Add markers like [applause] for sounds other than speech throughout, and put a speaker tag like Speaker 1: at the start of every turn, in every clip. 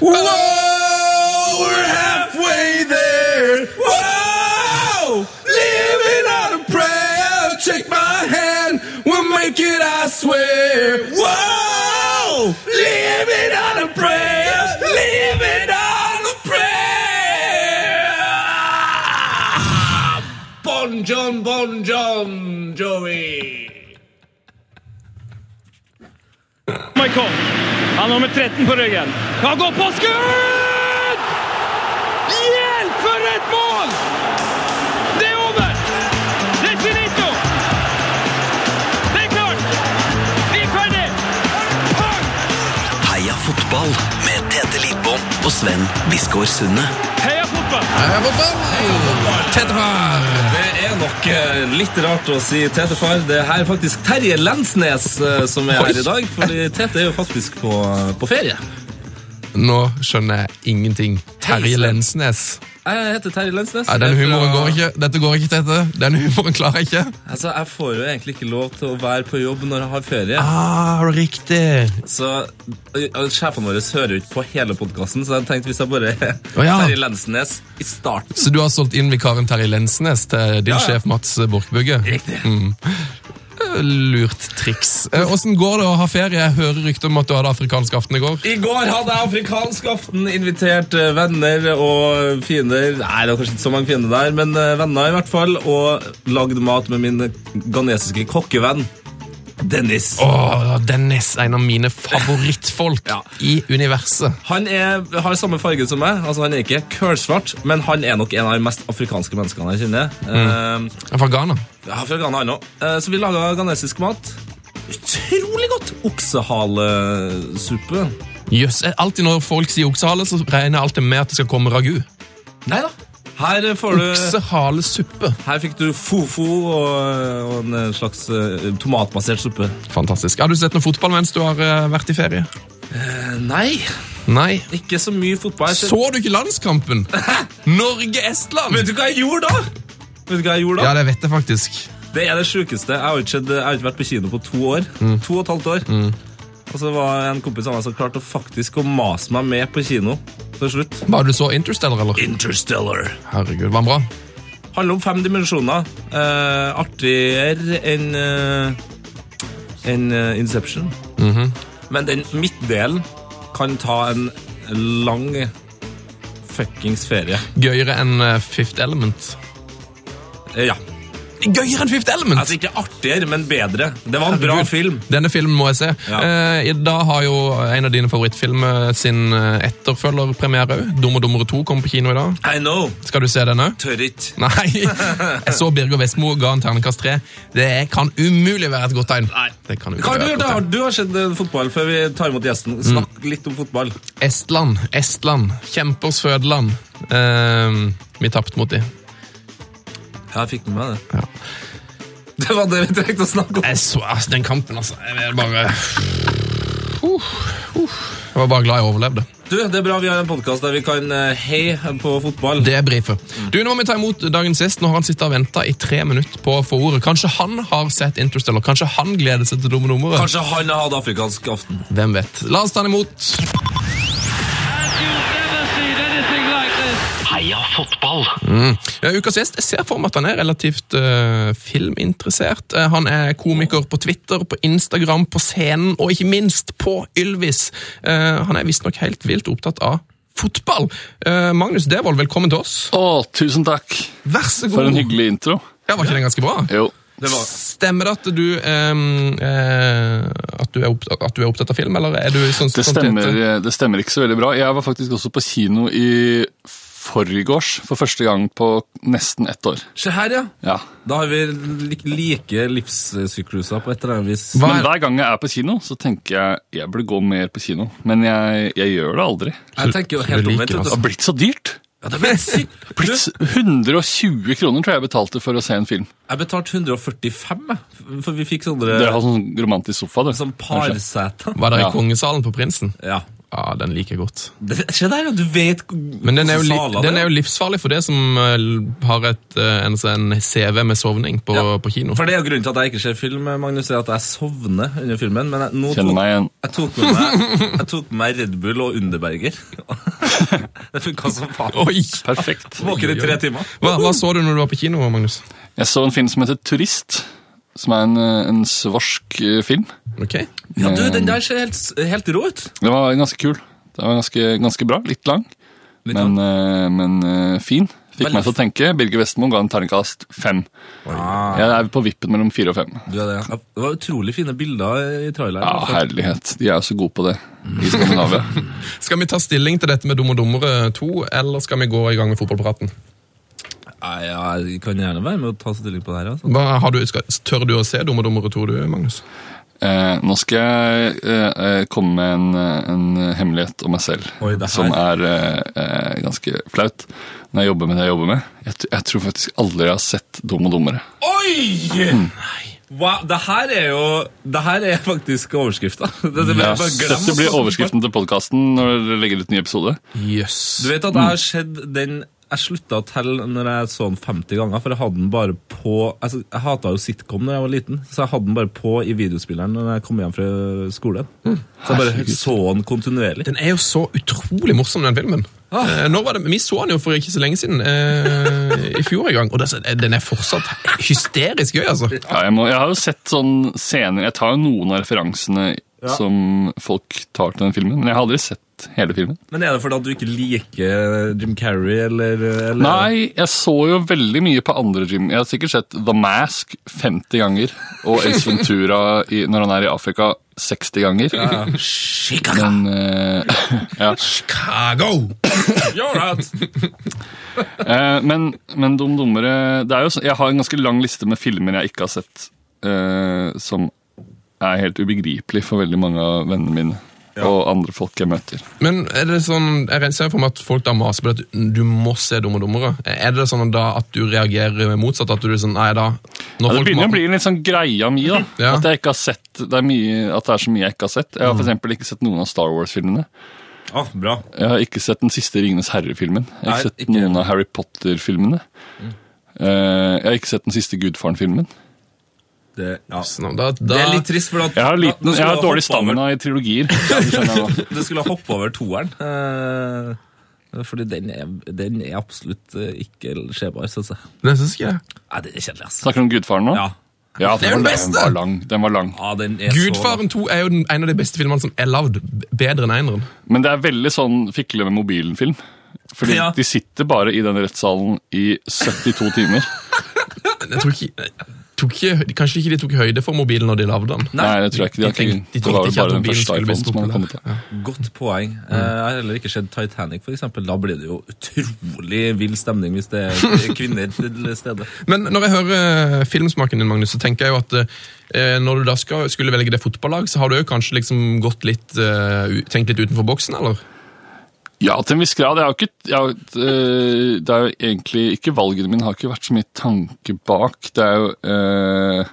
Speaker 1: Whoa, oh, we're halfway there. Whoa, living on a prayer. Take my hand, we'll make it, I swear. Whoa, living on a prayer. Living on a prayer. Bon John, Bon John, Joey.
Speaker 2: Michael. Han har nummer 13 på ryggen. Han går på skudd! Hjelp, for et mål! Det er over! Det er finito! Det er klart! Vi er ferdig! Pang!
Speaker 3: Heia fotball med Tete Lidbom og Sven Biskår Sunde.
Speaker 2: Heia fotball!
Speaker 1: Tetefar!
Speaker 4: Det er nok eh, litt rart å si Tete far. Det er her faktisk Terje Lensnes eh, som er her i dag. Fordi Tete er jo faktisk på, på ferie.
Speaker 1: Nå skjønner jeg ingenting. Terje
Speaker 4: Sven.
Speaker 1: Lensnes.
Speaker 4: Jeg heter Terje Lensnes.
Speaker 1: Nei, den
Speaker 4: Jeg er fra-
Speaker 1: humoren går ikke. Dette går ikke, Tete. Den humoren klarer jeg ikke.
Speaker 4: Altså, Jeg får jo egentlig ikke lov til å være på jobb når jeg har ferie.
Speaker 1: Ah, riktig.
Speaker 4: Så ø, ø, Sjefene våre hører jo ikke på hele podkasten, så jeg tenkte hvis jeg bare [laughs]
Speaker 1: Å, ja.
Speaker 4: Terje Lensnes i starten
Speaker 1: Så du har solgt inn vikaren Terje Lensnes til din
Speaker 4: Ja, ja.
Speaker 1: sjef Mats Borchbugge?
Speaker 4: Riktig.
Speaker 1: Lurt triks. Eh, Åssen går det å ha ferie? Jeg hører rykter om at du hadde afrikansk aften i går.
Speaker 4: I går hadde jeg afrikansk aften, invitert eh, venner og fiender. Nei, det var kanskje ikke så mange fiender der, men eh, venner i hvert fall. Og lagd mat med min ghanesiske kokkevenn Dennis.
Speaker 1: Åh, Dennis, en av mine favorittfolk
Speaker 4: Ja.
Speaker 1: i universet.
Speaker 4: Han er, har samme farge som meg. altså Han er ikke kølsvart, men han er nok en av de mest afrikanske menneskene jeg kjenner. Mm.
Speaker 1: Han er fra Ghana.
Speaker 4: Jeg har fra Ghana ennå. Eh, Så vi laga ghanesisk mat. Utrolig godt! Oksehalesuppe.
Speaker 1: Jøss, eh, Alltid når folk sier oksehale, så regner jeg alltid med at det skal komme ragu.
Speaker 4: Nei da. Her får du
Speaker 1: Oksehalesuppe.
Speaker 4: Her fikk du fofo og, og en slags eh, tomatbasert suppe.
Speaker 1: Fantastisk. Har du sett noe fotball mens du har eh, vært i ferie?
Speaker 4: Eh, Nei,
Speaker 1: Nei.
Speaker 4: ikke så mye fotball.
Speaker 1: Så du ikke landskampen? Norge-Estland!
Speaker 4: Vet du hva jeg gjorde da? Vet du hva jeg gjorde da?
Speaker 1: Ja, det vet jeg faktisk.
Speaker 4: Det er det sjukeste. Jeg har jo ikke, sett- jeg har ikke vært på kino på to år. To og et halvt år. Og så var en kompis av meg som klarte å faktisk å mase meg med på kino til slutt.
Speaker 1: Var du så Interstellar, eller?
Speaker 4: Interstellar.
Speaker 1: Herregud, var den bra?
Speaker 4: handler om fem dimensjoner. Eh, artigere enn eh, enn, eh, Inception. Men den midtdelen kan ta en lang fuckings ferie.
Speaker 1: Gøyere enn eh, Fifth Element.
Speaker 4: Eh, ja.
Speaker 1: Gøyere enn Fifth Element!
Speaker 4: Altså ikke artigere, men bedre. Det var en bra
Speaker 1: Herregud.
Speaker 4: film.
Speaker 1: Denne filmen må jeg se.
Speaker 4: Ja.
Speaker 1: Eh, I dag har jo en av dine favorittfilmer sin eh, etterfølger premiere òg. Dum og dummere 2 kommer på kino i dag.
Speaker 4: I know.
Speaker 1: Skal du se den òg?
Speaker 4: Tør ikke.
Speaker 1: [laughs] Nei! Jeg så Birger Vestmo ga en terningkast tre. Det kan umulig være et godt tegn.
Speaker 4: Nei.
Speaker 1: Det kan
Speaker 4: Hva har du gjort?
Speaker 1: umulig være et godt
Speaker 4: da?
Speaker 1: tegn.
Speaker 4: Du har sett eh, fotball Mm. før vi tar imot gjesten. Snakk litt om fotball.
Speaker 1: Estland. Estland. Kjempers fødeland. Eh, vi tapte mot dem.
Speaker 4: Ja, jeg fikk med meg det.
Speaker 1: Ja.
Speaker 4: Det var det vi trengte å snakke om.
Speaker 1: Jeg så altså, den kampen, altså. Jeg vil bare Uff, uff. Jeg var bare glad jeg overlevde.
Speaker 4: Du, Det er bra vi har en podkast der vi kan eh, heie på fotball.
Speaker 1: Det er brifet. Du, Nå må vi ta imot dagens gjest. Nå har han sittet og venta i tre minutter på å få ordet. Kanskje han har sett Interstellar? Kanskje han gleder seg til dumme nummeret?
Speaker 4: Kanskje han har hatt afrikansk aften.
Speaker 1: Hvem vet? La oss ta han imot.
Speaker 2: And you've never seen anything like this.
Speaker 3: Heia fotball!
Speaker 1: Ja, ukas gjest jeg ser for meg at han er relativt eh, filminteressert. Eh, han er komiker på Twitter, på Instagram, på scenen og ikke minst på Ylvis. Eh, han er visstnok helt vilt opptatt av fotball. Eh, Magnus Devold, velkommen til oss.
Speaker 5: Å, tusen takk.
Speaker 1: Vær så god.
Speaker 5: For en hyggelig intro.
Speaker 1: Ja, Var ikke den ganske bra?
Speaker 5: Jo.
Speaker 4: Det var
Speaker 1: Stemmer det at du, ehm, eh, at, du er opptatt, at du er opptatt av film, eller er du sånn
Speaker 5: Det
Speaker 1: sånn-
Speaker 5: stemmer, eh, det stemmer ikke så veldig bra. Jeg var faktisk også på kino i forgårs for første gang på nesten ett år.
Speaker 4: Se her, ja.
Speaker 5: Ja.
Speaker 4: Da har vi lik- like livssykluser på et eller annet vis.
Speaker 1: Hva
Speaker 5: Men
Speaker 1: er,
Speaker 5: hver gang jeg er på kino, så tenker jeg jeg burde gå mer på kino. Men jeg, jeg gjør det aldri.
Speaker 4: Jeg tenker jo
Speaker 1: du
Speaker 4: helt
Speaker 1: liker
Speaker 4: omvendt.
Speaker 1: det,
Speaker 4: vet
Speaker 5: Det
Speaker 4: du. altså.
Speaker 5: har blitt så dyrt.
Speaker 4: Ja, det ble [laughs] sykt. Du,
Speaker 5: Blitt 120 kroner tror jeg jeg betalte for å se en film.
Speaker 4: jeg betalte 145, jeg, for vi fikk sånne
Speaker 5: Dere har sånn romantisk sofa, du.
Speaker 4: sånn parseter.
Speaker 1: var dere i
Speaker 5: Ja.
Speaker 1: kongesalen på Prinsen?
Speaker 4: Ja.
Speaker 1: Ja, den liker jeg godt.
Speaker 4: Det, se der, ja, du vet
Speaker 1: Men den er, jo li den er jo livsfarlig for det som eh, l- har et, eh, en, sånn CV med sovning på,
Speaker 4: Ja.
Speaker 1: på kino.
Speaker 4: For det er jo grunnen til at jeg ikke ser film, Magnus, er at jeg sovner under filmen. Men jeg, nå
Speaker 5: Kjenner meg igjen.
Speaker 4: Jeg tok med meg, jeg tok med meg Red Bull og Underberger. [laughs] det funka som faen.
Speaker 1: Oi!
Speaker 5: Perfekt.
Speaker 4: Våken i tre timer.
Speaker 1: Hva, hva så du når du var på kino, Magnus?
Speaker 5: Jeg så en film som heter Turist, som er en, eh, en svorsk eh, film.
Speaker 1: Ok.
Speaker 4: Ja, du, Den der ser helt, helt rå ut.
Speaker 5: Den var ganske kul. Den var ganske, ganske bra. Litt lang,
Speaker 4: Litt
Speaker 5: men, eh, men eh, fin. Fikk
Speaker 4: Veldig
Speaker 5: meg til å tenke. Birger Vestmo ga en terningkast fem. Jeg er på vippen mellom fire og fem.
Speaker 4: Du er det, ja. Det var utrolig fine bilder i traileren.
Speaker 5: Ja,
Speaker 4: altså.
Speaker 5: herlighet. De er jo så gode på det i
Speaker 4: [laughs]
Speaker 5: Skandinavia.
Speaker 1: Skal vi ta stilling til dette med Dum og dummere 2, eller skal vi gå i gang med fotballpraten?
Speaker 4: Nei, ja, jeg kan gjerne være med å ta stilling på det her. altså.
Speaker 1: Hva har du, skal, tør du å se Dum og dummere 2, du, Magnus?
Speaker 5: Eh, nå skal jeg eh, eh, komme med en, eh, en hemmelighet om meg selv
Speaker 4: Oi, det her.
Speaker 5: som er eh, eh, ganske flaut når jeg jobber med det jeg jobber med. Jeg, tr- jeg tror faktisk aldri jeg har sett Dum og dummere.
Speaker 4: Oi!
Speaker 5: Mm.
Speaker 4: Wow, det her er jo Det her er faktisk overskrifta. [laughs] Det, det,
Speaker 5: Ja,
Speaker 4: bare glem
Speaker 5: Dette blir
Speaker 4: å-
Speaker 5: overskriften til podkasten når dere legger ut ny episode.
Speaker 1: Jøss.
Speaker 4: Du vet at jeg har sett den Jeg slutta å telle når jeg så den 50 ganger, for jeg hadde den bare på altså, Jeg hata jo sitcom da jeg var liten, så jeg hadde den bare på i videospilleren når jeg kom hjem fra skolen.
Speaker 5: Mm.
Speaker 4: Så jeg bare så den kontinuerlig.
Speaker 1: Den er jo så utrolig morsom, den filmen. Eh, Når var det? Vi så den jo for ikke så lenge siden, eh, i fjor en gang, og det, den er fortsatt hysterisk gøy, altså.
Speaker 5: Ja, jeg, må, jeg har jo sett sånn scener Jeg tar jo noen av referansene som folk tar til den filmen, men jeg har aldri sett hele filmen.
Speaker 4: Men er det fordi at du ikke liker Jim Carrey, eller, eller
Speaker 5: Nei, jeg så jo veldig mye på andre gym. Jeg har sikkert sett The Mask 50 ganger, og Ace Ventura i, når han er i Afrika 60 ganger.
Speaker 1: Chicago!
Speaker 5: Men eh, [laughs] ja.
Speaker 1: Chicago!
Speaker 4: You're out!
Speaker 5: Eh, men, men Dum Dummere det er jo, så- Jeg har en ganske lang liste med filmer jeg ikke har sett, eh, som er helt ubegripelig for veldig mange av vennene mine. Og andre folk jeg møter.
Speaker 1: Men er det sånn, jeg regner- ser for meg at folk da maser på det at du må se Dum og dummere. Er det sånn da at du reagerer motsatt? At du er sånn, nei da når
Speaker 5: Ja, det
Speaker 1: folk
Speaker 5: begynner å
Speaker 1: maser-
Speaker 5: bli en litt sånn greia mi, da.
Speaker 1: Ja.
Speaker 5: At, jeg ikke har sett, det er mye, at det er så mye jeg ikke har sett. Jeg har for eksempel ikke sett noen av Star Wars-filmene.
Speaker 4: Ah, bra.
Speaker 5: Jeg har ikke sett den siste Ringenes herre-filmen. Jeg har
Speaker 4: Nei,
Speaker 5: ikke sett
Speaker 4: ikke
Speaker 5: noen av Harry Potter-filmene. Eh, jeg har ikke sett den siste Gudfaren-filmen.
Speaker 4: Det, ja.
Speaker 1: Sånn, da, da,
Speaker 4: det er litt trist, for at
Speaker 5: Jeg
Speaker 4: da-
Speaker 5: har,
Speaker 4: da
Speaker 5: liten,
Speaker 4: skulle
Speaker 5: jeg har
Speaker 4: du ha
Speaker 5: dårlig
Speaker 4: hoppet over-
Speaker 5: stamina i trilogier. Ja, det skjønner jeg
Speaker 4: [laughs]
Speaker 5: nå.
Speaker 4: Du skulle ha hoppet over toeren. eh, Fordi den er, den er absolutt eh, ikke skjebar, syns jeg.
Speaker 1: Det synes ikke jeg.
Speaker 4: Nei, den er kjedelig, altså.
Speaker 5: Snakker du om Gudfaren nå?
Speaker 4: Ja.
Speaker 5: Ja,
Speaker 1: er
Speaker 5: den,
Speaker 1: den
Speaker 5: var,
Speaker 1: beste!
Speaker 5: den var lang. Den var lang.
Speaker 4: ja, den er
Speaker 1: Gudfaren 2 er jo den, en av de beste filmene som er lagd. b- Bedre enn eineren.
Speaker 5: Men det er veldig sånn fikle med mobilen-film. Fordi
Speaker 4: Ja.
Speaker 5: de sitter bare i den rettssalen i 72 timer.
Speaker 1: Jeg tror ikke, tok ikke, kanskje ikke de tok høyde for mobilen når de lagde den.
Speaker 5: Nei, det tror jeg ikke. De, har
Speaker 1: tenkte-
Speaker 5: ikke-
Speaker 1: de
Speaker 5: det
Speaker 1: tenkte
Speaker 5: var vel
Speaker 1: ikke at
Speaker 5: bare den
Speaker 1: mobilen
Speaker 5: første
Speaker 1: skulle bli
Speaker 5: iPhonen
Speaker 1: så
Speaker 5: som hadde
Speaker 1: populær.
Speaker 5: kommet. da.
Speaker 4: så Godt poeng. Eh, Jeg har heller ikke sett Titanic, for eksempel. Da blir det jo utrolig vill stemning hvis det er kvinner til stede.
Speaker 1: Men når jeg hører eh, filmsmaken din, Magnus, så tenker jeg jo at eh, når du da skal, skulle velge det fotballag, så har du jo kanskje liksom gått litt, eh, u- tenkt litt utenfor boksen, eller?
Speaker 5: Ja, til en viss grad. Jeg har jo ikke, jeg har, øh, det er jo egentlig ikke valgene mine har ikke vært så mye tanke bak. Det er jo øh,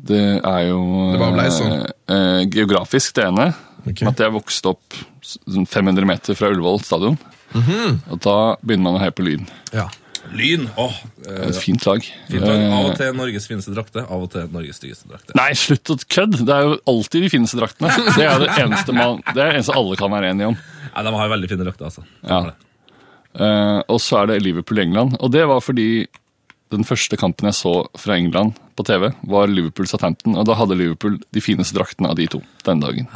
Speaker 5: Det er jo
Speaker 1: Det bare ble sånn.
Speaker 5: øh, øh, geografisk, det ene.
Speaker 1: Ok.
Speaker 5: At jeg vokste opp sånn 500 meter fra Ullevål stadion.
Speaker 1: Mhm.
Speaker 5: Og da begynner man å heie på Lyn.
Speaker 1: Ja.
Speaker 4: Lyn! Åh,
Speaker 5: Det
Speaker 4: eh,
Speaker 5: er Et fint lag.
Speaker 4: fint lag. Av og
Speaker 5: Eh,
Speaker 4: til Norges fineste drakte, av og til Norges styggeste drakte.
Speaker 5: Nei, slutt å kødde! Det er jo alltid de fineste draktene. Det er jo det eneste, man, det er det eneste alle kan være enige om.
Speaker 4: Nei, De har veldig fine drakter, altså. De
Speaker 5: Ja.
Speaker 4: har det.
Speaker 5: Eh, og så er det Liverpool i England. Og det var fordi den første kampen jeg så fra England på TV, var Liverpool-Southampton. Og da hadde Liverpool de fineste draktene av de to den dagen.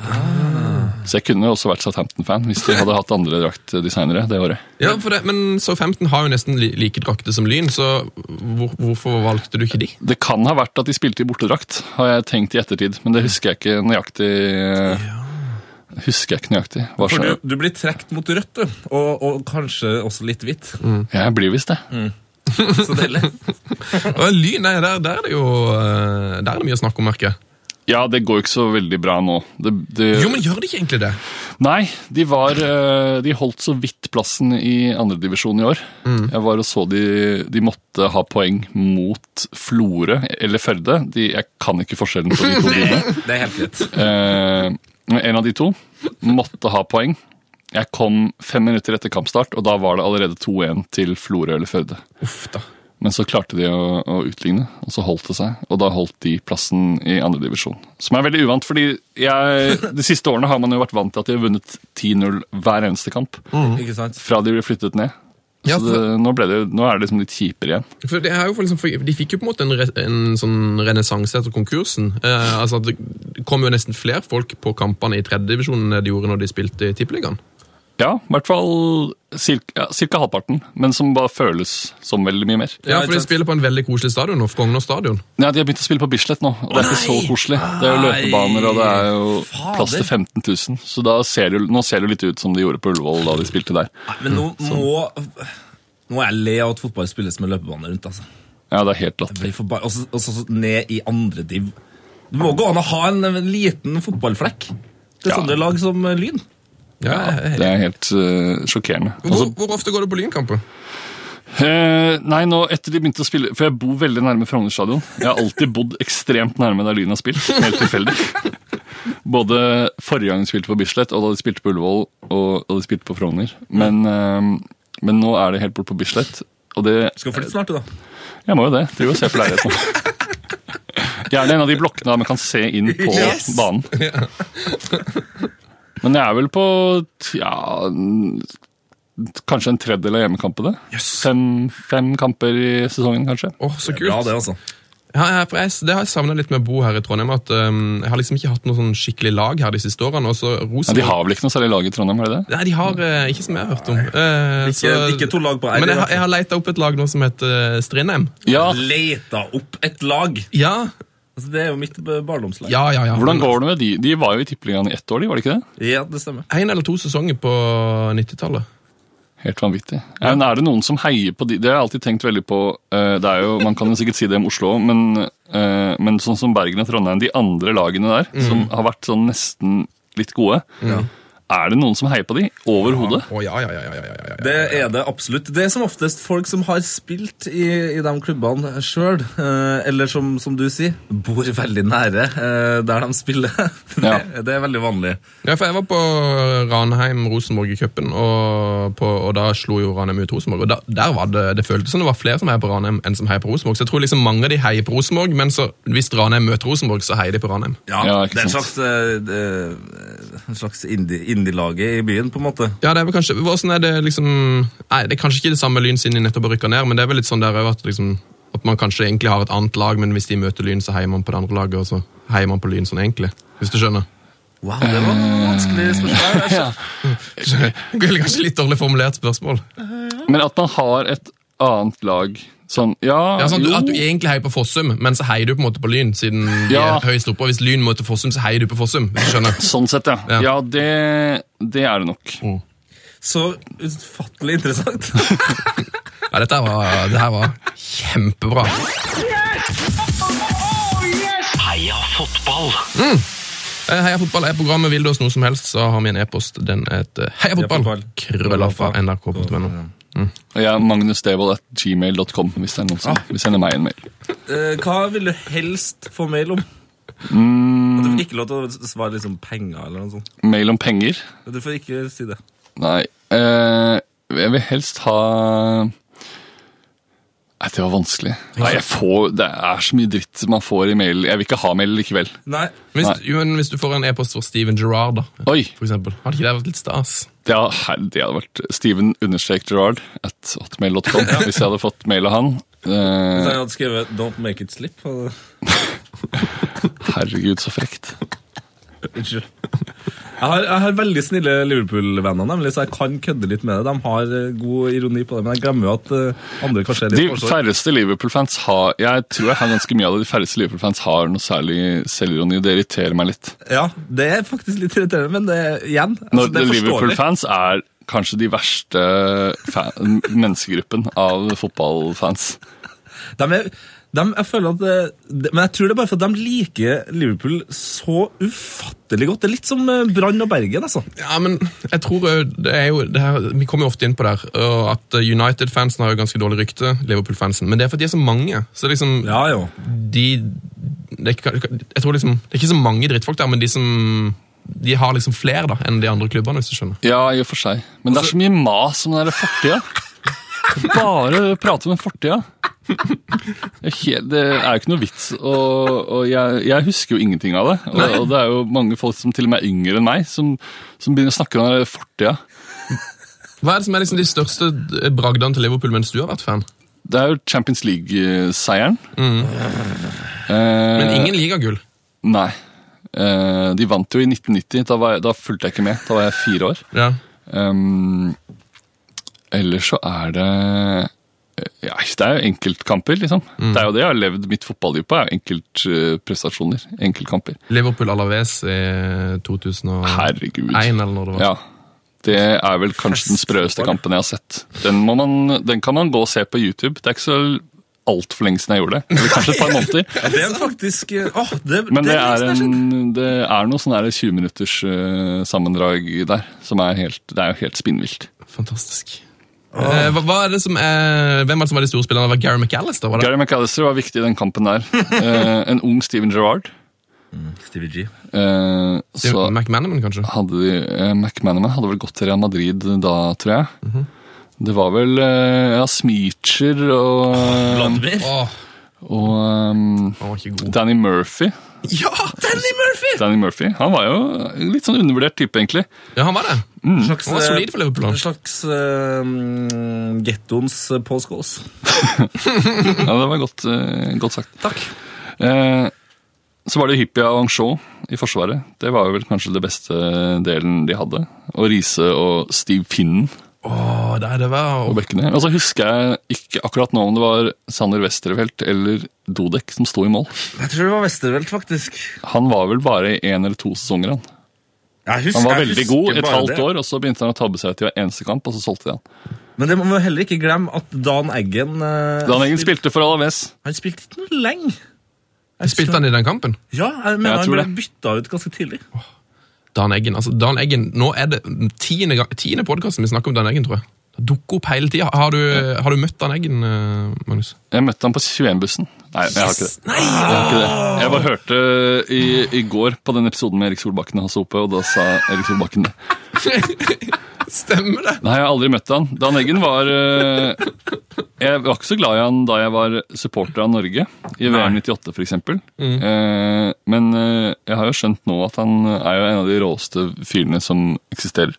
Speaker 5: Så jeg kunne jo også vært Southampton-fan hvis de hadde hatt andre draktdesignere det året.
Speaker 1: Ja, for det, Men Southampton har jo nesten li like drakter som Lyn, så hvor, hvorfor valgte du ikke de?
Speaker 5: Det kan ha vært at de spilte i bortedrakt, har jeg tenkt i ettertid. Men det husker jeg ikke nøyaktig. eh, Husker jeg ikke nøyaktig. Hva
Speaker 4: For
Speaker 5: så-
Speaker 4: du, du blir trukket mot rødt, du. Og, og kanskje også litt hvitt.
Speaker 5: Jeg blir visst det.
Speaker 4: [laughs] Så deilig.
Speaker 1: Og Lyn, nei, der, der er det jo eh, Der er det mye å snakke om, merker jeg.
Speaker 5: Ja, det går jo ikke så veldig bra nå. Det, det,
Speaker 1: Jo, men gjør det ikke egentlig det?
Speaker 5: Nei, de, var, eh, de holdt så vidt plassen i andredivisjon i år. Jeg var og så de, de måtte ha poeng mot Florø eller Førde. De, jeg kan ikke forskjellen på de to byene.
Speaker 4: Det er helt greit.
Speaker 5: Eh, En av de to måtte ha poeng. Jeg kom fem minutter etter kampstart, og da var det allerede 2-1 til Florø eller Førde.
Speaker 1: Uff da.
Speaker 5: Men så klarte de å, å utligne, og så holdt det seg. Og da holdt de plassen i andredivisjon. Som er veldig uvant, fordi jeg, de siste årene har man jo vært vant til at de har vunnet 10-0 hver eneste kamp.
Speaker 4: Ikke sant?
Speaker 5: Fra de ble flyttet ned.
Speaker 1: Mm. Ja,
Speaker 5: Så det, nå, ble det, nå er det liksom litt kjipere igjen.
Speaker 1: For det er jo for liksom, for De fikk jo på en måte en, re, en sånn renessanse etter konkursen. Eh, altså at Det kom jo nesten flere folk på kampene i tredjedivisjonen enn det gjorde når de spilte i Tippeligaen.
Speaker 5: Ja, i hvert fall cirka, ja, cirka halvparten, men som bare føles som veldig mye mer.
Speaker 1: Ja,
Speaker 4: Ja,
Speaker 1: for de
Speaker 4: ikke sant.
Speaker 1: spiller på en veldig koselig stadion nå, Frogner stadion.
Speaker 5: Nei, De har begynt å spille på Bislett nå, og det er ikke så
Speaker 4: nei!
Speaker 5: koselig. Det er jo løpebaner, og det er jo
Speaker 4: Fader.
Speaker 5: plass til 15 000. Så da ser det, jo- nå ser det jo litt ut som det gjorde på Ullevål da de spilte der.
Speaker 4: Men nå må Nå er jeg lei av at fotball spilles med løpebane rundt. altså.
Speaker 5: Ja, det er helt latterlig.
Speaker 4: Blir forba- Og så- og så så ned i andre div. Det må gå an å ha en, en liten fotballflekk til
Speaker 5: Ja.
Speaker 4: sånne lag som eh, Lyn.
Speaker 1: Ja, jeg-
Speaker 5: Det er helt eh, sjokkerende.
Speaker 1: hvor, hvor ofte går du på Lynkamper?
Speaker 5: Eh, nei, nå etter de begynte å spille For jeg bor veldig nærme Frogner stadion. Jeg har alltid bodd ekstremt nærme der Lyn har spilt. Helt tilfeldig. [laughs] Både forrige gang de spilte på Bislett, og da de spilte på Ullevål, og da de spilte på Frogner. Men, eh, men nå er det helt bort på Bislett, og det
Speaker 4: Skal flytte snart, du, da.
Speaker 5: Jeg må jo det. Driver og ser på leilighet nå. Gjerne en av de blokkene der man kan se inn på
Speaker 4: Yes!
Speaker 5: banen. Men jeg er vel på ja, n- kanskje en tredjedel av hjemmekampene. Fem, fem kamper i sesongen, kanskje.
Speaker 1: Åh, så kult.
Speaker 4: Bra, det, altså.
Speaker 1: Ja, jeg, for jeg, det har jeg savna litt med å bo her i Trondheim. at ehm, Jeg har liksom ikke hatt noe sånn skikkelig lag her de siste årene. og så
Speaker 5: Men de
Speaker 1: Rosenborg...
Speaker 5: har vel ikke noe særlig lag i Trondheim? er det det?
Speaker 1: Nei, de har eh, ikke som jeg har hørt om. Eh,
Speaker 4: Ikke- ikke to lag på R i
Speaker 1: Men jeg,
Speaker 4: hvert
Speaker 1: har- jeg har leita opp et lag nå som heter eh, Strindheim.
Speaker 5: Ja,
Speaker 4: Ah. Leita opp et lag.
Speaker 1: Ja,
Speaker 4: Altså, det er jo mitt eh, barndomslag.
Speaker 1: ja, ja. ja.
Speaker 5: Hvordan går det med de? De var jo i Tippeligaen i ett år, de, var det ikke det?
Speaker 4: Ja, det stemmer.
Speaker 1: En eller to sesonger på 90-tallet.
Speaker 5: Helt vanvittig. Ja, Men er det noen som heier på de? Det har jeg alltid tenkt veldig på. eh, Det er jo, Man kan jo sikkert si det om Oslo, men, eh, men sånn som Bergen og Trondheim, de andre lagene der,
Speaker 1: Mm.
Speaker 5: som har vært sånn nesten litt gode, er det noen som heier på de overhodet?
Speaker 1: Å, ja, ja, ja, ja, ja, ja, ja.
Speaker 4: Det er det absolutt. Det er som oftest folk som har spilt i, i de klubbene sjøl, eh, eller som, som du sier, bor veldig nære eh, der de spiller. [laughs] det,
Speaker 5: Ja.
Speaker 4: det er veldig vanlig.
Speaker 1: Ja, for jeg var på Ranheim-Rosenborg i cupen, og, på- og da slo jo Ranheim ut Rosenborg. Og da, der var det, det føltes som det var flere som heier på Ranheim enn som heier på Rosenborg. Så jeg tror liksom mange av de heier på Rosenborg, men så, hvis Ranheim møter Rosenborg, så heier de på Ranheim.
Speaker 4: Ja,
Speaker 5: Ja, ikke
Speaker 4: det er en
Speaker 5: sant.
Speaker 4: slags, eh, det- en slags indie- indie-laget i byen, på en måte.
Speaker 1: Ja, det er vel kanskje hvordan er det liksom Nei, det er kanskje ikke det samme Lyn siden de nettopp har rykka ned, men det er vel litt sånn der òg at liksom at man kanskje egentlig har et annet lag, men hvis de møter Lyn, så heier man på det andre laget, og så heier man på Lyn sånn egentlig. Hvis du skjønner?
Speaker 4: Wow, det var et vanskelig spørsmål. Jeg skjønner.
Speaker 1: Eller kanskje litt dårlig formulert spørsmål.
Speaker 5: Men at man har et annet lag sånn Ja,
Speaker 1: Ja, sånn,
Speaker 5: jo.
Speaker 1: At du egentlig heier på Fossum, men så heier du på en måte på Lyn, siden de
Speaker 5: Ja.
Speaker 1: er høyest oppe. Og hvis Lyn møter Fossum, så heier du på Fossum. hvis du skjønner.
Speaker 5: Sånn sett, ja.
Speaker 1: Ja.
Speaker 5: Ja, det, det er det nok.
Speaker 4: Så utfattelig interessant.
Speaker 1: Ja, dette her var, det her var kjempebra.
Speaker 3: Heia fotball!
Speaker 1: Eh, Heia fotball er programmet. Vil du oss noe som helst, så har vi en e-post. Den heter heia fotball.
Speaker 4: fotball.
Speaker 1: Krøllalfa nrk.no.
Speaker 5: Og jeg er magnusdevold.gmail.com hvis det er noen
Speaker 1: Ah.
Speaker 5: som vil sende meg en mail.
Speaker 4: Eh, Hva vil du helst få mail om? Du får ikke lov til å svare liksom penger eller noe sånt.
Speaker 5: Mail om penger?
Speaker 4: Du får ikke si det.
Speaker 5: Nei. eh, jeg vil helst ha Nei, det var vanskelig. Nei, jeg får, Det er så mye dritt man får i mail. Jeg vil ikke ha mail likevel.
Speaker 4: Nei.
Speaker 1: Hvis, jo, men hvis du får en e-post fra Steven Gerrard, da,
Speaker 5: Oi!
Speaker 1: for eksempel. Hadde ikke det vært litt stas?
Speaker 5: Det, har- her- det hadde vært Steven understrek Gerard at hotmail.com hvis jeg hadde fått mail av han.
Speaker 4: Så
Speaker 5: Eh,
Speaker 4: jeg hadde skrevet 'Don't make it slip'. og-
Speaker 5: herregud, så frekt.
Speaker 4: Unnskyld. Jeg har, jeg har veldig snille Liverpool-venner, nemlig, så jeg kan kødde litt med det. De har eh, god ironi på det, men jeg glemmer jo at eh, andre kanskje er litt
Speaker 5: De
Speaker 4: forsår.
Speaker 5: færreste Liverpool-fans har Jeg tror jeg har ganske mye av det. De færreste Liverpool-fans har noe særlig selvironi. Det irriterer meg litt.
Speaker 4: Ja, det er faktisk litt irriterende, men det er igjen altså, det
Speaker 5: Når
Speaker 4: er forståelig.
Speaker 5: Liverpool-fans er kanskje de verste fan, menneskegruppen av fotballfans.
Speaker 4: De er, de, jeg føler at det, det- Men jeg tror det er bare for at de liker Liverpool så ufattelig godt. Det er litt som eh, Brann og Bergen, altså.
Speaker 1: Ja, men jeg tror eh, det er jo det her, Vi kommer jo ofte inn på det her, og at eh, United-fansen har jo ganske dårlig rykte, Liverpool-fansen, men det er fordi de er så mange. Så liksom,
Speaker 4: Ja jo.
Speaker 1: de det er, ikke, jeg tror liksom, det er ikke så mange drittfolk der, men de som de har liksom flere da, enn de andre klubbene, hvis du skjønner.
Speaker 5: Ja, i og for seg. Men det er så mye mas om den der fortida. Bare prate om den fortida. Det er helt- Det er jo ikke noe vits, og, og jeg, jeg husker jo ingenting av det. Og, og det er jo mange folk som til og med er yngre enn meg, som, som begynner å snakke om den der fortida.
Speaker 1: Hva er det som er liksom de største eh, bragdene til Liverpool mens du har vært fan?
Speaker 5: Det er jo Champions League-seieren.
Speaker 4: Mm.
Speaker 5: Eh,
Speaker 1: Men ingen ligagull.
Speaker 5: Nei. Eh, de vant jo i 1990. Da, var jeg, da fulgte jeg ikke med. Da var jeg fire år.
Speaker 1: Ja.
Speaker 5: Um, ellers så er det eh, ja, Det er jo enkeltkamper, liksom. Det er jo det jeg har levd mitt fotballiv på. er jo Enkeltprestasjoner. Enkeltkamper.
Speaker 1: Liverpool Alaves eh, i 2001
Speaker 5: Herregud.
Speaker 1: eller når det var.
Speaker 5: Ja. Det er vel kanskje den sprøeste kampen jeg har sett. Den, må man, den kan man gå og se på YouTube. Det er ikke så altfor lenge siden jeg gjorde det. Eller kanskje et par måneder.
Speaker 4: Ja, det er faktisk eh, Åh, det,
Speaker 5: Men det er,
Speaker 4: nesten skjedd.
Speaker 5: en, det er noe sånn der 20 minutters eh, sammendrag der som er helt, det er jo helt spinnvilt.
Speaker 1: Fantastisk. Eh, hva, hva er det som er, hvem var det som var de store spillerne? Det var Gary McAllister? Var det?
Speaker 5: Gary McAllister var viktig i den kampen der. Eh, en ung Steven Gerrard.
Speaker 4: Stevie G.
Speaker 5: Eh, så
Speaker 1: McManaman, kanskje?
Speaker 5: hadde de, eh, McManaman hadde vel gått til Real Madrid da, tror jeg. Det var vel eh, ja, Smeecher og,
Speaker 4: Vladimir.
Speaker 1: Åh,
Speaker 5: og ehm,
Speaker 1: han var ikke god.
Speaker 5: Danny Murphy.
Speaker 4: Ja! Danny Murphy!
Speaker 5: Danny Murphy, Han var jo en litt sånn undervurdert type, egentlig.
Speaker 1: Ja, han var det.
Speaker 4: En slags,
Speaker 1: Han var
Speaker 4: eh,
Speaker 1: solid for Liverpool, han.
Speaker 4: En slags uh, gettoens eh, Paul Scholes.
Speaker 5: Ja, Det var godt, eh, godt sagt.
Speaker 4: Takk.
Speaker 5: Eh, så var det Hyppia og Anchon i Forsvaret. Det var jo vel kanskje det beste eh, delen de hadde. Og Riise og Steve Finnen.
Speaker 1: Åh, det er det var.
Speaker 5: på bekkene. Og så husker jeg ikke akkurat nå om det var Sander Westervelt eller Dodek som sto i mål.
Speaker 4: Jeg tror det var Westervelt, faktisk.
Speaker 5: Han var vel bare i én eller to sesonger. Han
Speaker 4: Jeg husker,
Speaker 5: Han var
Speaker 4: jeg
Speaker 5: veldig
Speaker 4: husker
Speaker 5: god et
Speaker 4: bare
Speaker 5: halvt
Speaker 4: det.
Speaker 5: år, og så begynte han å tabbe seg til hver eneste kamp, og så solgte de han.
Speaker 4: Men det må man heller ikke glemme at Dan Eggen eh,
Speaker 5: Dan Eggen spilte for Alaves.
Speaker 4: Han spilte ikke noe lenge.
Speaker 1: Spilte han i den kampen?
Speaker 4: Ja, jeg mener
Speaker 5: Jeg
Speaker 4: han
Speaker 5: tror
Speaker 4: ble
Speaker 5: det.
Speaker 4: bytta ut ganske tidlig.
Speaker 1: Dan Eggen, altså Dan Eggen, Nå er det tiende, gang- tiende podkasten vi snakker om Dan Eggen, tror jeg. Det dukker opp hele tida. Har, du- har du møtt Dan Eggen, eh, Magnus?
Speaker 5: Jeg møtte han på 21-bussen. Nei, jeg har ikke det.
Speaker 4: Nei!
Speaker 5: Jeg, har ikke det. jeg bare hørte i, i går på den episoden med Erik Solbakken og Hasse Ope, og da sa Erik Solbakken det.
Speaker 1: Stemmer det!
Speaker 5: Nei, jeg har aldri møtt han. Dan Eggen var eh, Jeg var ikke så glad i han da jeg var supporter av Norge, i VM 98 f.eks. Mm. men eh, jeg har jo skjønt nå at han er jo en av de råeste fyrene som eksisterer.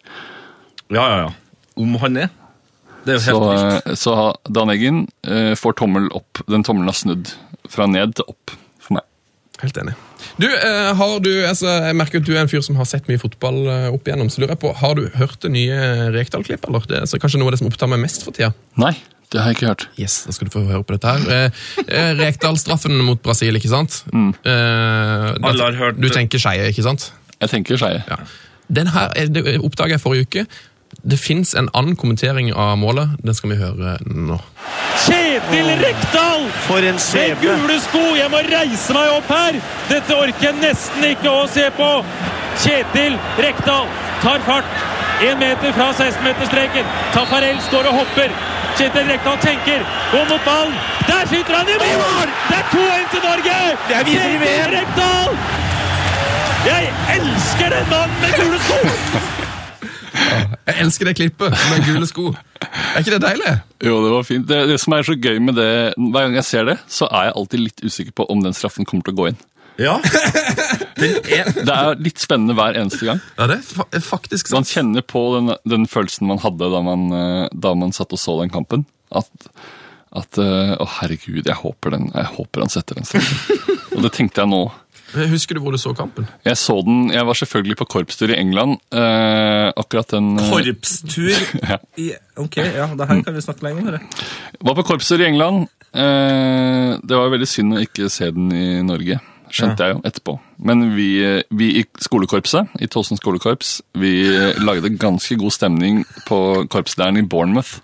Speaker 4: Ja, ja, ja. Om han er. Det er jo
Speaker 5: Så,
Speaker 4: helt vilt.
Speaker 5: eh, så Dan Eggen eh, får tommel opp. Den tommelen har snudd fra ned til opp for meg.
Speaker 1: Helt enig. Du, eh, har du, altså, Jeg merker at du er en fyr som har sett mye fotball eh, opp igjennom. så lurer jeg på, Har du hørt det nye Rekdal-klippet? eller? Det er så kanskje noe av det som opptar meg mest for tida?
Speaker 5: Nei, det har jeg ikke hørt.
Speaker 1: Yes, da skal du få høre på dette her. Eh, eh, Rekdal-straffen mot Brasil, ikke sant? Eh, da-
Speaker 4: Mm. Alle har hørt-
Speaker 1: Du tenker Skeie, ikke sant?
Speaker 5: Jeg tenker Skeie.
Speaker 1: Ja. Den her eh, det oppdaga jeg forrige uke. Det fins en annen kommentering av målet. Den skal vi høre nå.
Speaker 2: Kjetil Rekdal!
Speaker 6: For en
Speaker 2: Med
Speaker 6: sveve.
Speaker 2: gule sko! Jeg må reise meg opp her! Dette orker jeg nesten ikke å se på! Kjetil Rekdal tar fart. Én meter fra 16-meterstreken. Tafarel står og hopper. Kjetil Rekdal tenker. Går mot ballen. Der skyter han i mål! Det er 2-1 til Norge!
Speaker 6: Det er videre i VM.
Speaker 2: Kjetil Rekdal! Jeg elsker den mannen med gule sko!
Speaker 1: Jeg elsker det klippet med gule sko. Er ikke det deilig?
Speaker 5: Jo, det var fint. Det, det som er så gøy med det, hver gang jeg ser det, så er jeg alltid litt usikker på om den straffen kommer til å gå inn. [laughs]
Speaker 4: Ja. Den er
Speaker 5: Det er litt spennende hver eneste gang.
Speaker 1: Ja, det er fa faktisk
Speaker 5: Så
Speaker 1: sant.
Speaker 5: man kjenner på den, den følelsen man hadde da man, eh, da man satt og så den kampen. At, at eh, å herregud, jeg håper, den, jeg håper han setter den straffen.
Speaker 4: [laughs]
Speaker 5: og det tenkte jeg nå.
Speaker 1: Husker du hvor du så kampen?
Speaker 5: Jeg så den, jeg var selvfølgelig på korpstur i England. Eh, akkurat den eh,
Speaker 1: [laughs]
Speaker 4: korpstur i Ok, ja, det her kan vi snakke lenge om. dere.
Speaker 5: Var på korpstur i England. Eh, det var veldig synd å ikke se den i Norge. Skjønte jeg jo etterpå. Men vi, eh, vi i skolekorpset, i Tåsen skolekorps, vi eh, lagde ganske god stemning på korpsleiren i Bournemouth.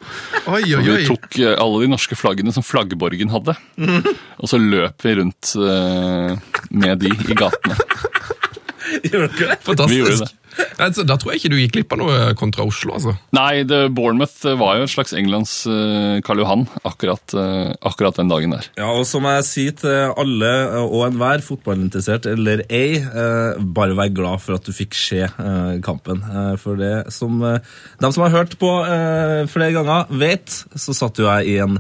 Speaker 1: Oi, oi,
Speaker 5: Vi tok eh, alle de norske flaggene som flaggborgen
Speaker 1: [laughs]
Speaker 5: hadde, og så løp vi rundt eh, med de i gatene.
Speaker 4: [laughs] Gjør dere det?
Speaker 5: Vi gjorde
Speaker 1: Fantastisk.
Speaker 5: det.
Speaker 1: Altså, da tror jeg ikke du gikk glipp av noe kontra Oslo, altså.
Speaker 5: Nei, det, Bournemouth eh, var jo et slags Englands eh, Karl Johan akkurat, eh, akkurat den dagen der.
Speaker 4: Ja, og som jeg sier til alle eh, og enhver, fotballinteressert eller ei, eh, bare vær glad for at du fikk se eh, kampen. Eh, for det som eh, de som har hørt på eh, flere ganger, vet, så satt jo jeg i en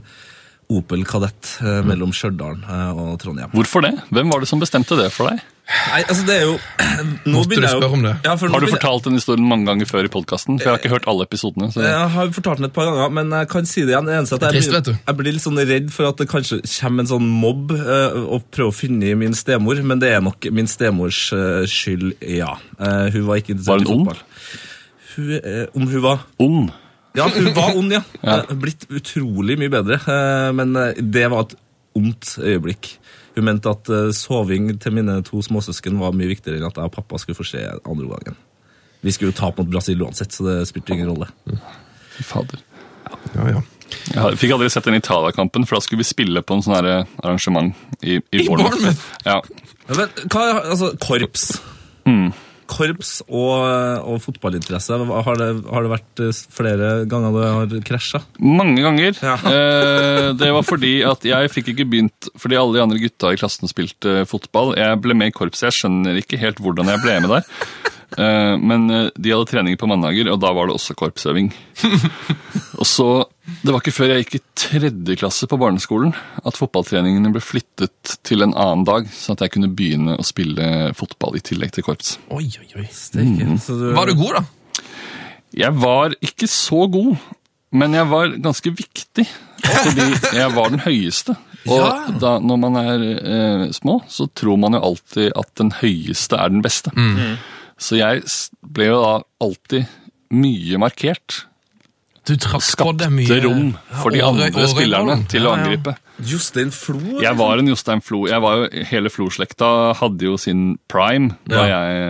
Speaker 4: Opel Kadett eh, mellom Stjørdal eh, og Trondheim.
Speaker 5: Hvorfor det? Hvem var det som bestemte det for deg?
Speaker 4: Nei, altså det er jo [clears throat] nå
Speaker 1: Måtte
Speaker 4: begynner jeg
Speaker 1: du
Speaker 4: jo-
Speaker 1: spørre om det?
Speaker 4: Ja, for nå
Speaker 5: Har du
Speaker 4: begynner-
Speaker 5: fortalt den historien mange ganger før i podkasten? For jeg har ikke hørt alle episodene. Så.
Speaker 4: Jeg har fortalt den et par ganger, men jeg kan si det igjen. Det eneste at jeg,
Speaker 1: Trist, vet
Speaker 4: blir,
Speaker 1: du.
Speaker 4: jeg blir litt sånn redd for at det kanskje kommer en sånn mobb eh, og prøver å finne min stemor, men det er nok min stemors eh, skyld, ja. Eh, hun var ikke
Speaker 5: Var
Speaker 4: interessert
Speaker 5: hun
Speaker 4: i
Speaker 5: ond?
Speaker 4: fotball. Hun, eh, om hun var
Speaker 5: Ond.
Speaker 4: Ja, hun var ond, ja.
Speaker 5: [laughs] Ja.
Speaker 4: Eh, blitt utrolig mye bedre, eh, men eh, det var et ondt øyeblikk. Hun mente at eh, soving til mine to småsøsken var mye viktigere enn at jeg og pappa skulle få se andre gangen. Vi skulle jo tape mot Brasil uansett, så det spilte ingen rolle.
Speaker 5: Fy Fader.
Speaker 1: Ja, ja.
Speaker 5: Jeg har- fikk aldri sett den Italia-kampen, for da skulle vi spille på en sånn her arrangement i, i, Bournemouth.
Speaker 1: Bournemouth?
Speaker 5: Ja.
Speaker 4: Ja, Men, hva, altså, korps.
Speaker 5: Mm.
Speaker 4: Korps og, og fotballinteresse, har det, har det vært eh, flere ganger det har krasja?
Speaker 5: Mange ganger.
Speaker 4: Ja.
Speaker 5: [laughs] Eh, det var fordi at jeg fikk ikke begynt fordi alle de andre gutta i klassen spilte eh, fotball. Jeg ble med i korpset. Jeg skjønner ikke helt hvordan jeg ble med der. Eh, men eh, de hadde treninger på mandager, og da var det også korpsøving. og så, Det var ikke før jeg gikk i tredje klasse på barneskolen at fotballtreningene ble flyttet til en annen dag, sånn at jeg kunne begynne å spille fotball i tillegg til korps.
Speaker 1: Oi, oi, oi.
Speaker 5: Mm.
Speaker 4: Så du-
Speaker 1: Var du god, da?
Speaker 5: Jeg var ikke så god, men jeg var ganske viktig. Fordi jeg var den høyeste. Og da, når man er eh, små, så tror man jo alltid at den høyeste er den beste.
Speaker 1: Mm.
Speaker 5: Så jeg s- ble jo da alltid mye markert.
Speaker 1: Du trakk på
Speaker 5: Skapte
Speaker 1: deg mye
Speaker 5: rom for de
Speaker 1: Ja, Åre-
Speaker 5: andre
Speaker 1: Åre-
Speaker 5: spillerne
Speaker 1: Åre-
Speaker 5: til å angripe.
Speaker 4: Jostein Flo?
Speaker 5: [laughs]
Speaker 4: altså.
Speaker 5: Jeg var en Jostein Flo. Jeg var jo, hele Flo-slekta hadde jo sin prime da jeg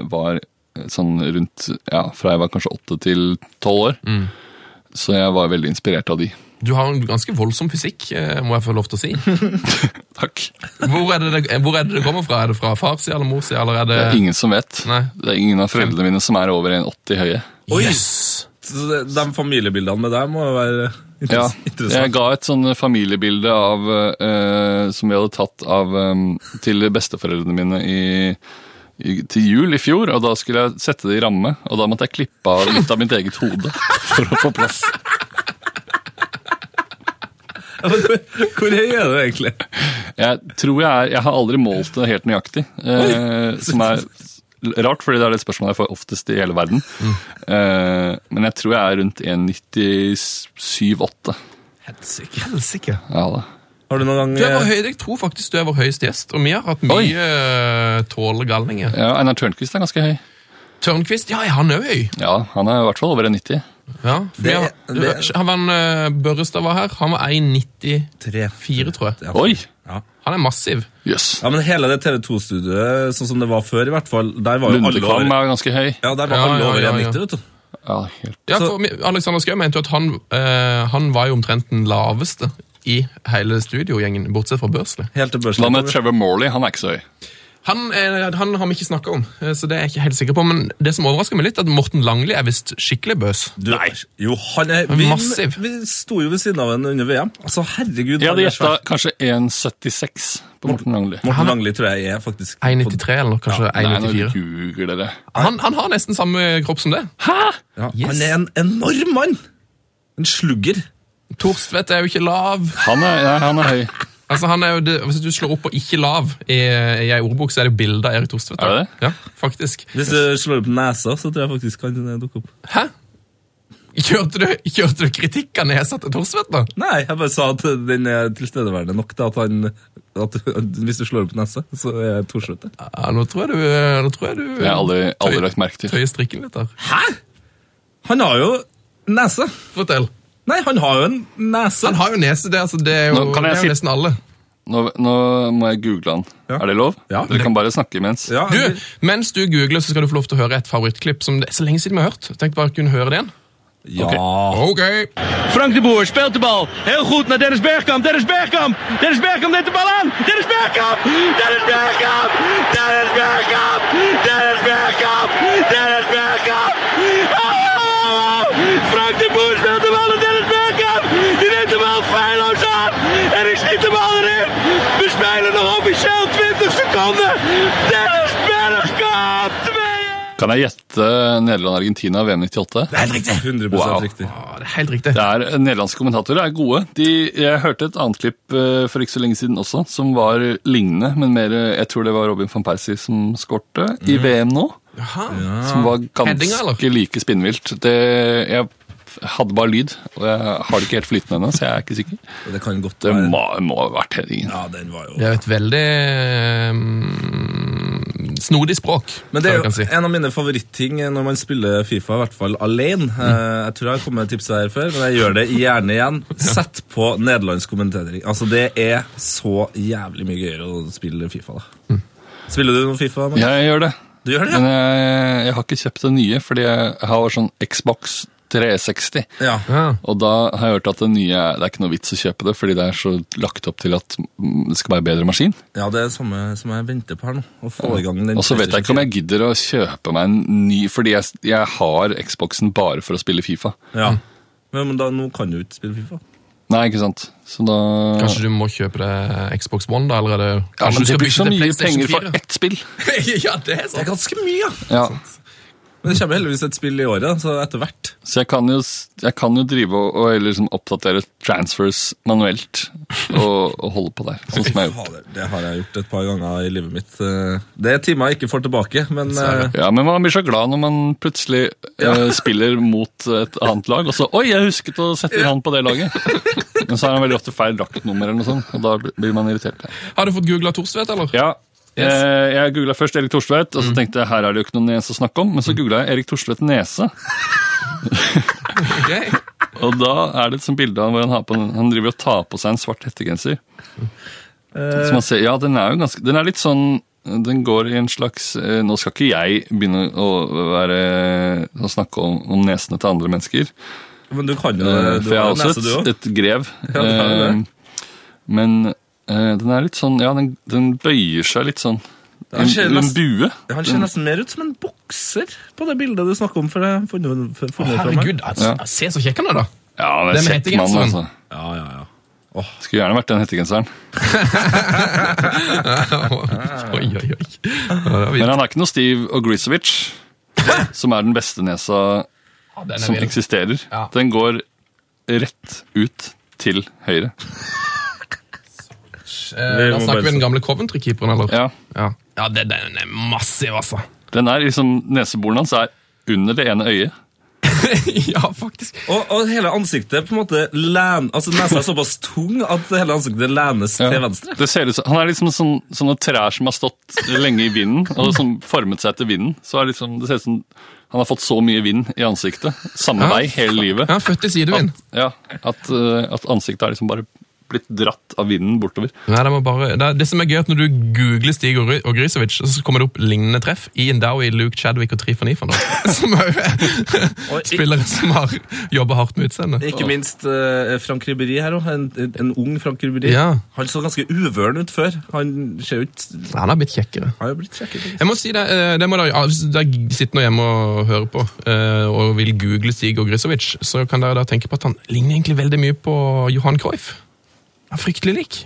Speaker 5: eh, var sånn rundt ja, Fra jeg var kanskje åtte til tolv år. Så jeg var veldig inspirert av de.
Speaker 1: Du har en ganske voldsom fysikk, eh, må jeg få lov til å si.
Speaker 5: Takk.
Speaker 1: Hvor er det det, hvor er det, det kommer fra? Er det fra far si eller mor si, eller er det
Speaker 5: Det er ingen som vet.
Speaker 1: Eh. Nei.
Speaker 5: Det er ingen av foreldrene mine som er over 1,80 høye.
Speaker 4: Oi!
Speaker 1: Yes!
Speaker 4: Så det- De familiebildene med deg må jo være inter-
Speaker 5: Ja, jeg
Speaker 4: interessant.
Speaker 5: ga et sånn familiebilde av, eh, som vi hadde tatt av, eh, til besteforeldrene mine i, i, til jul i fjor. Og da skulle jeg sette det i ramme, og da måtte jeg klippe av litt av mitt eget hode for å få plass.
Speaker 4: Hvor- Hvor høy er du egentlig?
Speaker 5: Jeg tror jeg er Jeg har aldri målt det helt nøyaktig. Eh, som er rart, fordi det er det spørsmålet jeg får oftest i hele verden.
Speaker 1: Mm.
Speaker 5: Eh, men jeg tror jeg er rundt 1,97-8.
Speaker 1: Helsike.
Speaker 5: Ja da.
Speaker 4: Har du noen gang
Speaker 1: Du er vår
Speaker 4: eh,
Speaker 1: høy, jeg tror faktisk du er vår høyeste gjest, og vi har hatt mye
Speaker 5: Oi.
Speaker 1: eh, tålegalninger.
Speaker 5: Ja, Einar Tørnquist er ganske høy.
Speaker 1: Tørnquist, ja, er han òg høy?
Speaker 5: Ja, Han er i hvert fall over 1,90.
Speaker 1: Ja, vi har,
Speaker 4: det-
Speaker 1: han var en, eh, Børrestad var her, han var 1,94,
Speaker 4: Tre.
Speaker 1: tror jeg.
Speaker 4: Ja.
Speaker 5: Oi!
Speaker 1: Han er massiv.
Speaker 5: Jøss. Yes.
Speaker 4: Ja, men hele det TV2-studioet, sånn som det var før i hvert fall, der var jo alle
Speaker 5: Lundekvam
Speaker 4: over
Speaker 5: er ganske høy.
Speaker 4: Ja, der var
Speaker 1: Ja,
Speaker 4: alle
Speaker 1: ja,
Speaker 4: over
Speaker 1: ja, ja.
Speaker 4: 1,90, vet du.
Speaker 5: Ja, helt.
Speaker 1: Ja, for mi- Alexander Schou mente jo at han, eh, han var jo omtrent den laveste i hele studiogjengen, bortsett fra Børsli.
Speaker 4: Helt til
Speaker 5: Hva med
Speaker 4: børsen.
Speaker 5: Trevor Morley? Han er ikke så høy.
Speaker 1: Han, eh, han har vi ikke snakka om, eh, så det er jeg ikke helt sikker på. Men det som overrasker meg litt, er at Morten Langli er visst skikkelig bøs.
Speaker 4: Du, jo, han er vi,
Speaker 1: Massiv.
Speaker 4: Vi sto jo ved siden av henne under VM. Altså, herregud. han
Speaker 5: Jeg hadde
Speaker 4: er
Speaker 5: gjetta
Speaker 4: svær.
Speaker 5: kanskje 1,76 på Morten Langli.
Speaker 4: Morten Langli tror jeg er faktisk
Speaker 1: 1,93 eller kanskje
Speaker 5: Nei, nå
Speaker 1: 1,94.
Speaker 5: ljuger dere.
Speaker 1: Han, han har nesten samme kropp som det.
Speaker 4: ja,
Speaker 1: Yes.
Speaker 4: Han er en enorm mann! En slugger.
Speaker 1: Torstvedt er jo ikke lav.
Speaker 5: Han er, nei, han er høy.
Speaker 1: Altså, han er jo det, hvis du slår opp på 'ikke lav' i, i ei ordbok, så er det jo bilde av Erik Torstvedt.
Speaker 5: Er det det?
Speaker 1: Ja, faktisk.
Speaker 4: Hvis du slår opp nesa, så tror jeg faktisk han eh, dukker opp.
Speaker 1: Hæ? Kjørte du, kjørte du kritikk av nesa til Torstvedt, da?
Speaker 4: Nei, jeg bare sa at den er tilstedeværende nok til at han at, Hvis du slår opp nesa, så er Torslund der.
Speaker 1: Ja, nå tror jeg du, nå tror jeg du
Speaker 5: Det har jeg aldri, aldri lagt merke til.
Speaker 1: tøyer strikken litt der.
Speaker 4: Hæ?! Han har jo nese.
Speaker 1: Fortell.
Speaker 4: Nei, han har jo en nese.
Speaker 1: Han har jo nese, det, altså, det er jo,
Speaker 5: Nå kan jeg
Speaker 1: det er
Speaker 5: si-
Speaker 1: jo nesten alle.
Speaker 5: Nå, nå må jeg google han.
Speaker 4: Ja.
Speaker 5: Er det lov?
Speaker 4: Ja.
Speaker 5: Dere kan bare snakke imens.
Speaker 4: Ja,
Speaker 1: Du,
Speaker 4: eller-
Speaker 1: mens du googler, så skal du få lov til å høre et favorittklipp som det er så lenge siden vi har hørt. Tenk bare å kunne høre det igjen.
Speaker 4: Ja.
Speaker 1: Ok!
Speaker 7: Frank de Boer speelt de bal. Heel goed naar Dennis Bergkamp. Dennis Bergkamp. Dennis Bergkamp neemt de bal aan. Dennis Bergkamp. Dennis Bergkamp. Dennis Bergkamp. Dennis Bergkamp. Dennis Bergkamp. Oh! Frank de Boer speelt de bal naar Dennis Bergkamp. Die neemt de bal feilloos aan. En ik schiet de bal erin. We spelen nog officieel 20 seconden. Dennis Bergkamp. 2-1.
Speaker 5: Kan jeg gjette Nederland-Argentina
Speaker 4: [laughs]
Speaker 5: VM 98?
Speaker 4: Helt riktig! 100
Speaker 5: Wow.
Speaker 4: riktig.
Speaker 1: Ah, det er helt riktig.
Speaker 5: Det er, eh, Nederlandske kommentatorer er gode. De, jeg hørte et annet klipp eh, for ikke så lenge siden også, som var lignende, men mer eh, Jeg tror det var Robin van Persie som skårte i
Speaker 4: Mm.
Speaker 5: VM nå.
Speaker 4: Ah.
Speaker 1: Jaha.
Speaker 5: Som var
Speaker 1: Heading,
Speaker 5: ganske
Speaker 1: eller?
Speaker 5: like spinnvilt. Det, jeg hadde bare lyd, og jeg har det ikke helt flytende ennå, så jeg er ikke sikker.
Speaker 4: Og Det kan godt
Speaker 5: Det
Speaker 4: være
Speaker 5: må, må ha vært headingen.
Speaker 4: Ja, den var
Speaker 1: Det
Speaker 4: jo
Speaker 1: er jo et veldig eh, snodig språk.
Speaker 4: Men det er
Speaker 1: tror jeg
Speaker 4: jo
Speaker 1: kan si.
Speaker 4: en av mine favoritting når man spiller Fifa, i hvert fall alene. Eh, Jeg tror jeg har kommet med tipset her før, men jeg gjør det gjerne [laughs] igjen. Sett på nederlandsk kommentering. Altså, det er så jævlig mye gøyere å spille Fifa, da. Spiller du noe Fifa? Magnus?
Speaker 5: Jeg gjør det.
Speaker 4: Du gjør det, ja?
Speaker 5: Men jeg, jeg har ikke kjøpt det nye, fordi jeg har sånn Xbox 360.
Speaker 4: Ja.
Speaker 1: Ja.
Speaker 5: Og da har jeg hørt at det nye er- det er ikke noe vits å kjøpe det, fordi det er så lagt opp til at mm, det skal være bedre maskin.
Speaker 4: ja, det er det samme som jeg venter på her nå. Å få i gang den
Speaker 5: Og så vet jeg ikke om jeg gidder å kjøpe meg en ny, fordi jeg, jeg har Xboxen bare for å spille Fifa.
Speaker 4: Ja. Men, men da, nå kan du ikke spille Fifa.
Speaker 5: Nei, ikke sant? Så da...
Speaker 1: Kanskje du må kjøpe det Xbox One, da? Eller er det,
Speaker 5: Ja,
Speaker 1: kanskje
Speaker 5: men
Speaker 1: du
Speaker 5: det
Speaker 1: skal
Speaker 5: blir
Speaker 1: bytte
Speaker 5: så
Speaker 1: til
Speaker 5: mye
Speaker 1: PlayStation
Speaker 5: penger for
Speaker 1: 4?
Speaker 5: ett
Speaker 1: [laughs]
Speaker 5: spill.
Speaker 1: ja, det er
Speaker 4: Det er
Speaker 1: sant.
Speaker 4: ganske mye, ja.
Speaker 5: Ja,
Speaker 4: Men det kommer heldigvis et spill i året, da, så etter hvert.
Speaker 5: så jeg kan jo, s- jeg kan jo drive og, og eller liksom oppdatere transfers manuelt og, og holde på der, sånn som jeg har gjort.
Speaker 4: Fader, det har jeg gjort et par ganger i livet mitt. Eh, Det er timer jeg ikke får tilbake, men eh,
Speaker 5: Ja, men man blir så glad når man plutselig eh, spiller mot et annet lag, og så Oi, jeg husket å sette inn han på det laget! Men så er han veldig ofte feil draktnummer, eller noe sånt, og da blir man irritert.
Speaker 1: Har du fått googla Thorstvedt, eller?
Speaker 5: Ja, eh, Jeg googla først Erik Thorstvedt, og så tenkte jeg her er det jo ikke noen nese å snakke om, men så googla jeg Erik Thorstvedt nese,
Speaker 1: Ok.
Speaker 5: og da er det et sånt bilde av hvor han har på den. Han driver og tar på seg en svart hettegenser.
Speaker 4: Eh.
Speaker 5: Så man ser, ja, den er jo ganske Den er litt sånn den går i en slags eh, Nå skal ikke jeg begynne å, være, å snakke om, om nesene til andre mennesker.
Speaker 4: men du kan jo
Speaker 5: Eh,
Speaker 4: du
Speaker 5: for jeg
Speaker 4: har
Speaker 5: har
Speaker 4: jo nese,
Speaker 5: også
Speaker 4: du
Speaker 5: et,
Speaker 4: også.
Speaker 5: et grev.
Speaker 4: [laughs] Ja, det har jo det.
Speaker 5: Eh, Men eh, den er litt sånn Ja, den, den bøyer seg litt sånn.
Speaker 4: han
Speaker 5: En,
Speaker 4: ser
Speaker 5: en
Speaker 4: nesten-
Speaker 5: bue.
Speaker 4: Han ser nesten mer ut som en bokser på det bildet du snakker om. For jeg har funnet, funnet fra meg.
Speaker 1: Herregud, altså, se så kjekk han er, da!
Speaker 5: Ja, han er
Speaker 1: Den
Speaker 5: kjekk mann,
Speaker 1: hettegenseren.
Speaker 5: altså.
Speaker 4: Ja, ja, ja.
Speaker 5: Skulle gjerne vært den hettegenseren.
Speaker 1: oi, oi, oi. Ja, det er vilt.
Speaker 5: Men han er ikke noe Steve Ogrizovic, som er den beste nesa
Speaker 1: Ja, den er
Speaker 5: som
Speaker 1: vilt.
Speaker 5: eksisterer.
Speaker 1: Ja.
Speaker 5: Den går rett ut til høyre.
Speaker 1: Eh, Da snakker vi den gamle Coventry-keeperen, eller?
Speaker 5: Ja.
Speaker 1: Ja, ja det, den er massiv, altså. [laughs]
Speaker 5: Den er liksom, Neseboren hans er under det ene øyet.
Speaker 1: ja, faktisk.
Speaker 4: Og, og hele ansiktet på en måte len, altså Nesa er såpass tung at hele ansiktet lenes
Speaker 5: Ja.
Speaker 4: til venstre.
Speaker 5: Det ser ut som, han er liksom sånn, sånne trær som har stått lenge i vinden, og som formet seg etter vinden. Så er liksom, det ser ut som han har fått så mye vind i ansiktet, samme
Speaker 1: Ja.
Speaker 5: vei hele livet,
Speaker 1: Ja, født i sidevind.
Speaker 5: at, ja, at, eh, at ansiktet er liksom bare blitt dratt av vinden bortover.
Speaker 1: Nei, det, må bare, det, er- det som er gøy er at Når du googler Stig og Ry- og Grisovic, så kommer det opp lignende treff. Ian Dowie, Luke Chadwick og Trifan Ifan. da. Som er jo spillere som har jobba hardt med utseendet.
Speaker 4: Ikke minst eh, Frank Ribéry her òg. En, en- en ung Frank Ribéry.
Speaker 1: Ja.
Speaker 4: Han så ganske uvøren ut før. Han ser jo ikke
Speaker 1: Han har blitt kjekkere.
Speaker 4: Han har jo blitt kjekkere.
Speaker 1: Jeg må si det, eh, det må dere, ja, hvis dere sitter nå hjemme og hører på eh, og vil google Stig og Grisovic, så kan dere da tenke på at han ligner egentlig veldig mye på Johan Cruyff. Han er fryktelig lik.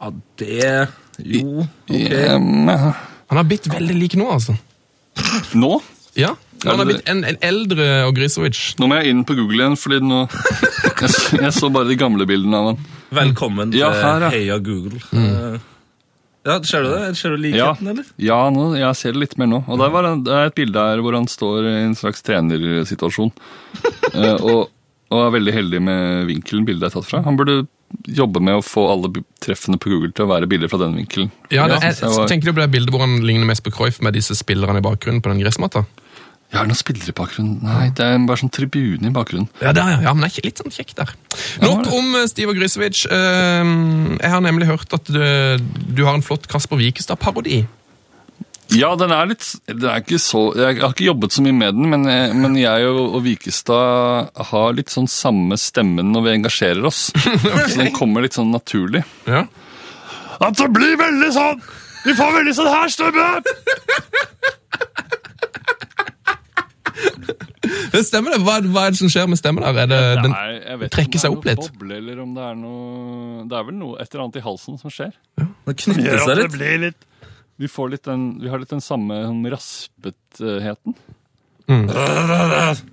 Speaker 4: Ja, det Jo. ok.
Speaker 5: Eh,
Speaker 1: Han har blitt veldig lik nå, altså.
Speaker 5: nå?
Speaker 1: Ja, Han
Speaker 5: Er
Speaker 1: har
Speaker 5: det det?
Speaker 1: blitt en, en eldre Ogrisovic.
Speaker 5: Nå må jeg inn på Google igjen, fordi nå Jeg, s- jeg så bare de gamle bildene av han.
Speaker 4: Velkommen til
Speaker 5: Ja, her, ja.
Speaker 4: Heia Google. Eh, Ja, Ser du det? Ser du
Speaker 5: Ja,
Speaker 4: likheten, eller?
Speaker 5: ja nå, jeg ser det litt mer nå. Og der var han- det er et bilde her hvor han står i en slags trenersituasjon. Eh, og, og er veldig heldig med vinkelen bildet er tatt fra. Han burde jobbe med å få alle bu- treffene på Google til å være bilder fra den vinkelen.
Speaker 1: Ja, det,
Speaker 5: synes jeg
Speaker 1: jeg,
Speaker 5: var-
Speaker 1: tenker du på det bildet hvor han ligner mest på Cruyff med disse spillerne i bakgrunnen på den gressmatta?
Speaker 5: Jeg har noen spillere i bakgrunnen. Nei, det er bare sånn tribune i bakgrunnen.
Speaker 1: Ja, der, ja. ja, men det er ikke litt sånn kjekk der.
Speaker 5: det
Speaker 1: Nok
Speaker 5: er det.
Speaker 1: om eh, Ehm, Steve Ogrisovic. Eh, Jeg har nemlig hørt at du, du har en flott Kasper Wikestad-parodi.
Speaker 5: Ja, den er litt den er ikke så, Jeg har ikke jobbet så mye med den, men, eh, men jeg og, og Vikestad har litt sånn samme stemmen når vi engasjerer [laughs] oss. Så den kommer litt sånn naturlig.
Speaker 1: Ja.
Speaker 5: At det blir veldig sånn Vi får veldig sånn her stemme!
Speaker 1: Men stemmer det? Hva, hva er det som skjer med stemmen der? Er det, den,
Speaker 5: Nei, jeg vet
Speaker 1: trekker
Speaker 5: ikke
Speaker 1: seg
Speaker 5: om
Speaker 1: opp
Speaker 5: det er
Speaker 1: litt.
Speaker 5: noe Boble, eller om det er noe Det er vel noe et eller annet i halsen som skjer.
Speaker 4: Det knytter seg litt.
Speaker 5: Vi, får litt den, vi har litt den samme sånn raspetheten.
Speaker 1: Mm.
Speaker 5: Det er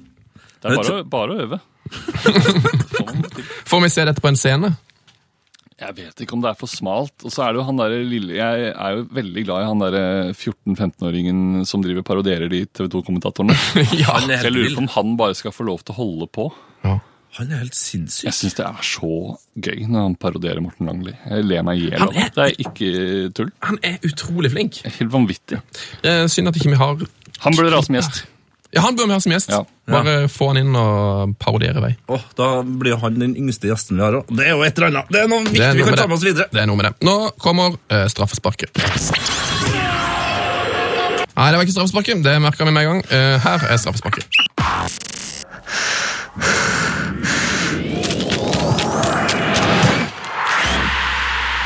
Speaker 4: Men
Speaker 5: bare, å- bare å øve. Får man det til.
Speaker 1: får vi se dette på en scene?
Speaker 5: Jeg vet ikke om det er for smalt. Og så er det jo han der lille Jeg er jo veldig glad i han derre 14-15-åringen som driver og parodierer de TV
Speaker 4: [laughs]
Speaker 5: 2-kommentatorene.
Speaker 1: ja.
Speaker 4: Han er
Speaker 5: Så jeg
Speaker 4: helt
Speaker 5: lurer
Speaker 4: vill.
Speaker 5: på om han bare skal få lov til å holde på.
Speaker 4: Han er helt
Speaker 5: Jeg
Speaker 4: sinnssyk.
Speaker 5: syns det er så gøy når han parodierer Morten Langli. Jeg ler meg i hjel av det. Det er ikke tull.
Speaker 1: Han er utrolig flink.
Speaker 5: Det er Helt vanvittig.
Speaker 1: Eh, synd at ikke vi har
Speaker 5: Han burde dra som gjest.
Speaker 1: Ja, han bør vi ha som gjest.
Speaker 5: Ja.
Speaker 1: Bare få han inn og parodiere i vei.
Speaker 4: Åh, da blir han den yngste gjesten vi har òg. Det er jo et eller annet. Det er noe viktig
Speaker 1: Det er
Speaker 4: vi
Speaker 1: noe
Speaker 4: kan
Speaker 1: med
Speaker 4: ta med oss videre.
Speaker 1: Det er noe med det. Nå kommer eh, straffesparket. Nei, det var ikke straffesparket. Det merka vi med en gang. Eh, her er straffesparket.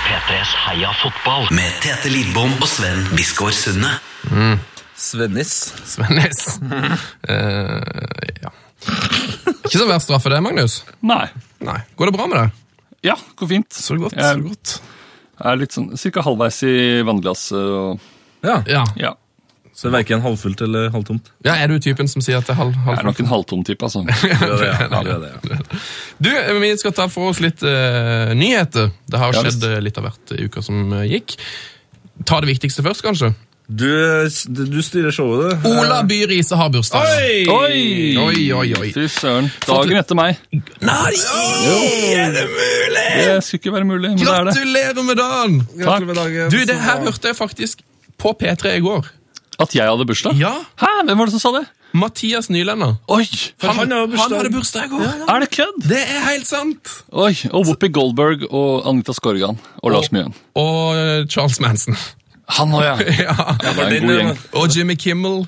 Speaker 3: P3s Heia fotball med Tete Lidbom og Sven Biskår Sunde.
Speaker 4: Svennis.
Speaker 1: Svennis. [laughs] Eh, ja. Ikke så verst straffe det, Magnus.
Speaker 5: Nei.
Speaker 1: Nei. Går det bra med deg?
Speaker 5: Ja, går fint.
Speaker 1: Så godt.
Speaker 5: Jeg
Speaker 1: Så godt.
Speaker 5: er litt sånn cirka halvveis i vannglasset og
Speaker 4: Ja,
Speaker 1: Ja.
Speaker 5: Ja.
Speaker 4: Så det er verken halvfullt eller halvtomt.
Speaker 1: ja, er du typen som sier at det er halv...
Speaker 5: Jeg er
Speaker 1: halv
Speaker 5: nok en halvtom type, altså.
Speaker 4: Det er det, [laughs] ja. Det er det, ja.
Speaker 1: du, eh, vi skal ta for oss litt eh, nyheter. Det har
Speaker 5: Ja,
Speaker 1: skjedd
Speaker 5: visst.
Speaker 1: eh, litt av hvert i uka som eh, gikk. Ta det viktigste først, kanskje.
Speaker 4: Du, du styrer showet, du.
Speaker 1: Ola By Riise har bursdag.
Speaker 4: [laughs] Oi!
Speaker 5: Oi!
Speaker 1: Oi, oi, oi.
Speaker 5: Fy søren. Dagen etter meg.
Speaker 1: Nei! Er det mulig?
Speaker 5: Det skulle ikke være mulig, men det er det.
Speaker 1: Gratulerer med dagen!
Speaker 5: Takk.
Speaker 1: Du, det her hørte jeg faktisk på P3 i går.
Speaker 5: At jeg hadde bursdag?
Speaker 1: Ja,
Speaker 5: Hæ? Hvem var det som sa det?
Speaker 1: Mathias Nylander.
Speaker 5: Oi!
Speaker 4: han har bursdag.
Speaker 1: hadde bursdag i går.
Speaker 5: Er det kødd?
Speaker 1: Det er helt sant.
Speaker 5: Oi, Og Whoopi Goldberg og Anita Skorgan og Lars Mjøen.
Speaker 1: Og eh, Charles Manson. [laughs]
Speaker 5: Han òg,
Speaker 1: ja.
Speaker 5: ja. Det er en god gjeng.
Speaker 1: Og Jimmy Kimmel.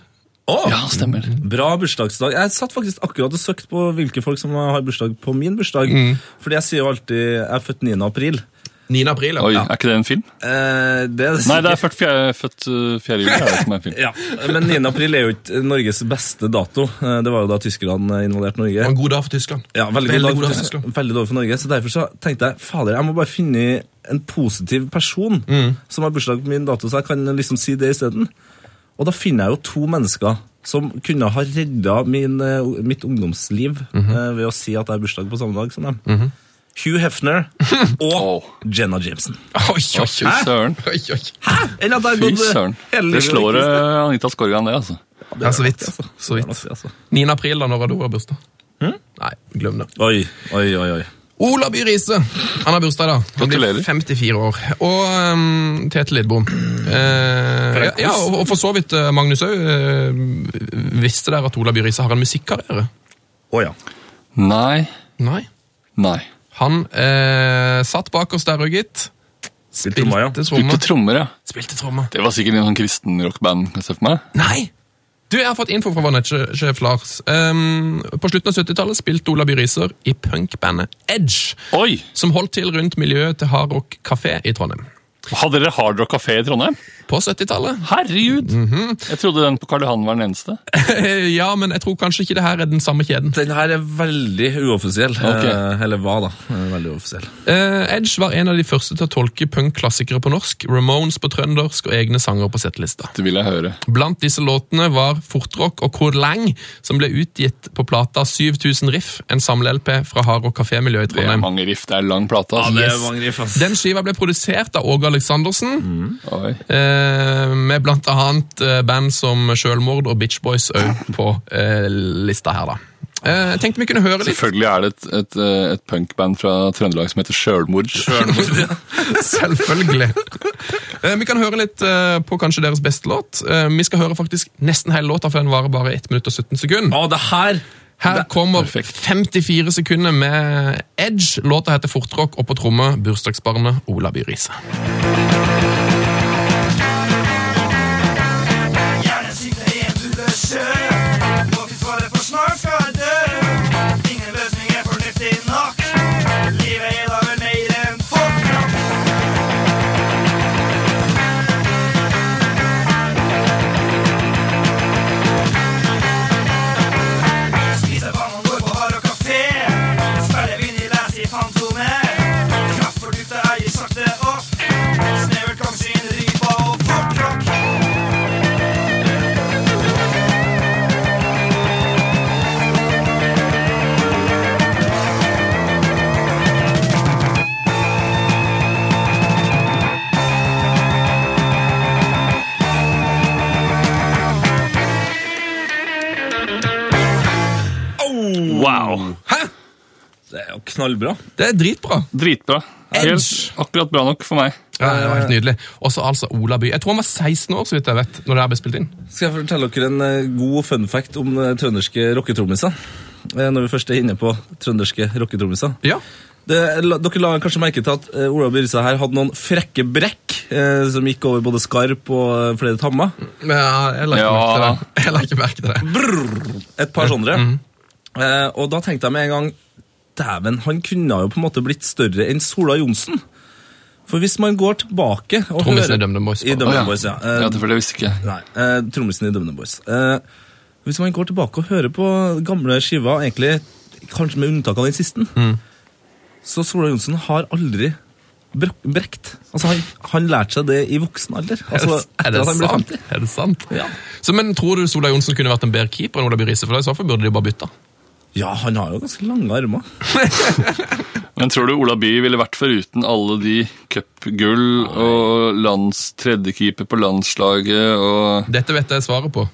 Speaker 5: Ja, stemmer.
Speaker 4: eh, Bra bursdagsdag. Jeg satt faktisk akkurat og søkte på hvilke folk som har bursdag på min bursdag.
Speaker 1: Mm.
Speaker 4: Fordi jeg sier jo alltid jeg er født 9. april.
Speaker 1: 9. april.
Speaker 5: Oi,
Speaker 1: ja.
Speaker 5: Er ikke det en film?
Speaker 4: Eh, det er
Speaker 5: Nei, det er
Speaker 4: sikkert-
Speaker 5: født 4. født, uh, 4. juli. er det som er en film.
Speaker 4: ja, Men 9. april er jo ikke Norges beste dato. Eh, Det var jo da tyskerne invaderte Norge.
Speaker 1: Og en god dag for Tyskland.
Speaker 4: Ja, veldig,
Speaker 1: Veldig
Speaker 4: god dag
Speaker 1: god dag,
Speaker 4: for
Speaker 1: Tyskland.
Speaker 4: Tyskland. Veldig dårlig for Norge. Så derfor så tenkte jeg fader, jeg må bare finne en positiv person som har bursdag på min dato, så jeg kan liksom si det isteden. Og da finner jeg jo to mennesker som kunne ha redda min, eh, mitt ungdomsliv eh, ved å si at jeg har bursdag på samme dag som dem. Hugh Hefner og
Speaker 5: Åh.
Speaker 4: Jenna Jameson.
Speaker 1: [laughs] Oi, oi,
Speaker 5: Fy søren.
Speaker 1: oi, oi.
Speaker 4: Eller at jeg har
Speaker 5: Fy
Speaker 4: gått eh,
Speaker 5: søren.
Speaker 4: hele
Speaker 5: Det
Speaker 4: livet
Speaker 5: slår
Speaker 4: riktig.
Speaker 5: eh, Anita Skorgan, det, altså.
Speaker 1: Ja, så Hm? vidt. Så
Speaker 4: Det er nok
Speaker 1: vidt.
Speaker 4: det, altså.
Speaker 1: 9. april, da, når var det du har bursdag? Nei, glem det.
Speaker 4: Oi, oi, oi. oi.
Speaker 1: Ola By Riise. Han har bursdag, da. Han
Speaker 5: Gratulerer.
Speaker 1: blir 54 år. Og um, Tete Lidbom. Eh, ja, ja, og, og for så vidt eh, Magnus òg. visste dere at Ola By Riise har en musikkarriere?
Speaker 4: Å ja.
Speaker 5: Nei.
Speaker 1: Nei.
Speaker 5: Nei.
Speaker 1: Han eh, satt bak oss der òg, gitt.
Speaker 4: Spilte trommer, ja.
Speaker 5: Spilte
Speaker 1: tromme.
Speaker 5: trommer, ja.
Speaker 1: Spilte tromme.
Speaker 5: Det var sikkert en sånn kristen rockband. kan jeg se for meg.
Speaker 1: Nei! Du, Jeg har fått info fra vår nettsjef Lars. Em, på slutten av 70-tallet spilte Ola By Riise i punkbandet Edge,
Speaker 5: Oi!
Speaker 1: som holdt til rundt miljøet til Hardrock kafé i Trondheim.
Speaker 5: Hadde dere Hard Rock Café i Trondheim?
Speaker 1: På 70-tallet
Speaker 5: Herregud! Jeg trodde den på Karl Johan var den eneste.
Speaker 1: Eh, [laughs] Ja, men jeg tror kanskje ikke det her er den samme kjeden.
Speaker 4: Den her er veldig uoffisiell.
Speaker 5: Ok.
Speaker 4: eh, Eller hva, da. Eh, Veldig uoffisiell.
Speaker 1: Eh, Edge var en av de første til å tolke punk-klassikere på norsk, Ramones på trøndersk og egne sanger på settelista.
Speaker 5: Det vil jeg høre.
Speaker 1: Blant disse låtene var Fortrock og Kor Lang, som ble utgitt på plata 7000 Riff, en samle-LP fra Hard Rock kafémiljøet i
Speaker 5: Det er
Speaker 1: Trondheim.
Speaker 5: mange riff, det er lang plate. Altså.
Speaker 4: Det er
Speaker 5: Yes.
Speaker 4: mange riff, ass.
Speaker 1: Den skiva ble produsert av Åge Aleksandersen,
Speaker 5: Oi.
Speaker 1: eh, med blant annet eh, band som Sjølmord og Bitch Boys òg på eh, lista her, da. Eh, jeg tenkte vi kunne høre litt.
Speaker 5: Selvfølgelig er det et, et, eh, et punkband fra Trøndelag som heter Sjølmord. [laughs]
Speaker 1: Selvfølgelig. Eh, Vi kan høre litt eh, på kanskje deres beste låt. Eh, Vi skal høre faktisk nesten hele låta, for den varer bare 1 minutt og 17 sekunder.
Speaker 4: Å, det her
Speaker 1: Her kommer 54 sekunder med Edge. Låta heter Fortrock, og på tromme bursdagsbarnet Ola By Riise.
Speaker 6: Thank
Speaker 4: Det er jo knallbra.
Speaker 1: Det er dritbra.
Speaker 5: Dritbra. Helt
Speaker 1: Edge.
Speaker 5: akkurat bra nok for meg.
Speaker 1: Ja, det var helt nydelig. Og så altså Ola By. Jeg tror han var 16 år, så vidt jeg vet, når det her ble spilt inn.
Speaker 4: Skal jeg fortelle dere en eh, god fun fact om eh, trønderske rocketrommiser? Eh, Når vi først er inne på trønderske rocketrommiser.
Speaker 1: Ja.
Speaker 4: Det, la, dere la kanskje merke til at eh, Ola Byrsa her hadde noen frekke brekk eh, som gikk over både skarp og eh, flere tammer.
Speaker 1: Men jeg- jeg la ikke
Speaker 5: Ja.
Speaker 1: merke til det. Jeg la ikke merke til det.
Speaker 4: Et par sånne. Eh, og da tenkte jeg med en gang Dæven, han kunne ha jo på en måte blitt større enn Sola Johnsen. For hvis man går tilbake og
Speaker 1: Trommisen i
Speaker 4: hører-
Speaker 1: DumDum Boys.
Speaker 4: I Dum
Speaker 5: Å,
Speaker 4: Dum Boys, ja. Eh,
Speaker 5: ja, det, for det visste ikke jeg.
Speaker 4: Nei, eh, trommisen i Dumne Boys. Eh, hvis man går tilbake og hører på gamle skiver, egentlig kanskje med unntak av den siste,
Speaker 1: Mm.
Speaker 4: så Sola Johnsen har aldri brek- brekt. Altså, han, han lærte seg det i voksen alder. Altså,
Speaker 1: [laughs] er
Speaker 4: etter
Speaker 1: det
Speaker 4: at han ble
Speaker 1: sant?
Speaker 4: 50.
Speaker 1: Er det sant?
Speaker 4: Ja.
Speaker 1: Så, men Tror du Sola Johnsen kunne vært en bedre keeper enn Ola By Riise? For I så fall burde de jo bare bytta.
Speaker 4: Ja, han har jo ganske lange armer.
Speaker 5: Men tror du Ola By ville vært foruten alle de cupgull og lands tredjekeeper på landslaget og
Speaker 1: Dette vet jeg svaret på.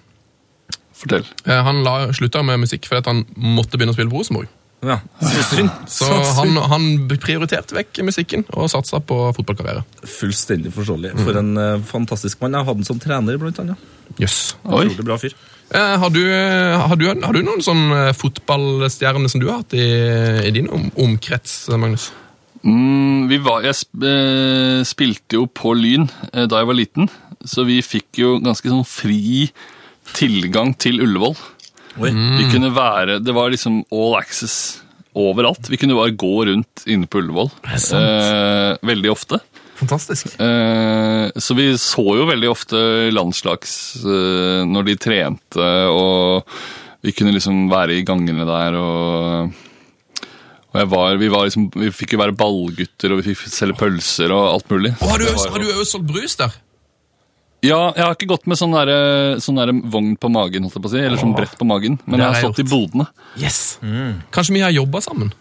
Speaker 5: Fortell.
Speaker 1: Eh, Han la, slutta med musikk fordi at han måtte begynne å spille på Rosenborg.
Speaker 4: Ja, så synd.
Speaker 1: Så han, han prioriterte vekk musikken og satsa på fotballkarriere.
Speaker 4: Fullstendig forståelig. For en eh, fantastisk mann. Jeg hadde han som trener, blant annet.
Speaker 1: Jøss.
Speaker 5: Oi.
Speaker 4: Utrolig bra fyr.
Speaker 1: Eh, Har, du- har, du- har du noen sånn fotballstjerner som du har hatt i, i din om, omkrets, eh, Magnus?
Speaker 5: Mm, vi var, jeg sp eh, spilte jo på Lyn eh, da jeg var liten, så vi fikk jo ganske sånn fri tilgang til Ullevål.
Speaker 4: Oi.
Speaker 5: Vi kunne være, Det var liksom all access overalt. Vi kunne bare gå rundt inne på Ullevål eh, veldig ofte.
Speaker 1: Fantastisk.
Speaker 5: Eh, så vi så jo veldig ofte landslags eh, når de trente, og vi kunne liksom være i gangene der og og jeg var, vi, var liksom, vi fikk jo være ballgutter, og vi fikk selge pølser og alt mulig.
Speaker 1: Og har du
Speaker 5: Det
Speaker 1: også,
Speaker 5: var
Speaker 1: har
Speaker 5: jo-
Speaker 1: du også solgt brus der?
Speaker 5: Ja, Jeg har ikke gått med sånn, derre- sånn derre vogn på magen, holdt jeg på å si, eller sånn brett på magen, men
Speaker 1: Det
Speaker 5: jeg har
Speaker 1: har jeg
Speaker 5: stått i bodene.
Speaker 1: Yes. Kanskje vi har jobba sammen?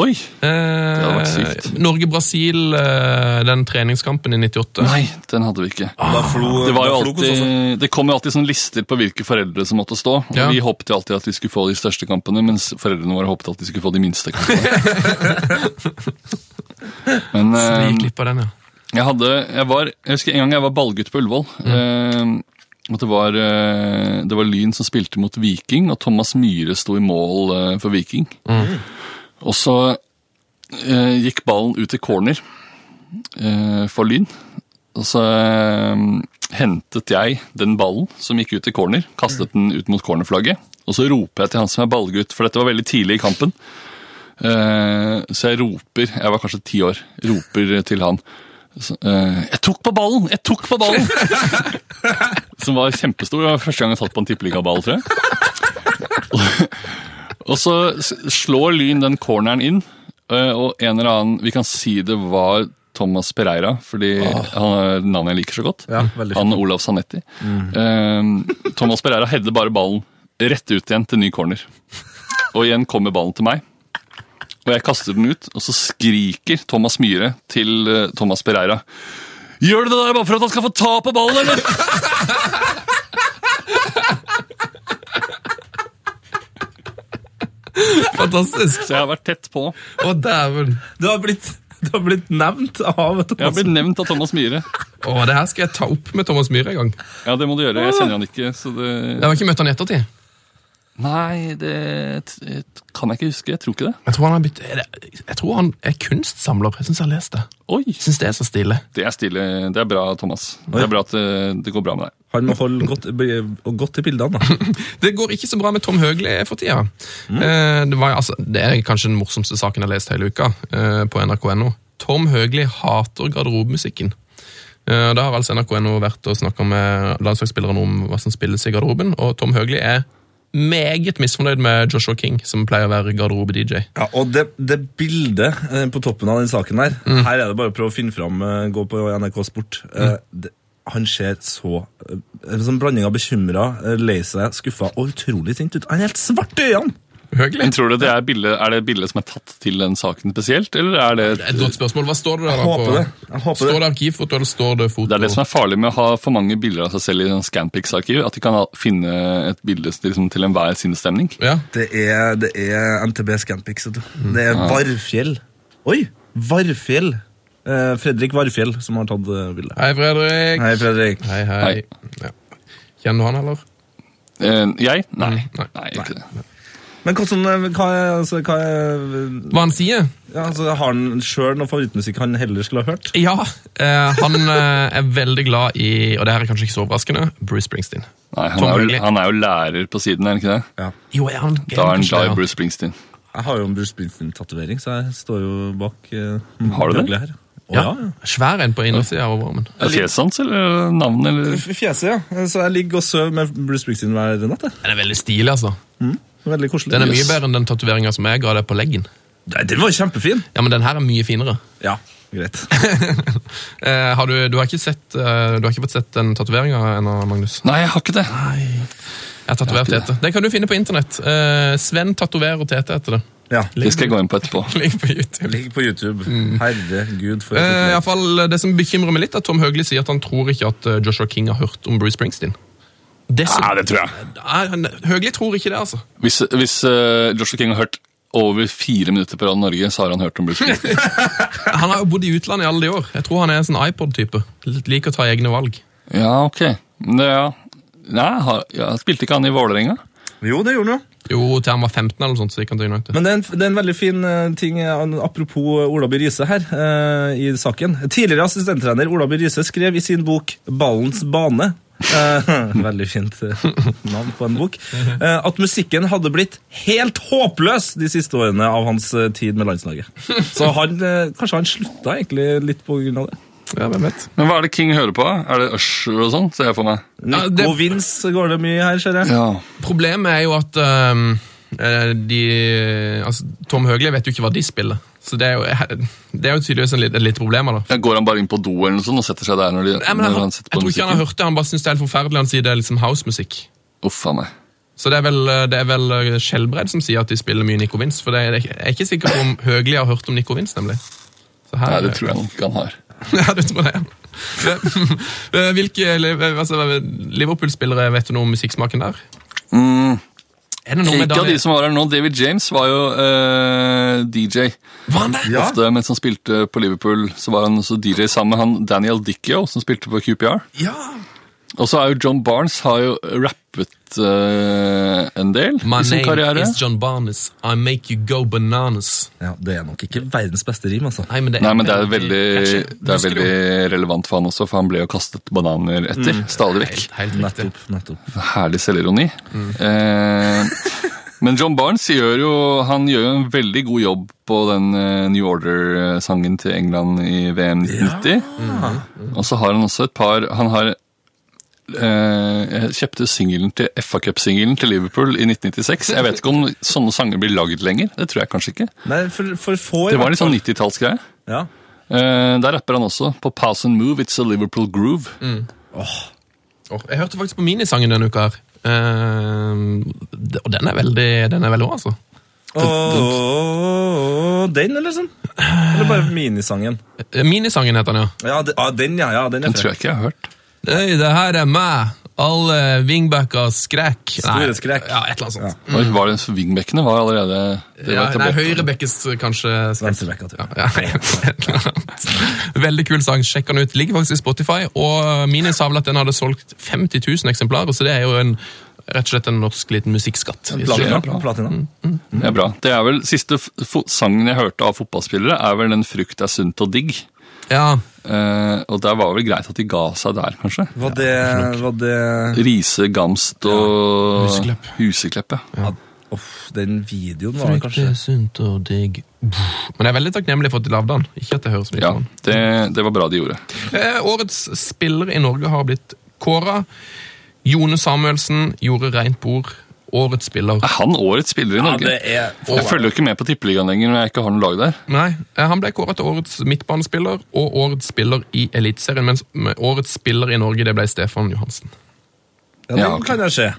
Speaker 5: Oi!
Speaker 1: Eh,
Speaker 5: hadde vært sykt.
Speaker 1: Norge-Brasil, eh, den treningskampen i 98.
Speaker 5: Nei, den hadde vi ikke.
Speaker 4: Da flo,
Speaker 5: Det, var jo
Speaker 4: da flo kos også.
Speaker 5: alltid, det kom jo alltid sånne lister på hvilke foreldre som måtte stå. og
Speaker 1: Ja.
Speaker 5: Vi håpet jo alltid at vi skulle få de største kampene, mens foreldrene våre håpet at de skulle få de minste kampene. Men
Speaker 1: Vi
Speaker 5: eh,
Speaker 1: klippa den, ja.
Speaker 5: jeg hadde jeg, var, jeg husker en gang jeg var ballgutt på Ullevål. Eh, og det var, eh, det var Lyn som spilte mot Viking, og Thomas Myhre sto i mål eh, for Viking. Og så eh, gikk ballen ut i corner eh, for Lyn. Og så eh, hentet jeg den ballen som gikk ut i corner, kastet den ut mot cornerflagget. Og så roper jeg til han som er ballgutt, for dette var veldig tidlig i kampen. Eh, så jeg roper, jeg var kanskje ti år, roper til han så, eh, Jeg tok på ballen! Jeg tok på ballen! [laughs] som var kjempestor. Det var første gang jeg tatt på en tippeligaball, tror jeg. og så s- slår Lyn den corneren inn, eh, og en eller annen Vi kan si det var Thomas Pereira, fordi han er navnet jeg liker så godt.
Speaker 4: Ah. Ja, veldig fint. Mm.
Speaker 5: han og Olav Sanetti. Eh, Thomas Pereira header bare ballen rett ut igjen til ny corner. Og igjen kommer ballen til meg. Og jeg kaster den ut, og så skriker Thomas Myhre til eh, Thomas Pereira. Gjør du det der bare for at han skal få ta på ballen, eller?
Speaker 1: Fantastisk!
Speaker 5: [laughs] Så jeg har vært tett på.
Speaker 1: Å, dæven.
Speaker 4: Du har blitt, du har blitt nevnt av Thomas
Speaker 5: Jeg har blitt nevnt av Thomas Myhre.
Speaker 1: Å, det her skal jeg ta opp med Thomas Myhre en gang.
Speaker 5: Ja, det må du gjøre. Jeg kjenner han ikke, så det
Speaker 1: Jeg har ikke møtt han i ettertid.
Speaker 5: Nei, det t- t- kan jeg ikke huske. Jeg tror ikke det.
Speaker 1: Jeg tror han, har blitt, er det- jeg tror han er kunstsamler. Jeg syns jeg har lest det.
Speaker 5: Oi!
Speaker 1: Jeg synes det er så stille.
Speaker 5: Det er stille. Det er bra, Thomas. Det er bra at eh, det går bra med deg.
Speaker 4: Han må holde godt, be- godt i bildene. da.
Speaker 1: Det går ikke så bra med Tom Høgli for tida. Eh, Det, var, altså, det er kanskje den morsomste saken jeg har lest hele uka eh, på nrk.no. Tom Høgli hater garderobemusikken. Eh, Da har altså nrk.no vært og snakka med landslagsspillerne om hva som spilles i garderoben, og Tom Høgli er meget misfornøyd med Joshua King, som pleier å være garderobe-DJ.
Speaker 4: Ja, og det, det bildet eh, på toppen av den saken der Her er det bare å prøve å finne fram, eh, gå på NRK Sport. Eh, det, han ser så eh, En sånn blanding av bekymra, eh, lei seg, skuffa og utrolig sint ut. Han er helt svart i øynene!
Speaker 1: Høgli?
Speaker 5: Men tror du det er bildet, er det bildet som er tatt til den saken spesielt, eller er det
Speaker 1: Et godt spørsmål. Hva står det der? da
Speaker 8: håper
Speaker 1: på-
Speaker 8: det. Jeg håper
Speaker 1: står
Speaker 8: det.
Speaker 1: det arkivfoto, eller står det foto?
Speaker 5: Det er det som er farlig med å ha for mange bilder av seg selv i sånn Scanpix-arkiv, at de kan ha- finne et bilde til- liksom, til enhver sinnsstemning.
Speaker 1: Ja.
Speaker 4: Det er, det er NTB Scanpix. vet du.
Speaker 1: Mm.
Speaker 4: Det er Varfjell.
Speaker 8: Oi! Varfjell. Eh, Fredrik Varfjell som har tatt eh, bildet.
Speaker 1: Hei, Fredrik.
Speaker 4: Hei, Fredrik.
Speaker 1: Hei, hei.
Speaker 5: Hei.
Speaker 1: Ja. Kjenner du han, eller?
Speaker 5: Eh, jeg? Nei.
Speaker 1: Nei.
Speaker 5: Nei, ikke det.
Speaker 4: Men hva, sånn, eh, hva, er- altså, hva er-
Speaker 1: Hva han sier?
Speaker 4: ja, altså, Har han sjøl noe favorittmusikk han heller skulle ha hørt?
Speaker 1: Ja, eh, han eh, er veldig glad i, og det her er kanskje ikke så overraskende, Bruce Springsteen.
Speaker 5: Nei, han,
Speaker 1: Tom
Speaker 5: er
Speaker 1: Høgli.
Speaker 5: jo, han er jo lærer på siden, er han ikke det?
Speaker 1: Jo, er han
Speaker 5: Da er han
Speaker 1: kanskje det,
Speaker 5: glad
Speaker 1: ja.
Speaker 5: i Bruce Springsteen.
Speaker 4: Jeg har jo en Bruce Springsteen-tatovering, så jeg står jo bak eh,
Speaker 5: Har du det?
Speaker 4: Her. Å,
Speaker 1: Ja.
Speaker 4: ja.
Speaker 1: Svær en på innsida av overarmen.
Speaker 5: Er Fjeset hans, eller navnet, eller
Speaker 4: F- Fjeset, ja. Eh, Så jeg ligger og sover med Bruce Springsteen hver natt. jeg.
Speaker 1: Den er veldig stilig, altså.
Speaker 4: Veldig koselig.
Speaker 1: Den er mye
Speaker 5: Yes.
Speaker 1: bedre enn den tatoveringa som jeg ga deg på leggen.
Speaker 4: Nei, den var jo kjempefin!
Speaker 1: Ja, men den her er mye finere.
Speaker 4: Ja, greit.
Speaker 1: [laughs] Eh, har du, du, har ikke sett, eh, du har ikke fått sett den tatoveringa ennå, Magnus?
Speaker 5: Nei, jeg har ikke det.
Speaker 1: Ah, Jeg har tatovert
Speaker 5: Jeg har ikke
Speaker 1: Tete. Den kan du finne på internett. Eh, Sven tatoverer Tete heter det. [laughs]
Speaker 4: Ja.
Speaker 5: Det skal jeg gå inn på etterpå.
Speaker 1: Ligger på YouTube.
Speaker 4: Ligger på YouTube. Herregud, for
Speaker 1: Mm. Eh, i
Speaker 4: et
Speaker 1: alle fall, det som bekymrer meg litt, er at Tom Høgli sier at han tror ikke at eh, Joshua King har hørt om Bruce Springsteen. Det som,
Speaker 5: Nei, det tror jeg.
Speaker 1: Nei, han- Høgli tror ikke det, altså.
Speaker 5: Hvis, hvis eh, Joshua King har hørt over fire minutter på Radio Norge, så har han hørt om Bruce
Speaker 1: [laughs]
Speaker 5: Springsteen.
Speaker 1: Han har jo bodd i utlandet i alle de år. Jeg tror han er en sånn iPod-type. Liker å ta egne valg.
Speaker 5: Ja, ok. Men det- ja. Nei, har, ja, spilte ikke han i Vålerenga?
Speaker 4: Jo, det gjorde han jo.
Speaker 1: Jo, til han var 15 eller noe sånt, så gikk han til United.
Speaker 4: Men det er, en, det er en veldig fin eh, ting eh, an- apropos Ola By Riise her eh, i saken. Tidligere assistenttrener Ola By Riise skrev i sin bok 'Ballens bane' eh, [laughs] Veldig fint eh, navn på en bok. eh, at musikken hadde blitt helt håpløs de siste årene av hans eh, tid med landslaget. Så han, eh, kanskje han slutta egentlig litt på grunn av det.
Speaker 1: Ja, hvem vet.
Speaker 5: Men hva er det King hører på? Er det Usher og sånn? Ser jeg for meg.
Speaker 1: Ja,
Speaker 4: Nico
Speaker 1: det-
Speaker 4: Vince går det mye her, ser jeg.
Speaker 5: Ja.
Speaker 1: Problemet er jo at ehm, eh, de, altså, Tom Høgli vet jo ikke hva de spiller. Så det er jo, [laughs] det er jo tydeligvis en lit- et lite problem. Eller?
Speaker 5: Ja, Går han bare inn på do eller noe sånt og setter seg der når, de,
Speaker 1: Nei, men han,
Speaker 5: når han
Speaker 1: jeg
Speaker 5: setter på
Speaker 1: tror ikke han har
Speaker 5: musikken?
Speaker 1: hørt det, han bare syns det er helt forferdelig. Han sier det er liksom housemusikk.
Speaker 5: Uff a meg.
Speaker 1: Så det er vel, det er vel eh, Skjelbred som sier at de spiller mye Nico Vince. For det er, jeg er ikke sikker på om Høgli har hørt om Nico Vince, nemlig. Så her,
Speaker 5: Nei, det tror jeg nok ikke han har.
Speaker 1: [laughs] ja, du tror det. Eh, [laughs] Hvilke li- altså, Liverpool-spillere vet du noe om musikksmaken der? Mm. Er det noe med
Speaker 5: Ikke av
Speaker 1: Daniel-
Speaker 5: de som var her nå. David James var jo eh, DJ.
Speaker 1: Var han det?
Speaker 4: Ja.
Speaker 5: Ofte mens han spilte på Liverpool, så var han også DJ sammen med han Daniel Dicchio, som spilte på QPR.
Speaker 1: Ja.
Speaker 5: Og så er jo John Barnes har jo rappet eh, en del
Speaker 1: My
Speaker 5: i sin
Speaker 1: name
Speaker 5: karriere.
Speaker 1: is John Barnes. I make you go bananas.
Speaker 4: Ja, det er nok ikke verdens beste rim, altså.
Speaker 1: Nei, men det er,
Speaker 5: Nei, men det er veldig,
Speaker 1: catchy.
Speaker 5: det er
Speaker 1: Husker du? Mm.
Speaker 5: veldig relevant for han også, for han ble jo kastet bananer etter. Stadig vekk.
Speaker 1: Helt, helt riktig.
Speaker 4: Nettopp. nettopp.
Speaker 5: Herlig selvironi. Eh, men John Barnes gjør jo, han gjør jo en veldig god jobb på den eh, New Order-sangen til England i VM 1990. Mm. Og så har han også et par Han har eh, Jeg kjøpte singelen til FA Cup-singelen til Liverpool i 1996. Jeg vet ikke om sånne sanger blir lagd lenger. Det tror jeg kanskje ikke.
Speaker 4: Nei, for, for få i
Speaker 5: Det var
Speaker 4: hvert
Speaker 5: litt sånn 90-tallsgreie.
Speaker 4: fall. Ja.
Speaker 5: Eh, der rapper han også. På Pass and Move, It's a Liverpool Groove.
Speaker 1: Mm. Åh, Jeg hørte faktisk på minisangen denne uka her. Ehm, det- og den er veldig den er veldig bra, altså.
Speaker 4: Ååå Den, eller sånn? Eller bare minisangen?
Speaker 1: Eh, Minisangen heter den, ja.
Speaker 4: Ja, de- ah, den, ja. ja den er
Speaker 5: Den tror
Speaker 4: fred.
Speaker 5: jeg ikke jeg har hørt.
Speaker 1: Øy, det her er meg. Alle wingbacker skrekk. Nei,
Speaker 4: Store skrekk.
Speaker 1: Ja, et eller annet sånt.
Speaker 5: Oi, Var det, Vingbekkene var allerede det var
Speaker 1: Ja, nei,
Speaker 5: etablert.
Speaker 1: høyrebekkes kanskje skrekk.
Speaker 4: Venstrebekka, tror jeg.
Speaker 1: Ja, et eller annet. Veldig kul sang. Sjekk den ut. Ligger faktisk i Spotify. Og Minis har vel at den hadde solgt 50 000 eksemplarer, så det er jo en, rett og slett en norsk liten musikkskatt.
Speaker 5: Ja,
Speaker 4: Platina.
Speaker 5: bra.
Speaker 4: Platina.
Speaker 5: Det er bra. Det er vel, Siste f- fo- sangen jeg hørte av fotballspillere, er vel den 'Frukt er sunt og digg'.
Speaker 1: Ja,
Speaker 5: Eh, og der var vel greit at de ga seg der, kanskje.
Speaker 4: Var det, var det
Speaker 5: Riise, Gamst og
Speaker 1: Huseklepp.
Speaker 5: Huseklepp, ja.
Speaker 4: ja. Uff, den videoen var
Speaker 1: Kanskje.
Speaker 4: kanskje
Speaker 1: sunt og digg. Men jeg er veldig takknemlig for at de lagde den. Ikke at jeg hører så mye
Speaker 5: ja
Speaker 1: på den.
Speaker 5: det, det var bra de gjorde.
Speaker 1: Eh, årets spiller i Norge har blitt kåra. Jone Samuelsen gjorde rent bord. Årets spiller
Speaker 9: Ah.
Speaker 5: Er han årets spiller i Norge?
Speaker 4: er
Speaker 5: jeg følger jo ikke med på Tippeligaen lenger når jeg ikke har noe lag der.
Speaker 1: Nei, eh, han ble kåra til årets midtbanespiller og årets spiller i Eliteserien, mens med årets spiller i Norge det ble Stefan Johansen.
Speaker 4: Ja, Mm. den
Speaker 5: Ja, ok.
Speaker 4: kan jeg se.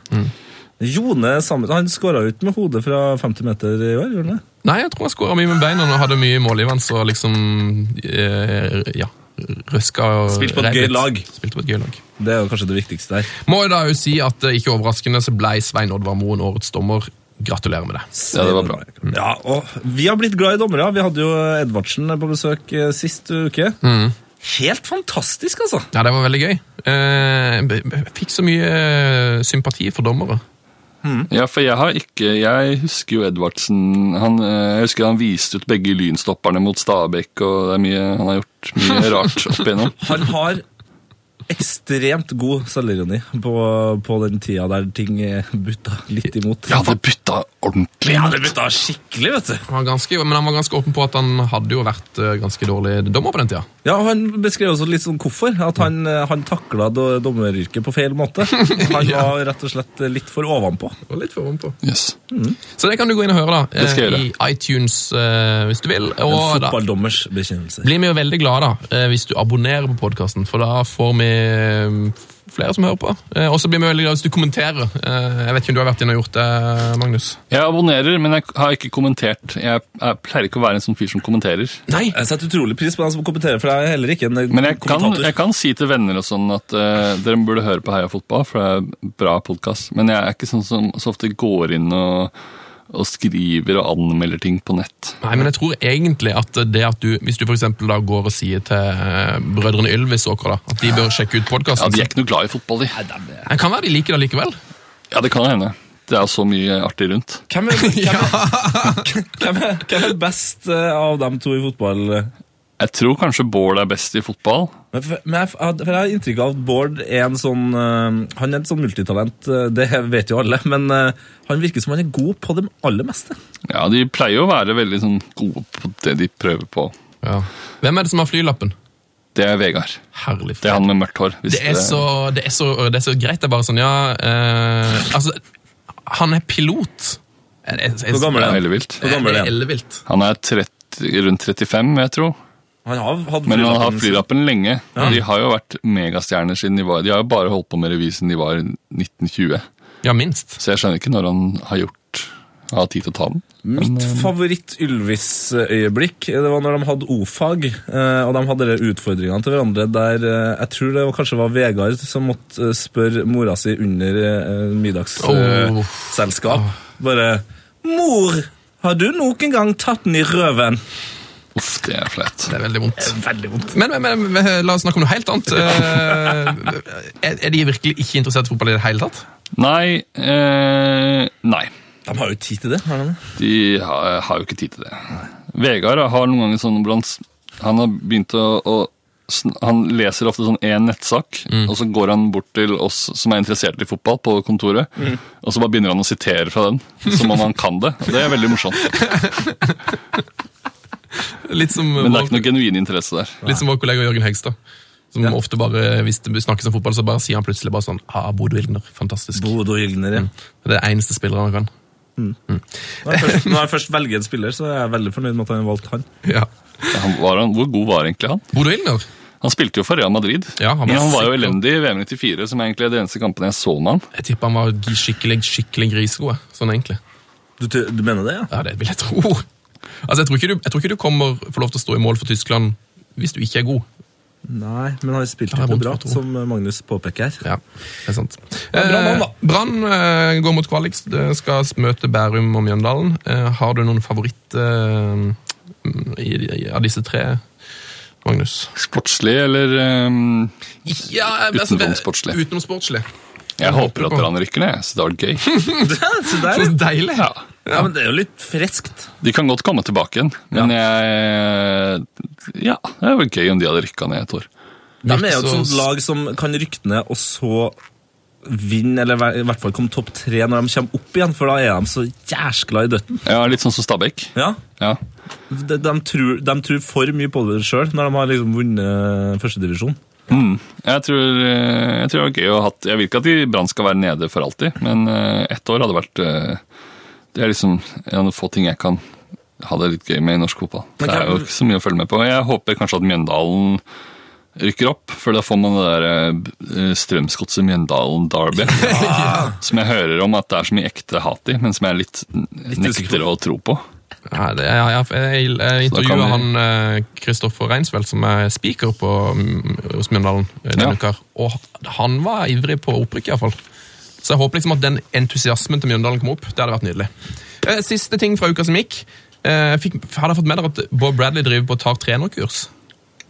Speaker 4: Jone Samuelsen Han skåra ut med hodet fra 50 meter i år, gjorde han det?
Speaker 1: Nei, jeg tror han skåra mye med beina og hadde mye målgivende og liksom eh, Ja. Røska og
Speaker 9: Spilt på et
Speaker 1: rev
Speaker 9: gøy
Speaker 1: litt.
Speaker 9: lag.
Speaker 1: Spilt på et gøy lag.
Speaker 4: Det er jo kanskje det viktigste der.
Speaker 1: Må jo da jo si at eh, ikke overraskende så ble Svein Oddvar Moen årets dommer. Gratulerer med det.
Speaker 5: Ja, det var bra.
Speaker 4: Ja, og vi har blitt glad i dommere. Vi hadde jo Edvardsen på besøk eh, sist uke. Helt fantastisk, altså!
Speaker 1: Ja, det var veldig gøy. Eh, b- b- Jeg fikk så mye eh, sympati for dommere.
Speaker 5: Ja, for jeg har ikke Jeg husker jo Edvardsen han, eh, Jeg husker han viste ut begge lynstopperne mot Stabæk, og det er mye han har gjort mye rart opp igjennom.
Speaker 4: Han har ekstremt god selvironi på, på den tida der ting eh, butta litt imot.
Speaker 5: Ja, det butta ordentlig.
Speaker 4: Ja, det butta skikkelig, vet du.
Speaker 1: Han var ganske, men han var ganske åpen på at han hadde jo vært eh, ganske dårlig dommer på den tida.
Speaker 4: Ja, og Han beskrev også litt sånn hvorfor. At han, eh, han takla do- dommeryrket på feil måte. Han var rett og slett eh, litt for ovenpå.
Speaker 1: Og litt for på.
Speaker 5: Yes.
Speaker 1: Så det kan du gå inn og høre, da.
Speaker 5: Det skal jeg
Speaker 1: eh, I iTunes, eh, hvis du vil.
Speaker 4: En
Speaker 1: Og da
Speaker 4: fotballdommers bekjennelse.
Speaker 1: blir vi jo veldig glade da, eh, hvis du abonnerer på podkasten, for da får vi eh, flere som hører på. Eh, Og så blir vi veldig glade hvis du kommenterer. Eh, Jeg vet ikke om du har vært inne og gjort det, Magnus?
Speaker 5: Jeg abonnerer, men jeg har ikke kommentert. Jeg, jeg pleier ikke å være en sånn fyr som kommenterer.
Speaker 1: Nei.
Speaker 4: Jeg setter utrolig pris på han som kommenterer, for jeg er heller ikke en eh,
Speaker 5: Men jeg kan,
Speaker 4: kommentator.
Speaker 5: jeg kan si til venner og sånn at eh, dere burde høre på Heia Fotball, for det er en bra podkast. Men jeg er ikke sånn som så ofte går inn og, og skriver og anmelder ting på nett.
Speaker 1: Nei, men jeg tror egentlig at det at du, hvis du for eksempel da går og sier til eh, brødrene Ylvis og da, at de bør sjekke ut
Speaker 5: Ja,
Speaker 1: podkasten
Speaker 5: De er ikke noe glad i fotball, de.
Speaker 1: Det kan være de liker det likevel.
Speaker 5: Ja, det kan hende. Det er så mye artig rundt.
Speaker 4: Hvem er, hvem, er, hvem, er, hvem er best eh, av dem to i fotball?
Speaker 5: Jeg tror kanskje Bård er best i fotball.
Speaker 4: Men for, men jeg, f- had- for jeg har inntrykk av at Bård er en sånn eh, Han er et sånn multitalent, eh, det [laughs] vet jo alle, men eh, han virker som han er god på det aller meste.
Speaker 5: Ja, De pleier å være veldig sånn gode på det de prøver på.
Speaker 1: Hvem er det som har flylappen?
Speaker 5: Det er Vegard.
Speaker 1: Herlig.
Speaker 5: Det er han med mørkt hår. hvis
Speaker 1: Det er så, det er så, det er så greit. Det er bare sånn, ja eh, Altså, han er pilot.
Speaker 4: Hvor gammel er
Speaker 5: det er
Speaker 4: han?
Speaker 5: ellevilt.
Speaker 4: Hvor gammel er han?
Speaker 1: Ellevilt.
Speaker 5: Han er 30, rundt 35, jeg tror.
Speaker 4: Han har hatt
Speaker 5: Men han har
Speaker 4: flylappen sin.
Speaker 5: flylappen lenge. De har jo vært megastjerner siden de var De har jo bare holdt på med revy siden de var 1920.
Speaker 1: Ja, minst.
Speaker 5: Så jeg skjønner ikke når han har gjort har tid til å ta den.
Speaker 4: Mitt favoritt-Ylvis-øyeblikk det var når de hadde O-fag. eh, Og de hadde de utfordringene til hverandre der eh, jeg tror det var, kanskje var Vegard som måtte eh, spørre mora si under eh,
Speaker 1: Åh.
Speaker 4: middagsselskap. Bare 'Mor, har du noen gang tatt den i røven?'
Speaker 5: Uff, det er flaut.
Speaker 1: Det er veldig vondt. Men, men, men, men la oss snakke om noe helt annet. Eh, er, er de virkelig ikke interessert i fotball i det hele tatt?
Speaker 5: Nei eh, Nei.
Speaker 4: De har jo tid til det. har de det?
Speaker 5: De har, har jo ikke tid til det. Vegard har noen ganger sånn blant Han har begynt å, å sn- han leser ofte sånn én nettsak,
Speaker 4: Mm.
Speaker 5: og så går han bort til oss som er interessert i fotball på kontoret,
Speaker 4: Mm.
Speaker 5: og så bare begynner han å sitere fra den, som om han kan det. Og det er veldig
Speaker 4: [laughs]
Speaker 5: morsomt.
Speaker 1: Litt som,
Speaker 5: Men det er
Speaker 1: vår,
Speaker 5: ikke noe genuin interesse der.
Speaker 1: litt som vår kollega Jørgen Hegstad. Som ofte bare, Hvis det snakkes om fotball, så bare sier han plutselig bare sånn ah, Bodø Ilgner, fantastisk.
Speaker 4: Bodø Gylner, ja.
Speaker 1: Det er det eneste spilleren han kan.
Speaker 4: Når jeg [laughs] først- når jeg først velger en spiller, så er jeg veldig fornøyd med at han valgte han.
Speaker 1: Ja.
Speaker 5: Han var, han- hvor god var egentlig han?
Speaker 1: Bodø Ilgner?
Speaker 5: Han spilte jo for Real Madrid,
Speaker 1: Ja, han var
Speaker 5: men han var jo
Speaker 1: sikker.
Speaker 5: elendig i VM 94, som egentlig er de eneste kampene jeg så med han.
Speaker 1: Jeg tipper han var gi- skikkelig, skikkelig grisegod. Sånn egentlig.
Speaker 4: Du, t- du mener det, ja?
Speaker 1: Ja, det vil jeg tro. Altså, jeg tror ikke du, jeg tror ikke du kommer får lov til å stå i mål for Tyskland hvis du ikke er god.
Speaker 4: Nei, men han spilte
Speaker 1: Ja, det er
Speaker 4: jo
Speaker 1: vondt
Speaker 4: bra,
Speaker 1: for to.
Speaker 4: som Magnus påpeker [laughs] her.
Speaker 1: Ja, det er sant.
Speaker 4: bra mann, da.
Speaker 1: Eh, Brann eh, går mot kvalik, eh, skal møte Bærum og Mjøndalen. Eh, har du noen favoritt eh, i, i, av disse tre, Magnus?
Speaker 5: Sportslig eller ehm,
Speaker 1: Ja,
Speaker 5: altså, det- Utenomsportslig.
Speaker 1: Utenomsportslig.
Speaker 5: Jeg håper at
Speaker 1: på.
Speaker 5: Brann rykker ned, så det hadde vært gøy.
Speaker 4: Så der,
Speaker 1: Så
Speaker 4: ja.
Speaker 1: deilig!
Speaker 5: Ja.
Speaker 4: ja, men det er jo litt friskt.
Speaker 5: De kan godt komme tilbake igjen, men jeg Ja, det hadde vært gøy om de hadde rykka ned et år.
Speaker 4: De er jo et
Speaker 1: Så-
Speaker 4: sånt lag som kan rykke ned og så vinne, eller i hvert fall komme topp tre når de kommer opp igjen, for da er de så jæskla i døtten.
Speaker 5: Ja, Litt sånn som Stabæk.
Speaker 4: Ja,
Speaker 5: Ja.
Speaker 4: de, de, tror, de tror for mye på det sjøl når de har liksom vunnet førstedivisjon.
Speaker 5: Jeg tror, eh, jeg tror det hadde vært gøy å ha hatt Jeg vil ikke at de Brann skal være nede for alltid, men eh, ett år hadde vært eh, Det er liksom en av de få ting jeg kan ha det litt gøy med i norsk fotball. Det
Speaker 4: Men
Speaker 5: er jo
Speaker 4: hvem-
Speaker 5: ikke så mye å følge med på. Jeg håper kanskje at Mjøndalen rykker opp, for da får man det der eh, Strømsgodset Mjøndalen Derby. [laughs] Som jeg hører om at det er så mye ekte hat i, men som jeg litt, nekter å tro på.
Speaker 1: Nei, det, jeg, jeg, jeg, jeg intervjuet
Speaker 5: vi-
Speaker 1: han eh, Kristoffer Reinsfeldt, som er speaker på, mm, hos Mjøndalen eh, denne
Speaker 5: Ja.
Speaker 1: uka. Og han var ivrig på opprykk, iallfall. Så jeg håper liksom at den entusiasmen til Mjøndalen kom opp. Det hadde vært nydelig. Eh, Siste ting fra uka som gikk. Eh, Fikk, har dere fått med dere at Bob Bradley driver på og tar trenerkurs?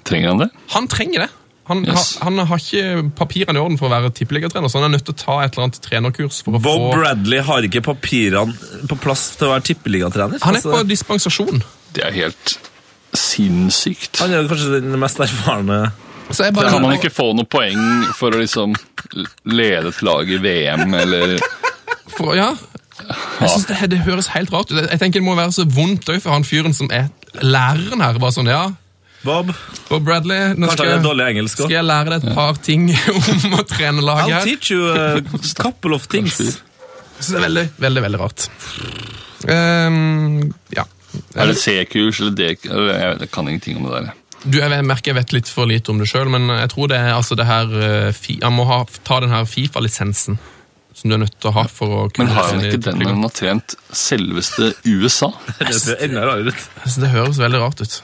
Speaker 5: Trenger han det?
Speaker 1: Han trenger det. Han,
Speaker 5: Yes.
Speaker 1: har- han har ikke papirene i orden for å være tippeligatrener, så han er nødt til å ta et eller annet trenerkurs. for å
Speaker 6: Bob
Speaker 1: få...
Speaker 6: Bradley har ikke papirene på plass til å være tippeligatrener.
Speaker 1: Han er
Speaker 6: Altså,
Speaker 1: på dispensasjon.
Speaker 5: Det er helt sinnssykt.
Speaker 6: han er jo kanskje den mest erfarne
Speaker 1: Så jeg bare...
Speaker 5: Kan man ikke få noen poeng for å liksom lede et lag i VM, eller
Speaker 1: For, ja. Jeg synes det, det høres helt rart ut. Jeg tenker Det må være så vondt også for han fyren som er læreren her. bare sånn, ja.
Speaker 6: Bob.
Speaker 1: Bob Bradley, nå
Speaker 6: Kanskje
Speaker 1: skal,
Speaker 6: han er
Speaker 1: jeg-
Speaker 6: dårlig i engelsk
Speaker 1: skal
Speaker 6: òg.
Speaker 1: jeg lære deg et par ting om å trene lag
Speaker 6: I'll
Speaker 1: her.
Speaker 6: teach you
Speaker 4: [laughs]
Speaker 6: a couple of things.
Speaker 1: Jeg synes Det er veldig, veldig, veldig rart. Ehm, ja.
Speaker 5: er det C-kurs eller D? Eller, jeg, vet- jeg kan ingenting om det der.
Speaker 1: Du, jeg merker jeg vet litt for lite om det sjøl, men jeg tror det er altså det her eh, fi, Han må ha, ta den her Fifa-lisensen som du er nødt til å ha for å kunne
Speaker 5: Men har
Speaker 1: reise
Speaker 5: han
Speaker 1: inn i
Speaker 5: ikke den når
Speaker 1: toppligaen.
Speaker 5: han har trent selveste USA?
Speaker 6: Det ser enda rarere ut.
Speaker 1: Jeg synes det høres veldig rart ut.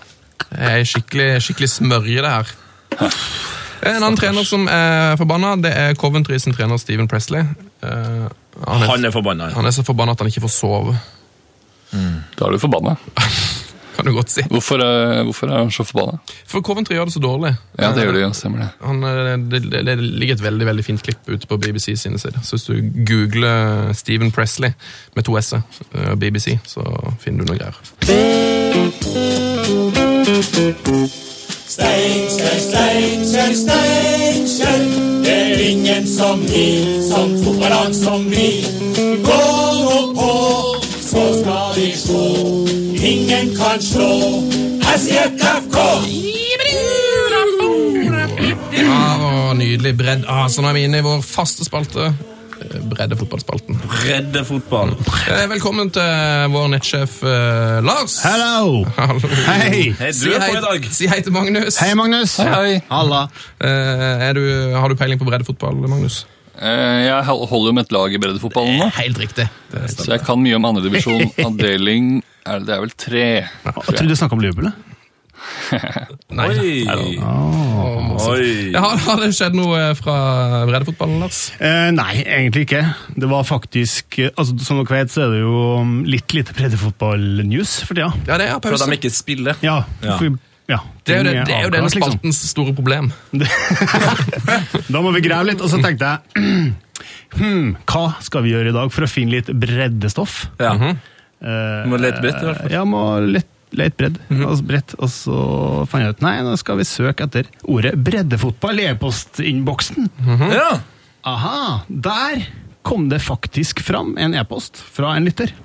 Speaker 1: Jeg er skikkelig, skikkelig smørje, det her. En annen trener som er forbanna, det er Coventry sin trener Steven Presley. Eh, han, er,
Speaker 6: Han er forbanna.
Speaker 1: han er så forbanna at han ikke får sove,
Speaker 5: Da er du forbanna.
Speaker 1: kan du godt si.
Speaker 5: Hvorfor, eh, hvorfor er han så forbanna?
Speaker 1: For Coventry gjør det så dårlig.
Speaker 5: Ja, det gjør det, ja, stemmer det.
Speaker 1: Han, eh, det, det, det ligger et veldig veldig fint klipp ute på BBC sine sider. Så hvis du googler Steven Presley med to s-er, eh, BBC, så finner du noe greier.
Speaker 10: Steinkjer, Steinkjer, Steinkjer. Det er ingen som vi, som fotballag som vi. Gå nå på, så skal de slå. Ingen kan slå Asiet FK.
Speaker 1: Ja, og Ah, nydelig bredd. Ah, så nå er vi inne i vår faste spalte. eh, Bredde fotballspalten.
Speaker 6: Redde fotballen.
Speaker 1: Eh, Velkommen til vår nettsjef eh, Lars.
Speaker 11: Hello!
Speaker 1: Hallo.
Speaker 11: Hei!
Speaker 6: Hei, du
Speaker 1: Si
Speaker 6: er på
Speaker 1: hei-
Speaker 6: i dag.
Speaker 1: Si hei til Magnus.
Speaker 11: Hei, Magnus.
Speaker 5: Hei, hei.
Speaker 11: Halla.
Speaker 1: Eh, er du, har du peiling på breddefotball, Magnus?
Speaker 5: Eh, Jeg hol- holder jo med et lag i breddefotballen nå,
Speaker 1: Helt riktig. Det
Speaker 5: så jeg kan mye om andredivisjon. [laughs] Avdeling er det, det er vel tre.
Speaker 11: Jeg trodde du snakka om Liverpool. jeg.
Speaker 1: Nei,
Speaker 6: Oi. Oi.
Speaker 4: Ah.
Speaker 1: Ja, har, har det skjedd noe eh, fra breddefotballen, Lars?
Speaker 11: Eh, nei, egentlig ikke. Det var faktisk eh, altså, Som dere vet, så er det jo mm, litt lite breddefotball-news for tida.
Speaker 1: Ja, det er
Speaker 6: For at
Speaker 1: pause.
Speaker 6: de ikke spiller.
Speaker 11: Ja,
Speaker 6: Ja.
Speaker 11: for- ja,
Speaker 1: Det er jo, det,
Speaker 11: ting
Speaker 1: det er jo denne
Speaker 11: avklares, liksom.
Speaker 1: spaltens store problem.
Speaker 11: Da må vi grave litt, og så tenkte jeg [clears throat] hmm, Hva skal vi gjøre i dag for å finne litt breddestoff?
Speaker 6: Ja.
Speaker 4: Mhm.
Speaker 11: Eh,
Speaker 6: Må lete bredt, i hvert fall.
Speaker 11: Ja, må lete lete bredd. altså bredt. Og så fant jeg ut Nei, nå skal vi søke etter ordet breddefotball i e-postinnboksen.
Speaker 6: ja.
Speaker 11: Aha! Der kom det faktisk fram en e-post fra en lytter.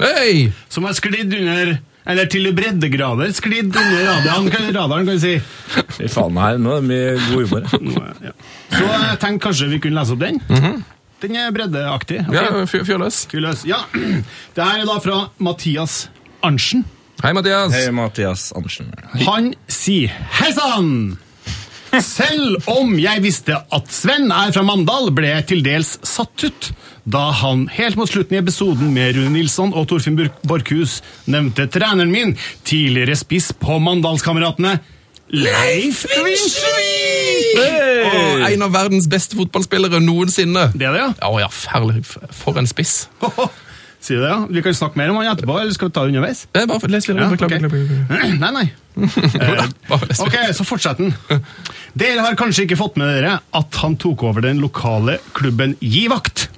Speaker 1: Hei!
Speaker 11: Som har sklidd under Eller til breddegrader sklidd under radaren, kan, radaren, kan vi si.
Speaker 6: Fy faen her, nå er det mye god
Speaker 4: [laughs]
Speaker 6: humor. her.
Speaker 11: Nå, ja. Mhm. Så jeg tenkte kanskje vi kunne lese opp den. Den er breddeaktig. ok?
Speaker 1: Ja, fyr, fyr løs.
Speaker 11: Skal vi løse? Ja. [clears throat] Det her er da fra Mathias Arntzen.
Speaker 1: Hei, Mathias.
Speaker 6: Hei, Mathias Andersen.
Speaker 11: Han sier Hei sann! Selv om jeg visste at Sven er fra Mandal, ble jeg til dels satt ut da han helt mot slutten i episoden med Rune Nilsson og Torfinn Bur- Borchhus nevnte treneren min, tidligere spiss på Mandalskameratene, Leif Vinsjevik!
Speaker 1: Og en av verdens beste fotballspillere noensinne.
Speaker 11: Det er det, ja?
Speaker 1: Å ja, herlig. For en spiss.
Speaker 11: Sier det, ja? Vi kan snakke mer om han etterpå, eller skal vi ta det underveis?
Speaker 1: Eh, Bare les litt.
Speaker 11: Ja,
Speaker 1: rundt, klapp,
Speaker 11: ok.
Speaker 1: klapp, klapp, klapp.
Speaker 11: [clears throat] Nei, nei.
Speaker 1: Bare les litt.
Speaker 11: Ok, så fortsett den. Dere har kanskje ikke fått med dere at han tok over den lokale klubben Givakt.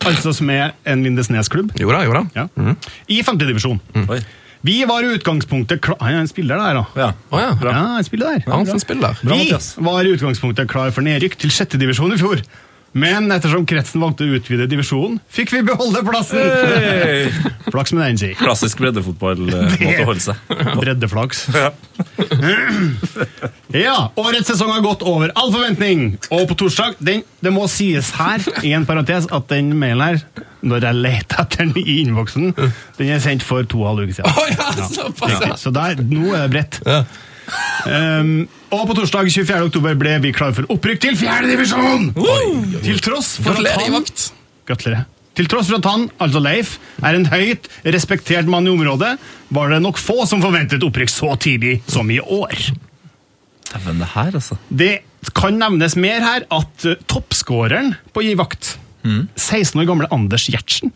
Speaker 11: Altså som er en Lindesnes-klubb.
Speaker 1: Jo da, jo da.
Speaker 11: Ja. I femtedivisjon.
Speaker 4: Mm.
Speaker 11: divisjon.
Speaker 6: Oi.
Speaker 11: Vi var i utgangspunktet klar Han er en spiller der, da.
Speaker 6: Ja.
Speaker 1: Å ja.
Speaker 11: Ja, en spiller der.
Speaker 1: Ja, han som spiller.
Speaker 11: Vi
Speaker 6: Mathias.
Speaker 11: var i utgangspunktet klar for nedrykk til sjette divisjon i fjor. Men ettersom kretsen valgte å utvide divisjonen, fikk vi beholde plassen!
Speaker 6: Hey.
Speaker 11: Flaks med den, si.
Speaker 6: Klassisk [laughs]
Speaker 4: eh,
Speaker 6: breddefotball-måte å holde seg.
Speaker 11: Breddeflaks. [clears throat] ja, årets sesong har gått over all forventning. Og på torsdag den, Det må sies her, i en parentes, at den mailen her, når jeg leter etter den i innboksen, den er sendt for to og en halv uke siden.
Speaker 1: Å ja, såpass, ja.
Speaker 11: Så der, nå er det bredt. Ehm, og på torsdag 24. oktober ble vi klare for opprykk til fjerde divisjon! Til tross for at
Speaker 1: Gratulerer,
Speaker 11: han
Speaker 1: Ivakt.
Speaker 11: Gratulerer. Til tross for at han, altså Leif, er en høyt respektert mann i området, var det nok få som forventet opprykk så tidlig som i år.
Speaker 4: Dæven, det her, altså.
Speaker 11: Det kan nevnes mer her at eh, toppskåreren på Givakt,
Speaker 4: Mm.
Speaker 11: 16 år gamle Anders Gjertsen,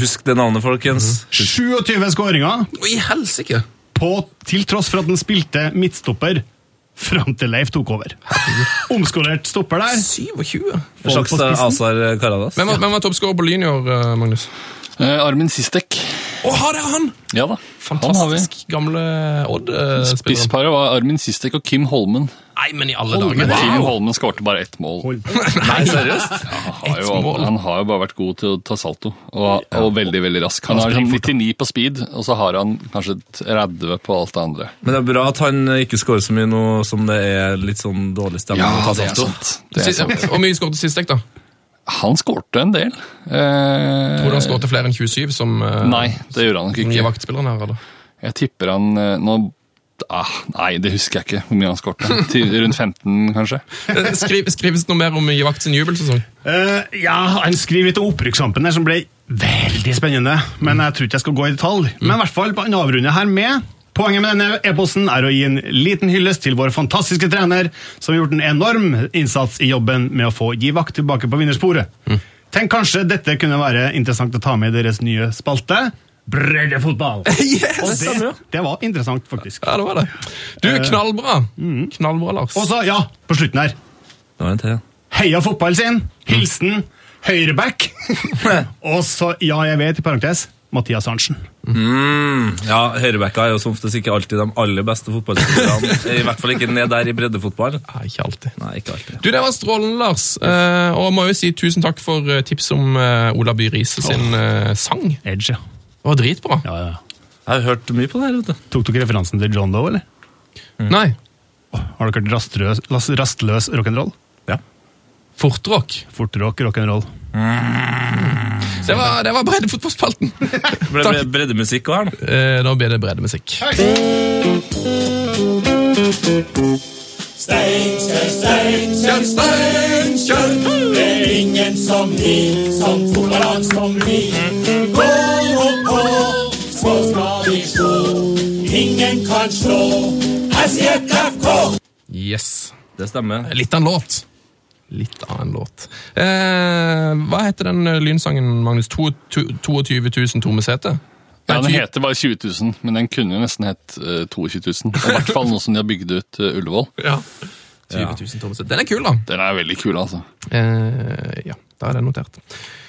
Speaker 4: Husk det
Speaker 6: Mhm.
Speaker 4: navnet, folkens.
Speaker 11: 27 skåringer,
Speaker 1: Å, i helsike!
Speaker 11: på, til tross for at den spilte midtstopper fram til Leif tok over. Omskolert stopper der.
Speaker 1: 27.
Speaker 4: En slags eh,
Speaker 11: Folk på spissen.
Speaker 4: Azar Karadas.
Speaker 1: Hvem var, hvem var toppskårer på junior, eh, Magnus?
Speaker 5: Eh, Armin Sistek.
Speaker 1: Å, har det er han!
Speaker 5: Ja da. Han har vi.
Speaker 1: Fantastisk gamle Odd-spiller.
Speaker 5: Spissparet var Armin Sistek og Kim Holmen.
Speaker 1: Nei, men i alle
Speaker 5: Men
Speaker 1: dager.
Speaker 5: Kim Holmen skårte bare ett mål. [laughs]
Speaker 4: Nei, seriøst?
Speaker 5: Han har, jo,
Speaker 1: mål.
Speaker 5: han har jo bare vært god til å ta salto, og, og veldig veldig rask. Han har sånn 99 på speed, og så har han kanskje 30 på alt det andre.
Speaker 4: Men det er bra at han ikke scorer så mye nå som det er litt sånn dårlig stemning. å ta salto.
Speaker 6: sånn.
Speaker 5: Det er sant.
Speaker 1: Hvor mye skåret sist, da?
Speaker 5: Han skårte en del. Eh,
Speaker 1: Tror du han skåret flere enn 27, som eh,
Speaker 5: Nei, det gjorde han nok
Speaker 1: som nye
Speaker 5: ikke.
Speaker 1: vaktspilleren her? eller?
Speaker 5: Jeg tipper han eh, nå ah, Nei, det husker jeg ikke hvor mye han skårte. [laughs] Til Rundt 15, kanskje.
Speaker 1: Eh, Skriv, skrives det noe mer om nye vakt sin jubelsesong?
Speaker 11: Eh, ja, han skriver litt om opprykkskampen her, som ble veldig spennende. Men jeg tror ikke jeg skal gå i detalj. Men i hvert fall, han avrunder her med Poenget med denne e-posten er å gi en liten hyllest til vår fantastiske trener, som har gjort en enorm innsats i jobben med å få Givak tilbake på vinnersporet. Tenk kanskje dette kunne være interessant å ta med i deres nye spalte. Breddefotball! Og det, det var interessant, faktisk.
Speaker 1: Ja, det var det. Du, knallbra! Knallbra, Lars.
Speaker 11: Og så, ja, på slutten her.
Speaker 4: Nå er det en til, ja.
Speaker 11: Heia fotball sin! Hilsen [laughs] høyreback. og så, ja, jeg vet, i parentes, Mathias Arntzen.
Speaker 4: Ja, Høyrebekka er jo som oftest ikke alltid de aller beste fotballspillerne. [laughs] I hvert fall ikke ned der i breddefotball.
Speaker 1: Nei, ikke alltid.
Speaker 4: Nei, ikke alltid.
Speaker 1: Du, Det var strålende, Lars. Eh, og jeg må jo si tusen takk for eh, tips om eh, Ola By Riise sin eh, sang.
Speaker 11: Edge, ja.
Speaker 1: Det var dritbra.
Speaker 11: ja, ja.
Speaker 4: Jeg har hørt mye på det her, vet du.
Speaker 11: Tok dere referansen til John Doe, eller?
Speaker 1: Nei,
Speaker 11: Har dere hørt rastløs, las- rastløs rock'n'roll?
Speaker 1: fortrock.
Speaker 11: Fortrock rock'n'roll.
Speaker 1: Det var, det var [laughs] breddefotballspalten.
Speaker 4: Ble ble breddemusikk også her nå.
Speaker 1: Eh, da blir det breddemusikk.
Speaker 10: Steinkjer, Steinkjer, Steinkjer. Det er ingen som vi, som fotballag som vi. Gå nå på, så skal vi slå. Ingen kan slå Hesjet FK.
Speaker 1: Yes.
Speaker 4: Det stemmer.
Speaker 1: Litt av en låt. Litt av en låt. Eh, hva heter den eh, lynsangen, Magnus? To, to, 22 000 tomme seter?
Speaker 5: Ja,
Speaker 1: Nei,
Speaker 5: Den
Speaker 1: ty-
Speaker 5: heter bare 20 000, men den kunne jo nesten hett eh, 22 000. Og I hvert fall nå som de har bygd ut eh, Ullevål.
Speaker 1: Ja. 20 000 tomme seter. Den er kul, da.
Speaker 5: Den er veldig kul, altså.
Speaker 1: Eh, ja, da er det notert.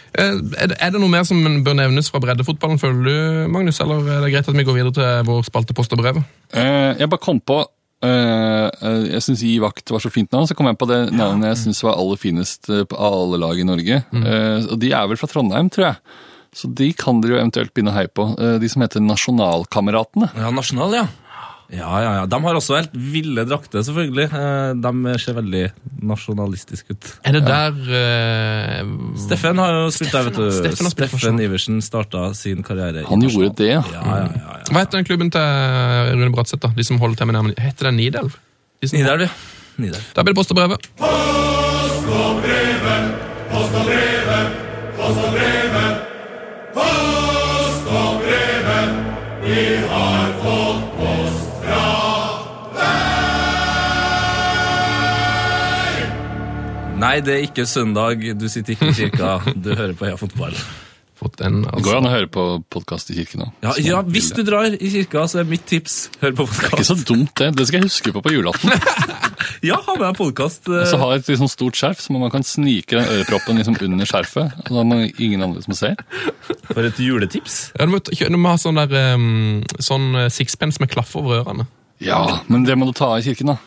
Speaker 1: Eh, er, det, er det noe mer som bør nevnes fra breddefotballen, føler du, Magnus? Eller er det greit at vi går videre til vår spalte Post og brev?
Speaker 5: Eh, jeg bare kom på eh, eh, Jeg syns Gi vakt var så fint navn, så kom jeg på det navnet jeg syns var aller finest eh, på alle lag i Norge.
Speaker 4: Mm.
Speaker 5: Eh, og de er vel fra Trondheim, tror jeg. Så de kan dere jo eventuelt begynne å heie på. Eh, de som heter Nasjonalkameratene.
Speaker 4: Ja, Nasjonal, ja. Ja, ja, ja. De har også helt ville drakter, selvfølgelig. Eh, De ser veldig nasjonalistiske ut.
Speaker 1: Er det der eh,
Speaker 4: Steffen har jo spilt der, vet du.
Speaker 1: Steffen
Speaker 4: Steffen,
Speaker 1: har spilt nasjonal.
Speaker 4: Iversen starta sin karriere
Speaker 5: Han gjorde det, ja.
Speaker 4: Ja, ja, ja. ja.
Speaker 1: Hva heter den klubben til Rune Bratseth, da? De som holder til med nærmere Heter den Nidelv? De som-
Speaker 4: Nidelv, ja. Nidelv.
Speaker 1: Da blir det Post og brevet.
Speaker 10: Post og brevet, post og brevet, post og brevet. Post og brevet, vi har fått post fra
Speaker 4: Nei, det er ikke søndag. Du sitter ikke i kirka. [laughs] Du hører på Heia Fotball.
Speaker 1: Fått en,
Speaker 5: Det går
Speaker 1: altså.
Speaker 5: jo an å høre på podkast i kirken òg.
Speaker 4: Ja, ja, hvis du drar i kirka, så er mitt tips hør på
Speaker 5: Ikke
Speaker 4: podkast.
Speaker 5: så dumt, det. Det skal jeg huske på på
Speaker 4: [laughs]
Speaker 5: julaften.
Speaker 4: Ja, ha med deg eh. podkast.
Speaker 5: Og så har jeg et liksom stort skjerf, så man kan snike den øreproppen liksom under skjerfet. Og da er man ingen andre som ser.
Speaker 4: For et juletips.
Speaker 1: Ja, du må, kjø- du må ha sånn der um, sånn eh, sixpence med klaff over ørene.
Speaker 5: Ja, Men det må du ta av i kirken, da.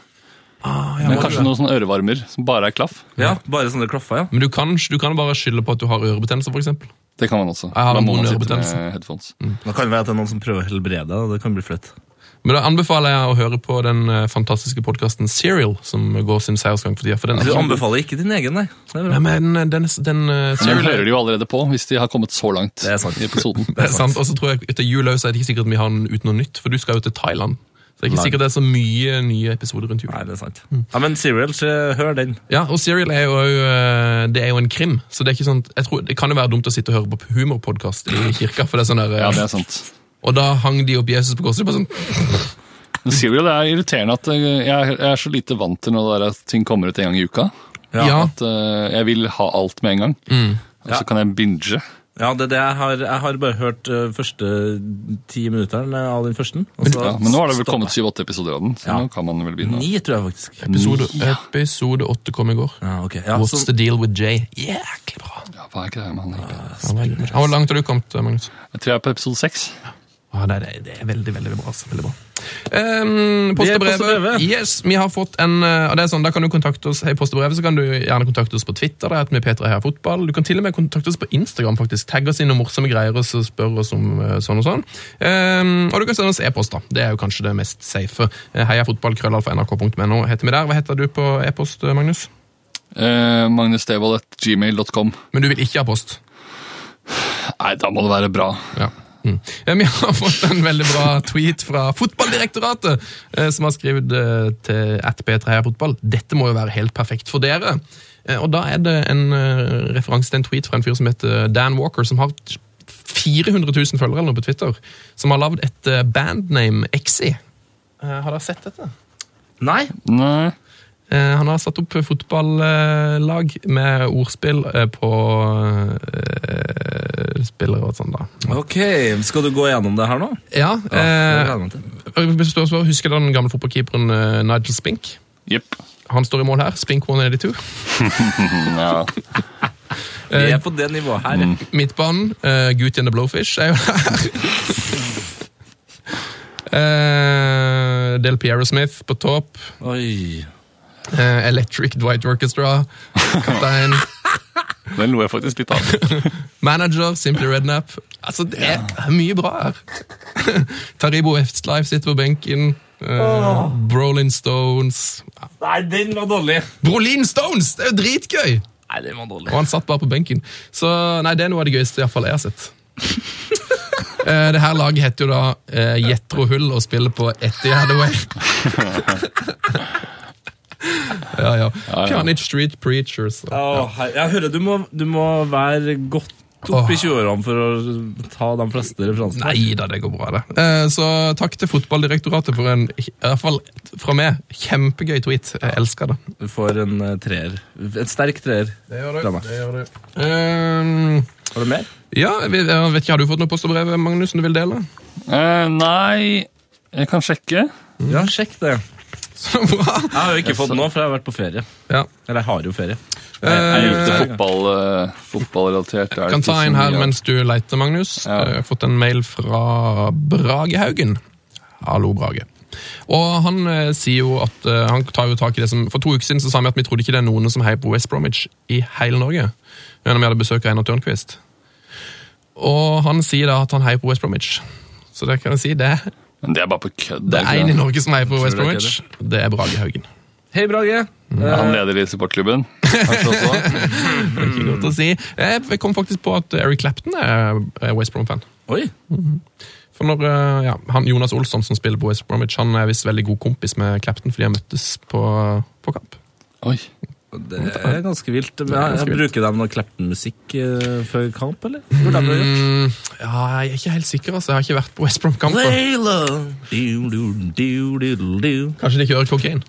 Speaker 5: Men kanskje noen sånne ørevarmer som bare er klaff.
Speaker 4: Ja, bare sånne klaffer, ja.
Speaker 1: Men du kan, du kan bare skylde på at du har ørebetennelse, for eksempel.
Speaker 5: Det kan man også.
Speaker 1: Jeg har
Speaker 5: Da
Speaker 1: en
Speaker 5: må man sitte
Speaker 1: bondeørebetennelse.
Speaker 5: med headphones.
Speaker 4: Nå kan det være at det er noen som prøver å helbrede deg, og det kan bli flaut.
Speaker 1: Men da anbefaler jeg å høre på den eh, fantastiske podkasten Serial, som går sin seiersgang for tida. For den er
Speaker 4: Du
Speaker 1: ikke-
Speaker 4: anbefaler ikke din egen, nei. Det er bra.
Speaker 1: Nei, men den, den, eh,
Speaker 5: Men
Speaker 1: Serial
Speaker 5: det hører de jo allerede på hvis de har kommet så langt
Speaker 4: Det er sant.
Speaker 5: i episoden.
Speaker 1: Det er sant. Og så tror jeg etter jul også er det ikke sikkert vi har den uten noe nytt, for du skal jo til Thailand. Det er ikke sikkert det er så mye nye episoder rundt jul.
Speaker 4: Nei, det er sant.
Speaker 5: Mm.
Speaker 4: Ja, Men Serial, så hør den.
Speaker 1: Ja, og Serial er jo, eh, det er jo en krim, så det er ikke sånn, jeg tror, det kan jo være dumt å sitte og høre på humorpodkast i kirka. for det er sånn der, eh,
Speaker 5: Ja, det er sant.
Speaker 1: Og da hang de opp Jesus på korset. bare sånn,
Speaker 5: Men Serial det er irriterende at eh, jeg, jeg er så lite vant til når det er at ting kommer ut en gang i uka.
Speaker 1: Ja,
Speaker 5: At eh, jeg vil ha alt med en gang. Og
Speaker 4: Ja.
Speaker 5: så kan jeg binge.
Speaker 4: Ja, det er det jeg har. Jeg har bare hørt eh, første ti minutteren eh, av den første. og så-
Speaker 5: Ja, men nå har det vel kommet 7-8 episoder av den, så nå kan man vel begynne. å-
Speaker 4: Ni, tror jeg faktisk.
Speaker 1: Episode,
Speaker 5: Mm.
Speaker 1: episode 8 kom i går.
Speaker 4: Ja, ok. Ja,
Speaker 1: What's
Speaker 4: så,
Speaker 1: the deal with Jay? Jæklig bra.
Speaker 5: Ja, hva er ikke det med han egentlig?
Speaker 1: Ja, veldig bra. Ja, Hvor langt har du kommet, Magnus?
Speaker 5: Jeg tror jeg er på episode 6.
Speaker 1: Ja, det, er, det er veldig, veldig bra. altså. Veldig bra. Um, post
Speaker 4: Det er
Speaker 1: og
Speaker 4: post
Speaker 1: brevet.
Speaker 4: og brevet.
Speaker 1: Yes, vi har fått en, eh, og det er sånn, Da kan du kontakte oss hei, post og brevet, så kan du gjerne kontakte oss på Twitter. Det er at vi Petra her fotball. Du kan til og med kontakte oss på Instagram. faktisk. Tagg oss inn noen morsomme greier og så spør oss om eh, sånn og sånn. Um, og du kan sende oss e-post. da. Det er jo kanskje det mest safe. Eh, Heiafotballkrøllalfa.nrk.no heter vi der. Hva heter du på e-post, eh, Magnus?
Speaker 5: Eh, Magnus Devold at gmail.com.
Speaker 1: Men du vil ikke ha post?
Speaker 5: Nei, da må det være bra.
Speaker 1: Ja. Mm. Eh, Vi har fått en veldig bra tweet fra Fotballdirektoratet, eh, som har skrevet eh, til at P3fotball dette må jo være helt perfekt for dere. Eh, Og da er det en eh, referanse til en tweet fra en fyr som heter eh, Dan Walker, som har 400 000 følgere eller noe på Twitter, som har lagd et eh, bandname, XE. Eh, Har dere sett dette?
Speaker 4: nei.
Speaker 5: Nei.
Speaker 1: Eh, Han har satt opp fotballag eh, med ordspill eh, på eh, spillere og sånn, da.
Speaker 4: Ok, skal du gå gjennom det her nå?
Speaker 1: Ja,
Speaker 4: det
Speaker 1: eh,
Speaker 4: gleder jeg meg til.
Speaker 1: Spør, spør, husker du den gamle fotballkeeperen eh, Nigel Spink?
Speaker 5: Jepp.
Speaker 1: Han står i mål her. Spink 182.
Speaker 5: Ja.
Speaker 4: Vi er på det nivået her.
Speaker 5: mm.
Speaker 4: ja.
Speaker 1: Midtbanen. Uh, Guti and the Blowfish er jo her. [laughs] Eh, Del Piero Smith på topp.
Speaker 4: Oi.
Speaker 1: Eh, Electric Dwight Orchestra. Kaptein.
Speaker 5: Den lo jeg faktisk litt av.
Speaker 1: Manager Simply Rednap. Altså, det er mye bra her. [laughs] Taribo F-Life sitter på benken. Uh, Brolin Stones.
Speaker 4: Nei, den var dårlig.
Speaker 1: Brolin Stones! Det er jo dritgøy!
Speaker 4: Nei, den var dårlig.
Speaker 1: Og han satt bare på benken. Så nei, det er noe av det gøyeste i hvert fall jeg har [laughs] sett. Eh, det her laget heter jo da eh, Jetro Hull og spiller på Etty [laughs] Hathaway. ja, ja. Carnage Street Preachers. da.
Speaker 4: Å, her- jeg hører du må, du må være godt opp i
Speaker 1: Åh.
Speaker 4: 20-årene for å ta de fleste referansene.
Speaker 1: Nei da, det går bra, det. Eh, så takk til Fotballdirektoratet for en, i hvert fall fra meg, kjempegøy tweet. Jeg elsker det.
Speaker 4: Du får en eh, treer. En sterk treer. Fra meg.
Speaker 1: Eh,
Speaker 4: Har du mer?
Speaker 1: ja, jeg vet jeg vet ikke, Har du fått noe post og brev, Magnus, som du vil dele? [laughs]
Speaker 5: Eh, nei, jeg kan sjekke.
Speaker 4: Ja, sjekk det.
Speaker 1: Så bra!
Speaker 4: Mm. Jeg har jo ikke fått noe, for jeg har vært på ferie.
Speaker 1: Ja.
Speaker 4: Eller jeg har jo ferie.
Speaker 5: Jeg
Speaker 1: Eh,
Speaker 5: likte fotball, eh, fotballrelatert. er det
Speaker 1: kan
Speaker 5: ikke
Speaker 1: ta
Speaker 5: så
Speaker 1: en her
Speaker 5: mye av.
Speaker 1: mens du leter, Magnus. Eh,
Speaker 5: Ja.
Speaker 1: Jeg har fått en mail fra Brage Haugen. Hallo, Brage. Og han eh, sier jo at eh, han tar jo tak i det som For to uker siden så sa vi at vi trodde ikke det er noen som heier på West Bromwich i hele Norge. Når vi hadde besøk av Einar Tørnquist. Og han sier da at han heier på West Bromwich. Så det kan jeg si, det,
Speaker 5: Men det er bare på kødd. altså.
Speaker 1: det
Speaker 5: er
Speaker 1: er
Speaker 5: ikke
Speaker 1: én i
Speaker 5: det?
Speaker 1: Norge som heier på West
Speaker 4: det er
Speaker 1: Bromwich. Det er Brage Haugen.
Speaker 4: Hei, Brage.
Speaker 5: Han leder i supportklubben. kanskje også.
Speaker 1: Ikke
Speaker 5: Mm.
Speaker 1: godt å si. eh, Jeg kom faktisk på at Eric Clapton er er West Brom-fan.
Speaker 4: Oi.
Speaker 1: For når, eh, ja, han, Jonas Olsson, som spiller på West Bromwich, han er visst veldig god kompis med Clapton, fordi han møttes på, på kamp.
Speaker 5: Oi.
Speaker 4: Det er ganske vilt. Men jeg,
Speaker 1: ganske
Speaker 4: jeg bruker de noe Kleppen-musikk eh, før kamp, eller? Hvor de har gjort?
Speaker 1: Mm, Ja, Jeg er ikke helt sikker, altså. Jeg har ikke vært på West Brom-kamp. og
Speaker 4: Layla. Du, du, du, du, du, du.
Speaker 1: Kanskje de ikke hører kokain.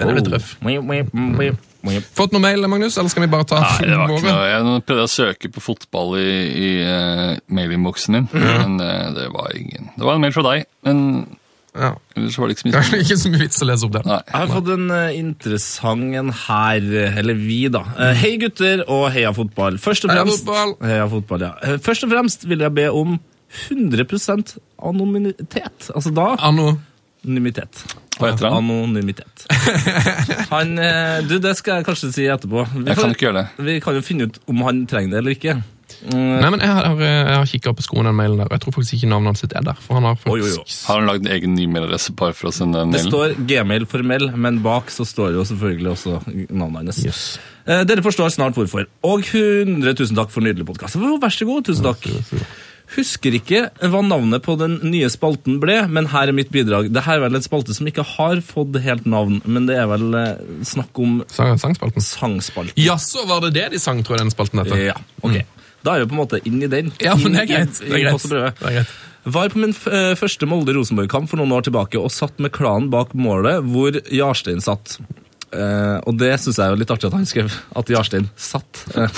Speaker 1: Den er litt røff.
Speaker 4: Mwip, mwip, mwip, mwip.
Speaker 1: Fått noe mail, Magnus, eller skal vi bare ta
Speaker 5: Nei, det var ikke
Speaker 1: våre?
Speaker 5: noe. Jeg nå prøvde jeg å søke på fotball i, i eh, mailinnboksen din, men eh, det var ingen. Det var en mail fra deg, men
Speaker 1: [laughs] Ja. [laughs]
Speaker 5: ellers var det ikke så mye.
Speaker 1: Kanskje ikke så mye vits å lese opp den.
Speaker 5: Nei.
Speaker 4: Jeg har fått en eh, interessant en her, eh, eller vi da. Eh, hei gutter og heia fotball. Først og
Speaker 1: Heia
Speaker 4: fremst,
Speaker 1: fotball!
Speaker 4: Heia fotball, ja. Eh, Først og fremst vil jeg be om 100% anonymitet. Altså da,
Speaker 1: Anno.
Speaker 4: anonymitet.
Speaker 5: Hva heter han? [laughs]
Speaker 4: Anonymitet. Han, eh, du, det skal jeg kanskje si etterpå. Vi,
Speaker 5: Jeg kan ikke gjøre det.
Speaker 4: vi kan jo finne ut om han trenger det eller ikke.
Speaker 1: Nei, men Jeg har, jeg har kikka på skoene den mailen der, og jeg tror faktisk ikke navnet hans sitt er der. For han har
Speaker 4: Oi, oi, oi.
Speaker 1: faktisk...
Speaker 5: Har han lagd en egen ny mailadresse bare for å sende en
Speaker 4: Det
Speaker 5: mail?
Speaker 4: står Gmail formell, men bak så står jo selvfølgelig også navnet hans.
Speaker 1: Yes.
Speaker 4: Eh, Dere forstår snart hvorfor. Og 100 tusen takk for nydelig podkast. Vær så god. Tusen takk. Husker ikke hva navnet på den nye spalten ble, men her er mitt bidrag. Dette er vel en spalte som ikke har fått helt navn, men det er vel eh, snakk om
Speaker 1: Sang, sangspalten.
Speaker 4: sangspalt.
Speaker 1: Jaså, var det det de sang, tror jeg, den spalten heter?
Speaker 4: Ja, Mm. ok. Da er vi på en måte inn i den.
Speaker 1: Ja, men det
Speaker 4: Inn
Speaker 1: er
Speaker 4: i-
Speaker 1: greit. Det er
Speaker 4: inn i
Speaker 1: greit.
Speaker 4: Post og Brødre.
Speaker 1: Det er greit.
Speaker 4: Var på min f eh, første Molde-Rosenborg-kamp for noen år tilbake og satt med klanen bak målet hvor Jarstein satt. Eh, og det syns jeg er jo litt artig at han skrev at Jarstein satt [laughs] Eh,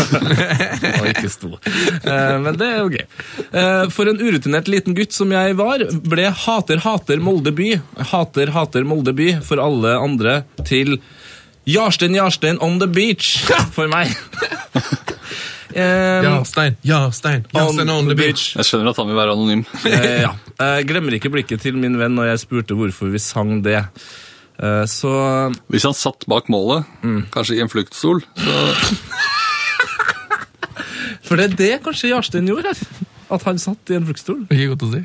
Speaker 4: og ikke sto. Eh, men det er jo gøy. Eh, for en urutinert liten gutt som jeg var, ble hater, hater Molde by, hater, hater Molde by for alle andre til Jarstein, Jarstein on the
Speaker 1: [laughs]
Speaker 4: beach for meg. Eh,
Speaker 1: Jarstein, Jarstein, Jarstein on the beach.
Speaker 5: Jeg skjønner at han vil være anonym.
Speaker 4: Eh, ja. Jeg glemmer ikke blikket til min venn når jeg spurte hvorfor vi sang det. Eh, Så
Speaker 5: Hvis han satt bak målet,
Speaker 1: Mm.
Speaker 5: kanskje i en fluktstol
Speaker 4: For det er det kanskje Jarstein gjorde her. At han satt i en fruktstol.
Speaker 1: Ikke godt å si.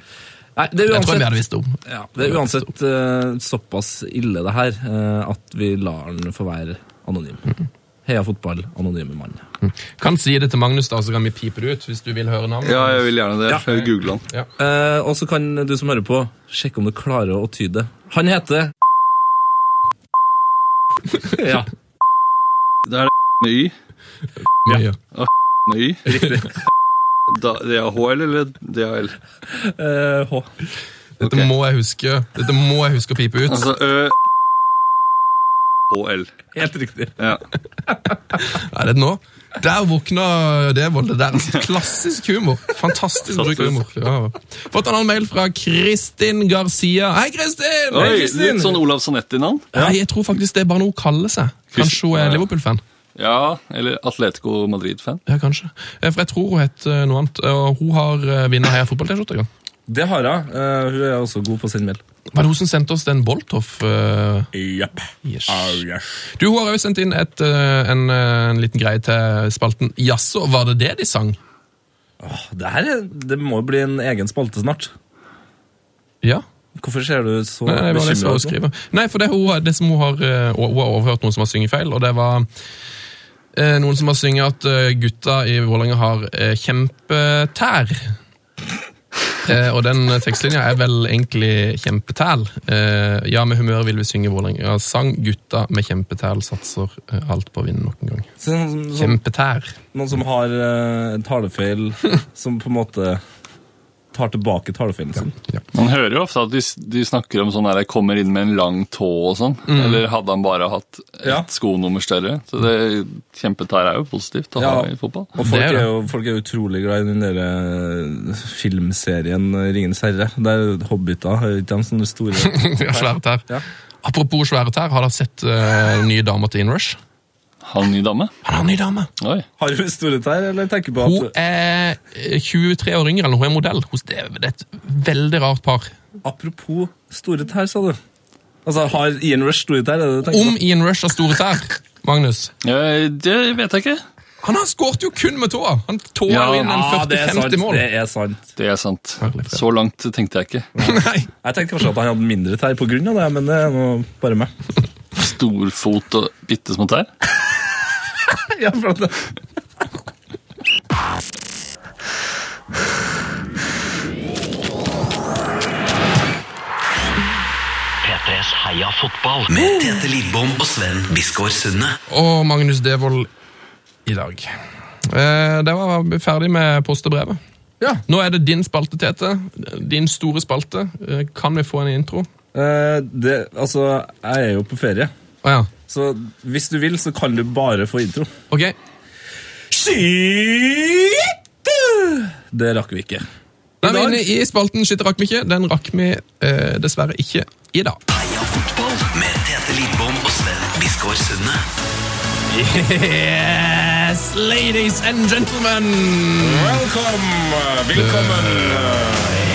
Speaker 4: Nei, det er
Speaker 1: Jeg tror jeg vi
Speaker 4: uansett,
Speaker 1: hadde visst om.
Speaker 4: ja, det er uansett eh, såpass ille, det her, eh, at vi lar han få være anonym. Heia fotball, anonyme mann.
Speaker 1: Kan si det til Magnus, da, så kan vi pipe det ut, hvis du vil høre navnet.
Speaker 5: Ja, jeg vil gjerne det. Jeg vil google han.
Speaker 4: Eh, Og så kan du som hører på, sjekke om du klarer å tyde det. Han heter Ja.
Speaker 5: Det er det med y.
Speaker 1: Ja. Ja.
Speaker 5: Med y.
Speaker 4: Riktig.
Speaker 5: [laughs] Da, det er HL eller DAL?
Speaker 4: [laughs] Eh, H.
Speaker 1: Dette
Speaker 5: Ok.
Speaker 1: må jeg huske Dette må jeg huske å pipe ut.
Speaker 5: Altså Ø HL.
Speaker 4: Helt riktig.
Speaker 5: Ja.
Speaker 1: Er det nå? Der våkna Devold. Det der er altså klassisk humor. Fantastisk bruk av humor. Ja. Fått en annen mail fra Kristin Garcia. Hei, Kristin!
Speaker 5: Oi, litt sånn Olav Sanetti-navn.
Speaker 1: Nei, jeg tror faktisk det er bare noe hun kaller seg. Kanskje hun
Speaker 5: Ja,
Speaker 1: er
Speaker 5: ja.
Speaker 1: Liverpool-fan.
Speaker 5: Ja, eller Atletico Madrid-fan.
Speaker 1: Ja, kanskje. Eh, For jeg tror hun het eh, noe annet. Og hun har eh, vinner Heia fotball-T-skjorte. en gang.
Speaker 4: Det har hun. Eh, Hun er også god på å sende mail.
Speaker 1: Var det hun som sendte oss den Boltoff? eh,
Speaker 4: Japp.
Speaker 1: Yes. Du, Hun har også sendt inn et, eh, en, eh, en liten greie til spalten Jaså, var det det de sang?
Speaker 4: Det her er, det må bli en egen spalte snart.
Speaker 1: Ja.
Speaker 4: Hvorfor ser du så
Speaker 1: Nei, nei, det var det som hun
Speaker 4: bekymret ut? nå?
Speaker 1: skriver. Nei, for det, hun, har- det som hun har, eh, hun har overhørt noen som har synget feil, og det var eh, noen som har synget at eh, gutta i Vålerenga har eh, kjempetær. Eh, og den eh, tekstlinja er vel egentlig kjempetæl. Eh, ja, med humør vil vi synge Vålerenga sang. Gutta med kjempetæl satser eh, alt på å vinne nok en gang.
Speaker 4: Så Noen, som-
Speaker 1: Kjempetær.
Speaker 4: noen som har eh, en
Speaker 1: [laughs]
Speaker 4: talefeil, som på en måte tar tilbake talefeilen sin.
Speaker 5: Man hører jo ofte at de, de snakker om sånn der 'kommer inn med en lang tå' og sånn. Eller hadde han bare hatt et
Speaker 4: Ja.
Speaker 5: skonummer større. Så det kjempetær er jo positivt å ha
Speaker 4: Ja.
Speaker 5: i fotball.
Speaker 4: Og folk
Speaker 1: Det er det.
Speaker 4: er, jo, folk er utrolig glad i den der eh, filmserien eh, 'Ringenes herre'. Der hobbiter er ikke de sånne store
Speaker 1: [laughs] Ja, svære tær.
Speaker 4: Ja.
Speaker 1: Apropos svære tær, har dere sett eh, nye damer til Inrush?
Speaker 5: Har han ny dame?
Speaker 1: Han har en ny dame.
Speaker 5: Oi.
Speaker 4: Har du store tær, eller tenker på
Speaker 1: Hun
Speaker 4: at
Speaker 1: er eh, 23 år yngre, eller hun er modell. Hun- Det er det er et veldig rart par.
Speaker 4: Apropos store tær, sa du. Altså, Har Ian Rush store tær? Er det det du tenker
Speaker 1: Om Ian Rush har store tær,
Speaker 4: [laughs]
Speaker 1: Magnus
Speaker 5: Eh, Det vet jeg ikke.
Speaker 1: Han har skåret jo kun med tåa! Han tåa
Speaker 5: Ja.
Speaker 1: jo inn en
Speaker 4: på? Ja, det er
Speaker 1: 40-50
Speaker 4: sant.
Speaker 1: mål.
Speaker 4: Det er sant.
Speaker 5: Det er sant.
Speaker 1: Herlig fred.
Speaker 5: Så langt tenkte jeg ikke.
Speaker 1: [laughs] Nei.
Speaker 4: Jeg tenkte kanskje at han hadde mindre tær på grunn av det, men det er nå bare meg.
Speaker 5: Storfot og bitte små tær.
Speaker 4: ja, for at det...
Speaker 3: P3s Heia fotball med Tete Lidbom og Sven Biskår Sunde.
Speaker 1: Og Magnus Devold i dag. Eh, det var vi ferdig med post og brevet.
Speaker 4: Ja.
Speaker 1: Nå er det din spalte, Tete. Din store spalte. Eh, kan vi få en intro?
Speaker 4: Eh, det, altså, jeg er jo på ferie,
Speaker 1: Å ja.
Speaker 4: så hvis du vil, så kan du bare få intro.
Speaker 1: Ok.
Speaker 4: Shit! Det rakk vi ikke.
Speaker 1: Da er vi inne i spalten Shit, rakk vi ikke. Den rakk vi eh, dessverre ikke i dag.
Speaker 3: Heia fotball med Tete Lidbom og Sven Biskår Sunde.
Speaker 1: Yes, ladies and gentlemen! Eh,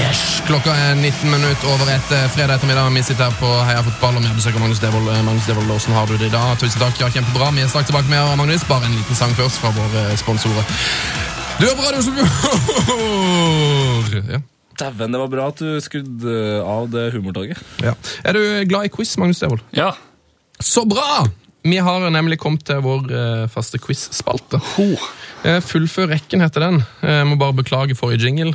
Speaker 1: Yes. Klokka er 19 minutter over ett eh, fredag ettermiddag. Vi sitter her på Heia fotball, og vi har besøk av Magnus Devold. Eh, Magnus Devold, hvordan har du det i dag? Tusen takk, ja, kjempebra. Vi er straks tilbake med eh, Magnus. Bare en liten sang først fra våre eh, sponsorer. Du er på Radio Oslofjord! [laughs] Ja.
Speaker 4: Dæven, det var bra at du skrudde av det humortoget.
Speaker 1: ja. Er du glad i quiz, Magnus Devold?
Speaker 5: Ja.
Speaker 1: Så bra! Vi har nemlig kommet til vår eh, faste quiz-spalte. Eh, Fullfør rekken heter den. Eh, Jeg må bare beklage forrige jingle.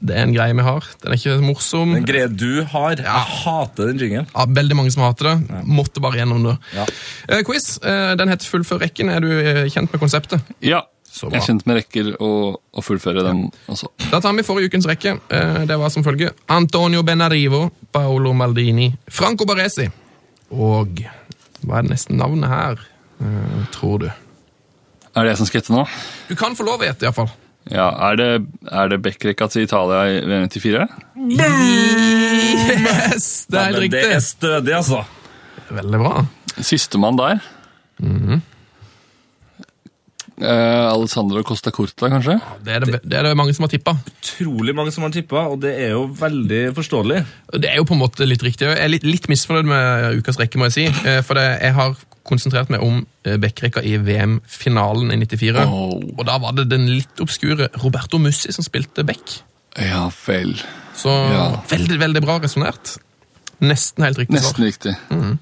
Speaker 1: Det er en greie vi har. Den er ikke morsom.
Speaker 4: Den greia du har. Jeg hater den jingelen.
Speaker 1: Ja, veldig mange som hater det. Måtte bare gjennom det. Eh, quiz. Eh, den heter Fullfør rekken. Er du eh, kjent med konseptet?
Speaker 5: Ja.
Speaker 1: Så
Speaker 5: Jeg er
Speaker 1: bra.
Speaker 5: kjent med rekker og, og fullføre den også.
Speaker 1: Da tar vi forrige ukens rekke. Eh, det var som følger Antonio Benarivo, Paolo Maldini, Franco Baresi og Hva er det neste navnet her, eh, tror du?
Speaker 5: Er det jeg som skal gjette nå?
Speaker 1: Du kan få lov å gjette, iallfall.
Speaker 5: Ja, Er det, er det Beck-rekka til Italia i VM 94?
Speaker 1: Yes,
Speaker 4: Men det
Speaker 1: det er helt
Speaker 4: er
Speaker 1: riktig.
Speaker 4: stødig, altså.
Speaker 1: Veldig bra.
Speaker 5: Sistemann der. Mhm. eh, Alessandro Costa Corta, kanskje?
Speaker 1: Det er det, det er det mange som har tippa.
Speaker 4: Utrolig mange som har tippa, og det er jo veldig forståelig.
Speaker 1: Det er jo på en måte litt riktig. Jeg er litt, litt misfornøyd med ukas rekke, må jeg si. eh, For det, jeg har konsentrert meg om eh, Beck-rekka i VM-finalen i 94.
Speaker 5: Oh.
Speaker 1: Og da var det den litt obskure Roberto Mussi som spilte Beck.
Speaker 5: Ja vel.
Speaker 1: Så
Speaker 5: Ja.
Speaker 1: veldig, veldig bra resonnert. Nesten helt riktig svar.
Speaker 5: Nesten riktig.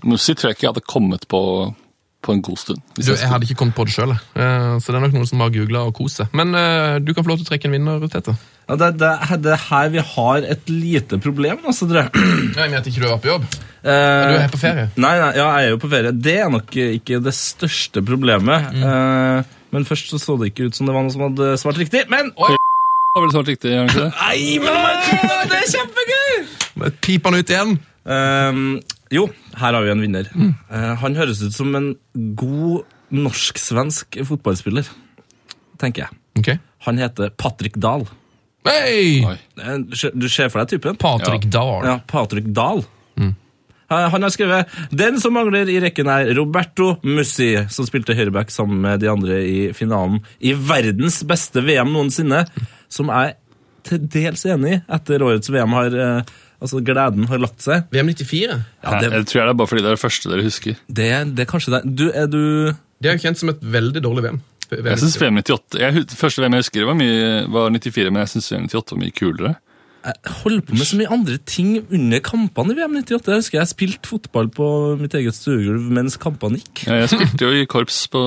Speaker 5: Mussi tror jeg ikke jeg hadde kommet på på en god stund. Hvis
Speaker 1: Du,
Speaker 5: jeg
Speaker 1: jeg hadde
Speaker 5: skulle-
Speaker 1: ikke kommet på det sjøl, så det er nok noen som har googla og kost seg. Men eh, du kan få lov til å trekke en vinner, Tete.
Speaker 4: Ja, det, det, det er her vi har et lite problem, altså, tror jeg.
Speaker 1: Nei, men at ikke du er på jobb.
Speaker 4: Eh,
Speaker 1: Du er på ferie.
Speaker 4: Nei, nei, ja, jeg er jo på ferie. Det er nok ikke det største problemet. Eh, men først så, så det ikke ut som det var noen som hadde svart riktig. Men
Speaker 5: Det var vel svart riktig, gjør det ikke det?
Speaker 4: Nei, men det er kjempegøy!
Speaker 1: Piper han ut igjen?
Speaker 4: Ehm, jo, her har vi en vinner. Eh, han høres ut som en god norsk-svensk fotballspiller, tenker jeg.
Speaker 1: Ok.
Speaker 4: Han heter Patrick Dahl.
Speaker 1: Hei!
Speaker 5: Oi.
Speaker 4: Eh, Du ser- du ser for deg typen?
Speaker 1: Patrick Dahl.
Speaker 4: Ja, Patrick Dahl. Eh, Han har skrevet Den som mangler i rekken er Roberto Mussi, som spilte høyreback sammen med de andre i finalen i verdens beste VM noensinne, som jeg er til dels enig i etter årets VM har eh, Altså, gleden har lagt seg.
Speaker 1: VM 94.
Speaker 4: Ja, det,
Speaker 5: Jeg tror jeg det er bare fordi det er det første dere husker.
Speaker 4: det, det er kanskje det. Du, er du
Speaker 1: Det er jo kjent som et veldig dårlig VM.
Speaker 5: Jeg synes VM 98, jeg, hus- Første VM jeg husker, var, mye, var 94, men jeg syns VM 98 var mye kulere.
Speaker 4: Jeg holder på med så mye andre ting under kampene i VM 98. Jeg husker jeg spilte fotball på mitt eget stuegulv mens kampene gikk.
Speaker 5: Ja, Jeg spilte jo i korps på,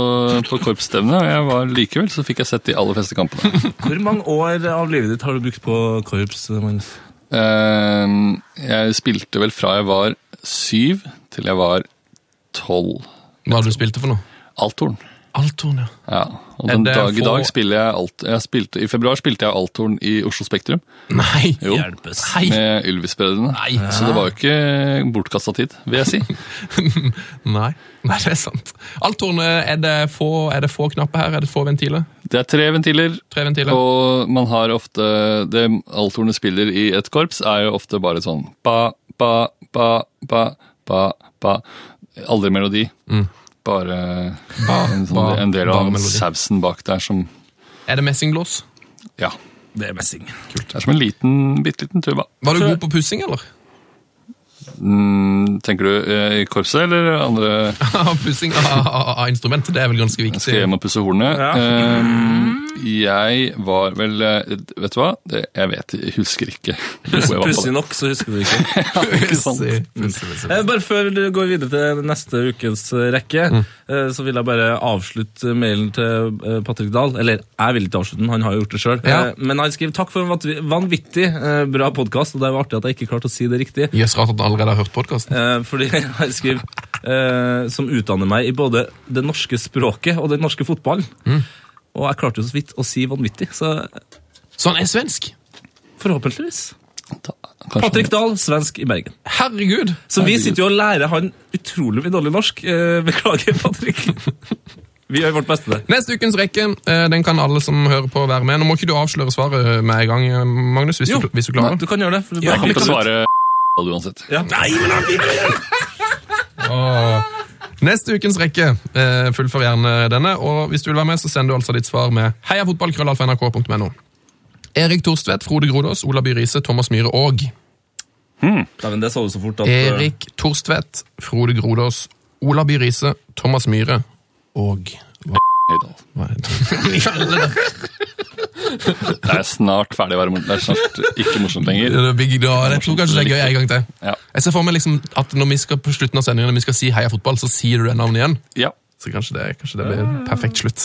Speaker 5: på korpsstevne, og jeg var likevel så fikk jeg sett de aller fleste kampene.
Speaker 4: Hvor mange år av livet ditt har du brukt på korps? Magnus?
Speaker 5: Ehm, Jeg spilte vel fra jeg var syv til jeg var tolv.
Speaker 1: Hva har du spilt for noe?
Speaker 5: Althorn.
Speaker 1: Altorn, ja.
Speaker 5: Ja. Og
Speaker 1: Er
Speaker 5: den
Speaker 1: det
Speaker 5: dag i
Speaker 1: få-
Speaker 5: dag spiller jeg alt jeg spilte, I februar spilte jeg Althorn i Oslo Spektrum
Speaker 1: Nei!
Speaker 5: Jo.
Speaker 4: Hjelpes.
Speaker 1: Hei!
Speaker 5: med Ylvis-brødrene.
Speaker 1: Nei.
Speaker 5: Så det var jo ikke bortkasta tid,
Speaker 1: [laughs]
Speaker 5: vil jeg si.
Speaker 1: Nei. Nei, det er sant. Altorn, er det få, er det få knapper her? Er det få ventiler?
Speaker 5: Det er tre ventiler,
Speaker 1: Tre ventiler.
Speaker 5: og man har ofte Det althornet spiller i et korps, er jo ofte bare sånn ba, ba, ba, ba, ba, ba. Aldri melodi. Bare en, sånn,
Speaker 1: Mm. ba,
Speaker 5: en del
Speaker 1: bare
Speaker 5: av
Speaker 1: melodi.
Speaker 5: sausen bak der som
Speaker 1: Er det messingblås?
Speaker 5: Ja.
Speaker 4: Det er messing.
Speaker 5: Det er som en liten, bitte liten tuba.
Speaker 1: Var du god på pussing, eller? [laughs]
Speaker 5: Mm, tenker du eh, i korpset eller andre
Speaker 1: pussing av, av, av instrumentet, det er vel ganske
Speaker 5: Skal
Speaker 1: viktig.
Speaker 5: hjem og pusse hornet. Ehm, jeg var vel eh, Vet du hva? Det, jeg vet, jeg husker ikke. hvor jeg var på det.
Speaker 4: Pussig nok, så husker du det ikke.
Speaker 1: Pussing.
Speaker 4: Eh, Bare før du går videre til neste ukens eh, rekke, eh, så vil jeg bare avslutte mailen til eh, Patrick Dahl. Eller, jeg vil ikke avslutte den, han har jo gjort det sjøl.
Speaker 1: Ja.
Speaker 4: Men han skriver takk for en vanvi- vanvittig eh, bra podkast, og det er jo artig at jeg ikke klarte å si det riktig.
Speaker 1: Jøss, rart at du allerede har hørt podkasten.
Speaker 4: Eh, fordi [laughs] han skriver eh, som utdanner meg i både det norske språket og den norske fotballen. Og jeg klarte jo så vidt å si vanvittig, så
Speaker 1: Så han er svensk!
Speaker 4: forhåpentligvis.
Speaker 5: Ta- kanskje-
Speaker 4: Patrick Dahl, svensk i Bergen.
Speaker 1: Herregud!
Speaker 4: Så vi sitter jo og lærer han utrolig mye dårlig norsk. Eh,
Speaker 1: [laughs]
Speaker 4: beklager, Patrick. Vi gjør vårt beste der.
Speaker 1: Neste ukens rekke eh, den kan alle som hører på, være med. Nå må ikke du avsløre svaret med en gang, eh, Magnus. hvis, du, hvis du klarer
Speaker 4: Du kan gjøre det. for du
Speaker 5: Jeg
Speaker 4: bare
Speaker 5: kommer til å
Speaker 4: klipper ut.
Speaker 5: svare uansett.
Speaker 4: Ja. Nei, men han vil ikke!
Speaker 1: Neste ukens rekke. eh, Fullfør gjerne denne. Og hvis du vil være med, så send du altså ditt svar med heiafotballkrøllalfa.nrk.no. Erik Torstvedt, Frode Grodås, Ola By Riise, Thomas Myhre og
Speaker 4: Nei, men det sa du så fort at eh,
Speaker 1: Erik Torstvedt, Frode Grodås, Ola By Riise, Thomas Myhre og
Speaker 5: Høydal.
Speaker 1: Hva er [laughs] det?
Speaker 5: Det er snart ferdig å være morsomt. Det er snart ikke morsomt lenger.
Speaker 1: Big Dog. Jeg tror kanskje det er gøy en gang til.
Speaker 5: Ja.
Speaker 1: Jeg ser for meg liksom at når vi skal på slutten av sendingen, når vi skal si heia fotball, så sier du det navnet igjen.
Speaker 5: Ja.
Speaker 1: Så kanskje det, kanskje det blir en perfekt slutt.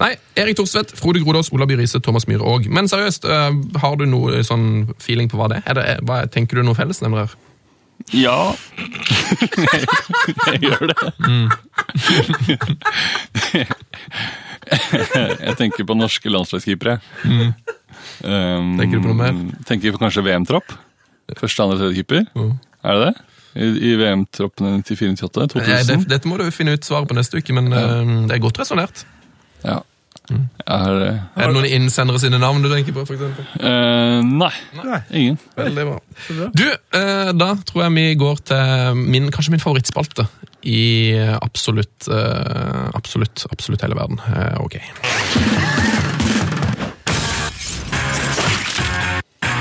Speaker 1: Nei, Erik Thorstvedt, Frode Grodås, Ola By Riise, Thomas Myhre òg. Men seriøst, eh, har du noe sånn feeling på hva det er? er det, hva, tenker du noe fellesnevner her?
Speaker 5: Ja [laughs] Jeg gjør det.
Speaker 1: Mm.
Speaker 5: Jeg tenker på norske landslagskeepere. Um,
Speaker 1: Mm. Tenker du på noe mer?
Speaker 5: Tenker på kanskje VM-tropp. Første, andre, tredje keeper.
Speaker 1: Mm.
Speaker 5: Er det det? I, i VM-troppene til 94-98?
Speaker 1: Eh, det,
Speaker 5: 2000?
Speaker 1: dette må du finne ut svaret på neste uke, men eh, det er godt resonnert. Mm.
Speaker 5: Ja. Jeg har det.
Speaker 1: Er det noen innsendere sine navn du tenker på? For eksempel?
Speaker 5: Eh, nei. Ingen.
Speaker 1: Veldig [laughs] bra. Du, eh, da tror jeg vi går til min, kanskje min favorittspalte i absolutt, eh, absolutt, absolutt hele verden. Eh, Ok.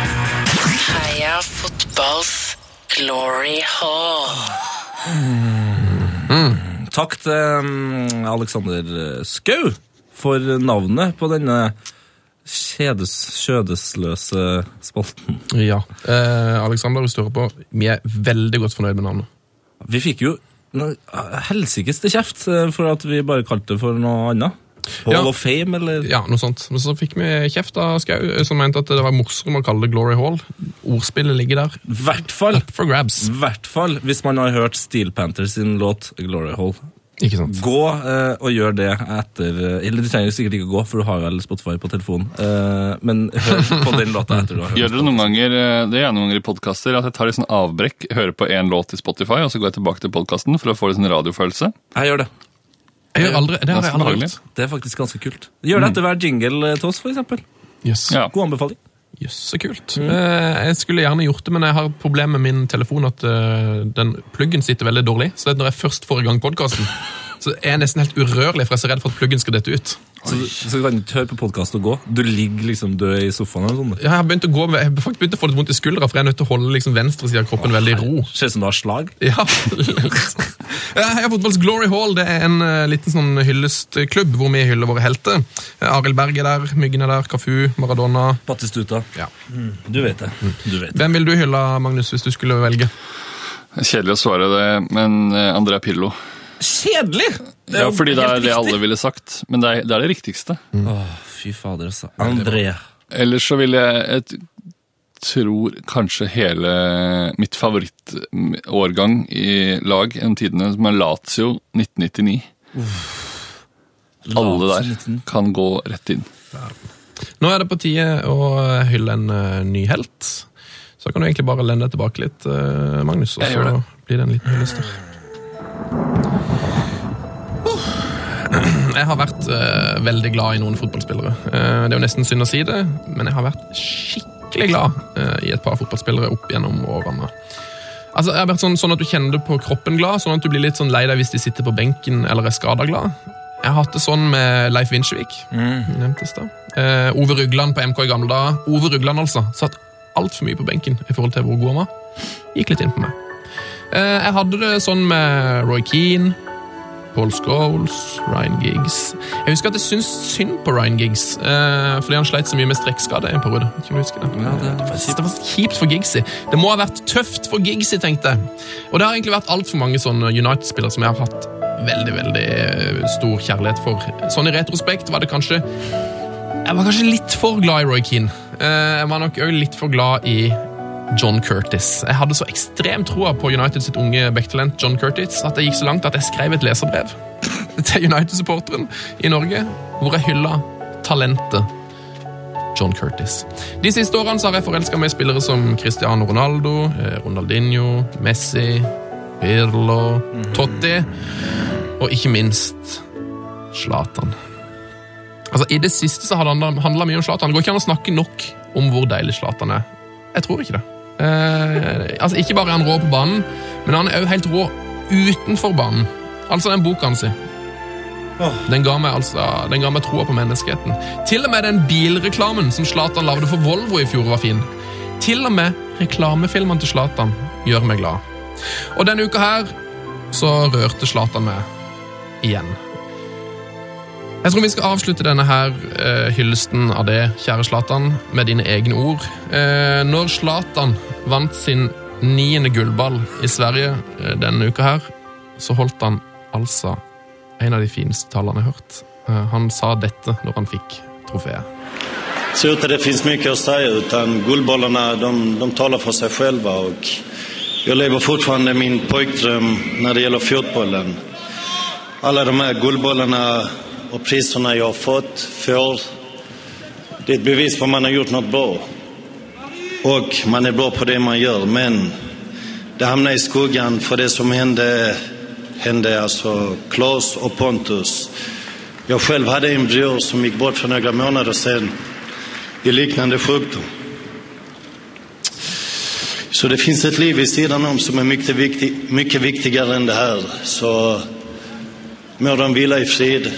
Speaker 12: Heia fotballs glory hall.
Speaker 6: Takk til mm, Alexander Skau for navnet på denne kjedes, kjødesløse spalten.
Speaker 1: Ja. Eh, Alexander, hvis du hører på, vi er veldig godt fornøyd med navnet.
Speaker 6: Vi fikk jo noe helsikes til kjeft eh, for at vi bare kalte det for noe annet. Hall
Speaker 1: Ja.
Speaker 6: of Fame, eller?
Speaker 1: Ja, noe sånt. Men så fikk vi kjeft av Skau, eh, som mente at det var morsommere å kalle det Glory Hall. Ordspillet ligger der.
Speaker 6: I hvert fall.
Speaker 1: For grabs.
Speaker 6: I hvert fall hvis man har hørt Steel Panthers sin låt Glory Hole.
Speaker 1: Ikke sant?
Speaker 6: Gå eh, og gjør det etter eh, Eller du trenger sikkert ikke å gå, for du har vel Spotify på telefonen. Eh, men hør på den låta etter du har hørt.
Speaker 5: Gjør dere noen ganger, eh, Det gjør jeg noen ganger i podkaster at jeg tar litt sånn avbrekk, hører på én låt i Spotify, og så går jeg tilbake til podkasten for å få litt sånn radiofølelse.
Speaker 6: Jeg gjør det.
Speaker 1: Jeg gjør aldri, det har jeg
Speaker 5: Ganske
Speaker 1: aldri
Speaker 5: behagelig.
Speaker 1: gjort.
Speaker 6: Det er faktisk ganske kult. Gjør det
Speaker 4: Mm.
Speaker 6: etter hver jingle eh, til oss, for eksempel.
Speaker 1: Yes.
Speaker 5: Ja.
Speaker 6: God anbefaling.
Speaker 1: Jøsse kult. Eh, jeg skulle gjerne gjort det, men jeg har et problem med min telefon at eh, den pluggen sitter veldig dårlig. Så når jeg først får i gang podkasten, så er jeg nesten helt urørlig, for jeg er så redd for at pluggen skal dette ut.
Speaker 6: Så, så kan du ikke høre på podkast og gå. Du ligger liksom død i sofaen. eller noe sånt.
Speaker 1: Ja, Jeg har begynt å gå, jeg har faktisk begynt å få litt vondt i skuldra, for jeg er nødt til å holde liksom venstre side av kroppen veldig i ro.
Speaker 6: Ser ut som du har slag.
Speaker 1: Ja, litt. Eh, Heia Fotballs Glory Hall det er en eh, liten sånn hyllestklubb hvor vi hyller våre helter. Eh, Arild Berg er der, Myggen er der, Kafu, Maradona.
Speaker 6: Battistuta.
Speaker 1: Ja.
Speaker 6: Mm. Du vet det. Du vet det.
Speaker 1: Hvem vil du hylle, Magnus, hvis du skulle velge?
Speaker 5: Kjedelig å svare det, men eh, Andrea Pillo.
Speaker 6: Kjedelig! Det er
Speaker 5: Ja,
Speaker 6: jo
Speaker 5: fordi det er
Speaker 6: helt
Speaker 5: det
Speaker 6: riktig.
Speaker 5: alle ville sagt, men det er det, er det riktigste.
Speaker 6: Åh, fy fader, altså. André.
Speaker 5: Ellers så vil jeg, jeg t- tror kanskje hele mitt favorittårgang i lag gjennom tidene, som er Lazio 1999. Alle
Speaker 6: Lazio
Speaker 5: der
Speaker 6: 1999.
Speaker 5: kan gå rett inn.
Speaker 1: Nå er det på tide å eh, hylle en eh, ny helt. Så kan du egentlig bare lene deg tilbake litt, eh, Magnus, og
Speaker 5: Jeg gjør
Speaker 1: så
Speaker 5: det.
Speaker 1: blir det en liten hyllest her. Jeg har vært eh, veldig glad i noen fotballspillere. Eh, det er jo nesten synd å si det, men jeg har vært skikkelig glad eh, i et par fotballspillere opp gjennom årene. Altså, jeg har vært sånn, sånn at du kjenner det på kroppen glad, sånn at du blir litt sånn lei deg hvis de sitter på benken eller er skada glad. Jeg har hatt det sånn med Leif Vinsjevik.
Speaker 5: Mm.
Speaker 1: nevnte i stad. Eh, Ove Rugland på MK i gamle dager. Ove Rugland altså, satt altfor mye på benken i forhold til hvor god han var. Gikk litt inn på meg. Eh, jeg hadde det sånn med Roy Keane, Paul Scholes, Ryan Giggs Jeg husker at jeg syntes synd på Ryan Giggs, eh, fordi han sleit så mye med strekkskade i en periode. Kan du huske det? det, var, det var kjipt for Giggsy. Det må ha vært tøft for Giggsy, tenkte jeg. Og det har egentlig vært altfor mange sånne United-spillere som jeg har hatt veldig, veldig eh, stor kjærlighet for. Sånn i retrospekt var det kanskje jeg var kanskje litt for glad i Roy Keane. Eh, Jeg var nok også litt for glad i John Curtis. Jeg hadde så ekstrem troa på United sitt unge backtalent John Curtis at jeg gikk så langt at jeg skrev et leserbrev [laughs] til United-supporteren i Norge hvor jeg hylla talentet John Curtis. De siste årene så har jeg forelska meg i spillere som Cristiano Ronaldo, eh, Ronaldinho, Messi, Pirlo, Totti og ikke minst Zlatan. Altså, I det siste så har det handla- handla mye om Zlatan. Det går ikke an å snakke nok om hvor deilig Zlatan er. Jeg tror ikke det. Eh, altså, Ikke bare er han rå på banen, men han er òg helt rå utenfor banen. Altså den boka hans. Den ga meg altså, den ga meg troa på menneskeheten. Til og med den bilreklamen som Zlatan lagde for Volvo i fjor, var fin. Til og med reklamefilmene til Zlatan gjør meg glad. Og denne uka her så rørte Zlatan meg igjen. Jeg tror vi skal avslutte denne her eh, hyllesten av det, kjære Zlatan, med dine egne ord. Eh, når Zlatan vant sin niende gullball i Sverige eh, denne uka her, så holdt han altså en av de fineste tallene jeg har hørt. Eh, Han sa dette når han fikk trofeet.
Speaker 13: ser ut att det finns mycket att säga utan Guldbollarna de, de talar för sig själva och jag lever fortfarande min pojkdröm när det gäller fotbollen. Alla de här Guldbollarna och priserna jag har fått, får, det är ett bevis på att man har gjort något bra. Och man är bra på det man gör men det hamnar i skuggan för det som hände, hände alltså Claes och Pontus. Jag själv hade en bror som gick bort för några månader sedan i liknande sjukdom. Så det finns ett liv vid sidan om som är mycket, viktig, mycket viktigare än det här. Så må de vila i frid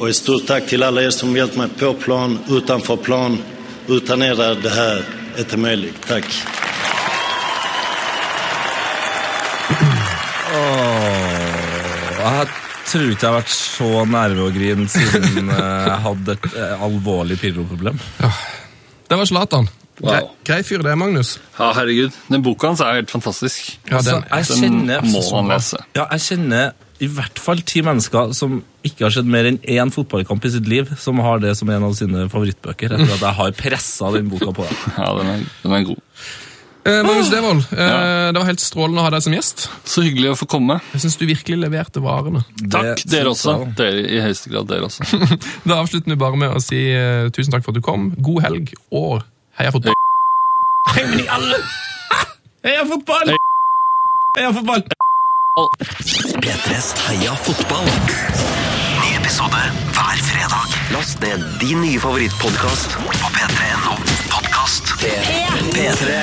Speaker 13: och ett stort tack till alla er som hjälpt mig på plan, utanför plan. Utan er är det här inte möjligt. Tack.
Speaker 4: Jeg tror ikke jeg har vært så nærme å grine siden eh, jeg hadde et eh, alvorlig pirroproblem.
Speaker 1: Det var Zlatan.
Speaker 5: Wow.
Speaker 1: Grei, grei fyr det, Magnus.
Speaker 5: Ja, herregud. Den boka hans er helt fantastisk.
Speaker 1: Ja, den,
Speaker 4: Jeg
Speaker 5: Den
Speaker 4: kjenner
Speaker 5: må man lese.
Speaker 4: Ja, jeg kjenner i hvert fall ti mennesker som ikke har sett mer enn én fotballkamp i sitt liv, som har det som en av sine favorittbøker, etter at jeg har pressa den boka på deg.
Speaker 5: Ja, den er, den er god.
Speaker 1: eh, Magnus Devold, eh, det var helt strålende å ha deg som gjest.
Speaker 5: Så hyggelig å få komme.
Speaker 1: Jeg syns du virkelig leverte varene.
Speaker 5: Takk,
Speaker 4: Det synes
Speaker 5: dere også.
Speaker 4: jeg også.
Speaker 5: Dere, I høyeste grad dere også.
Speaker 1: [laughs] Da avslutter vi bare med å si eh, tusen takk for at du kom. God helg og heia fotball.
Speaker 4: [laughs] Heia fotball! Heia fotball!
Speaker 3: P3s Heia fotball. Ny episode hver fredag. Last ned din nye favorittpodkast på p3.no. Podkast P3.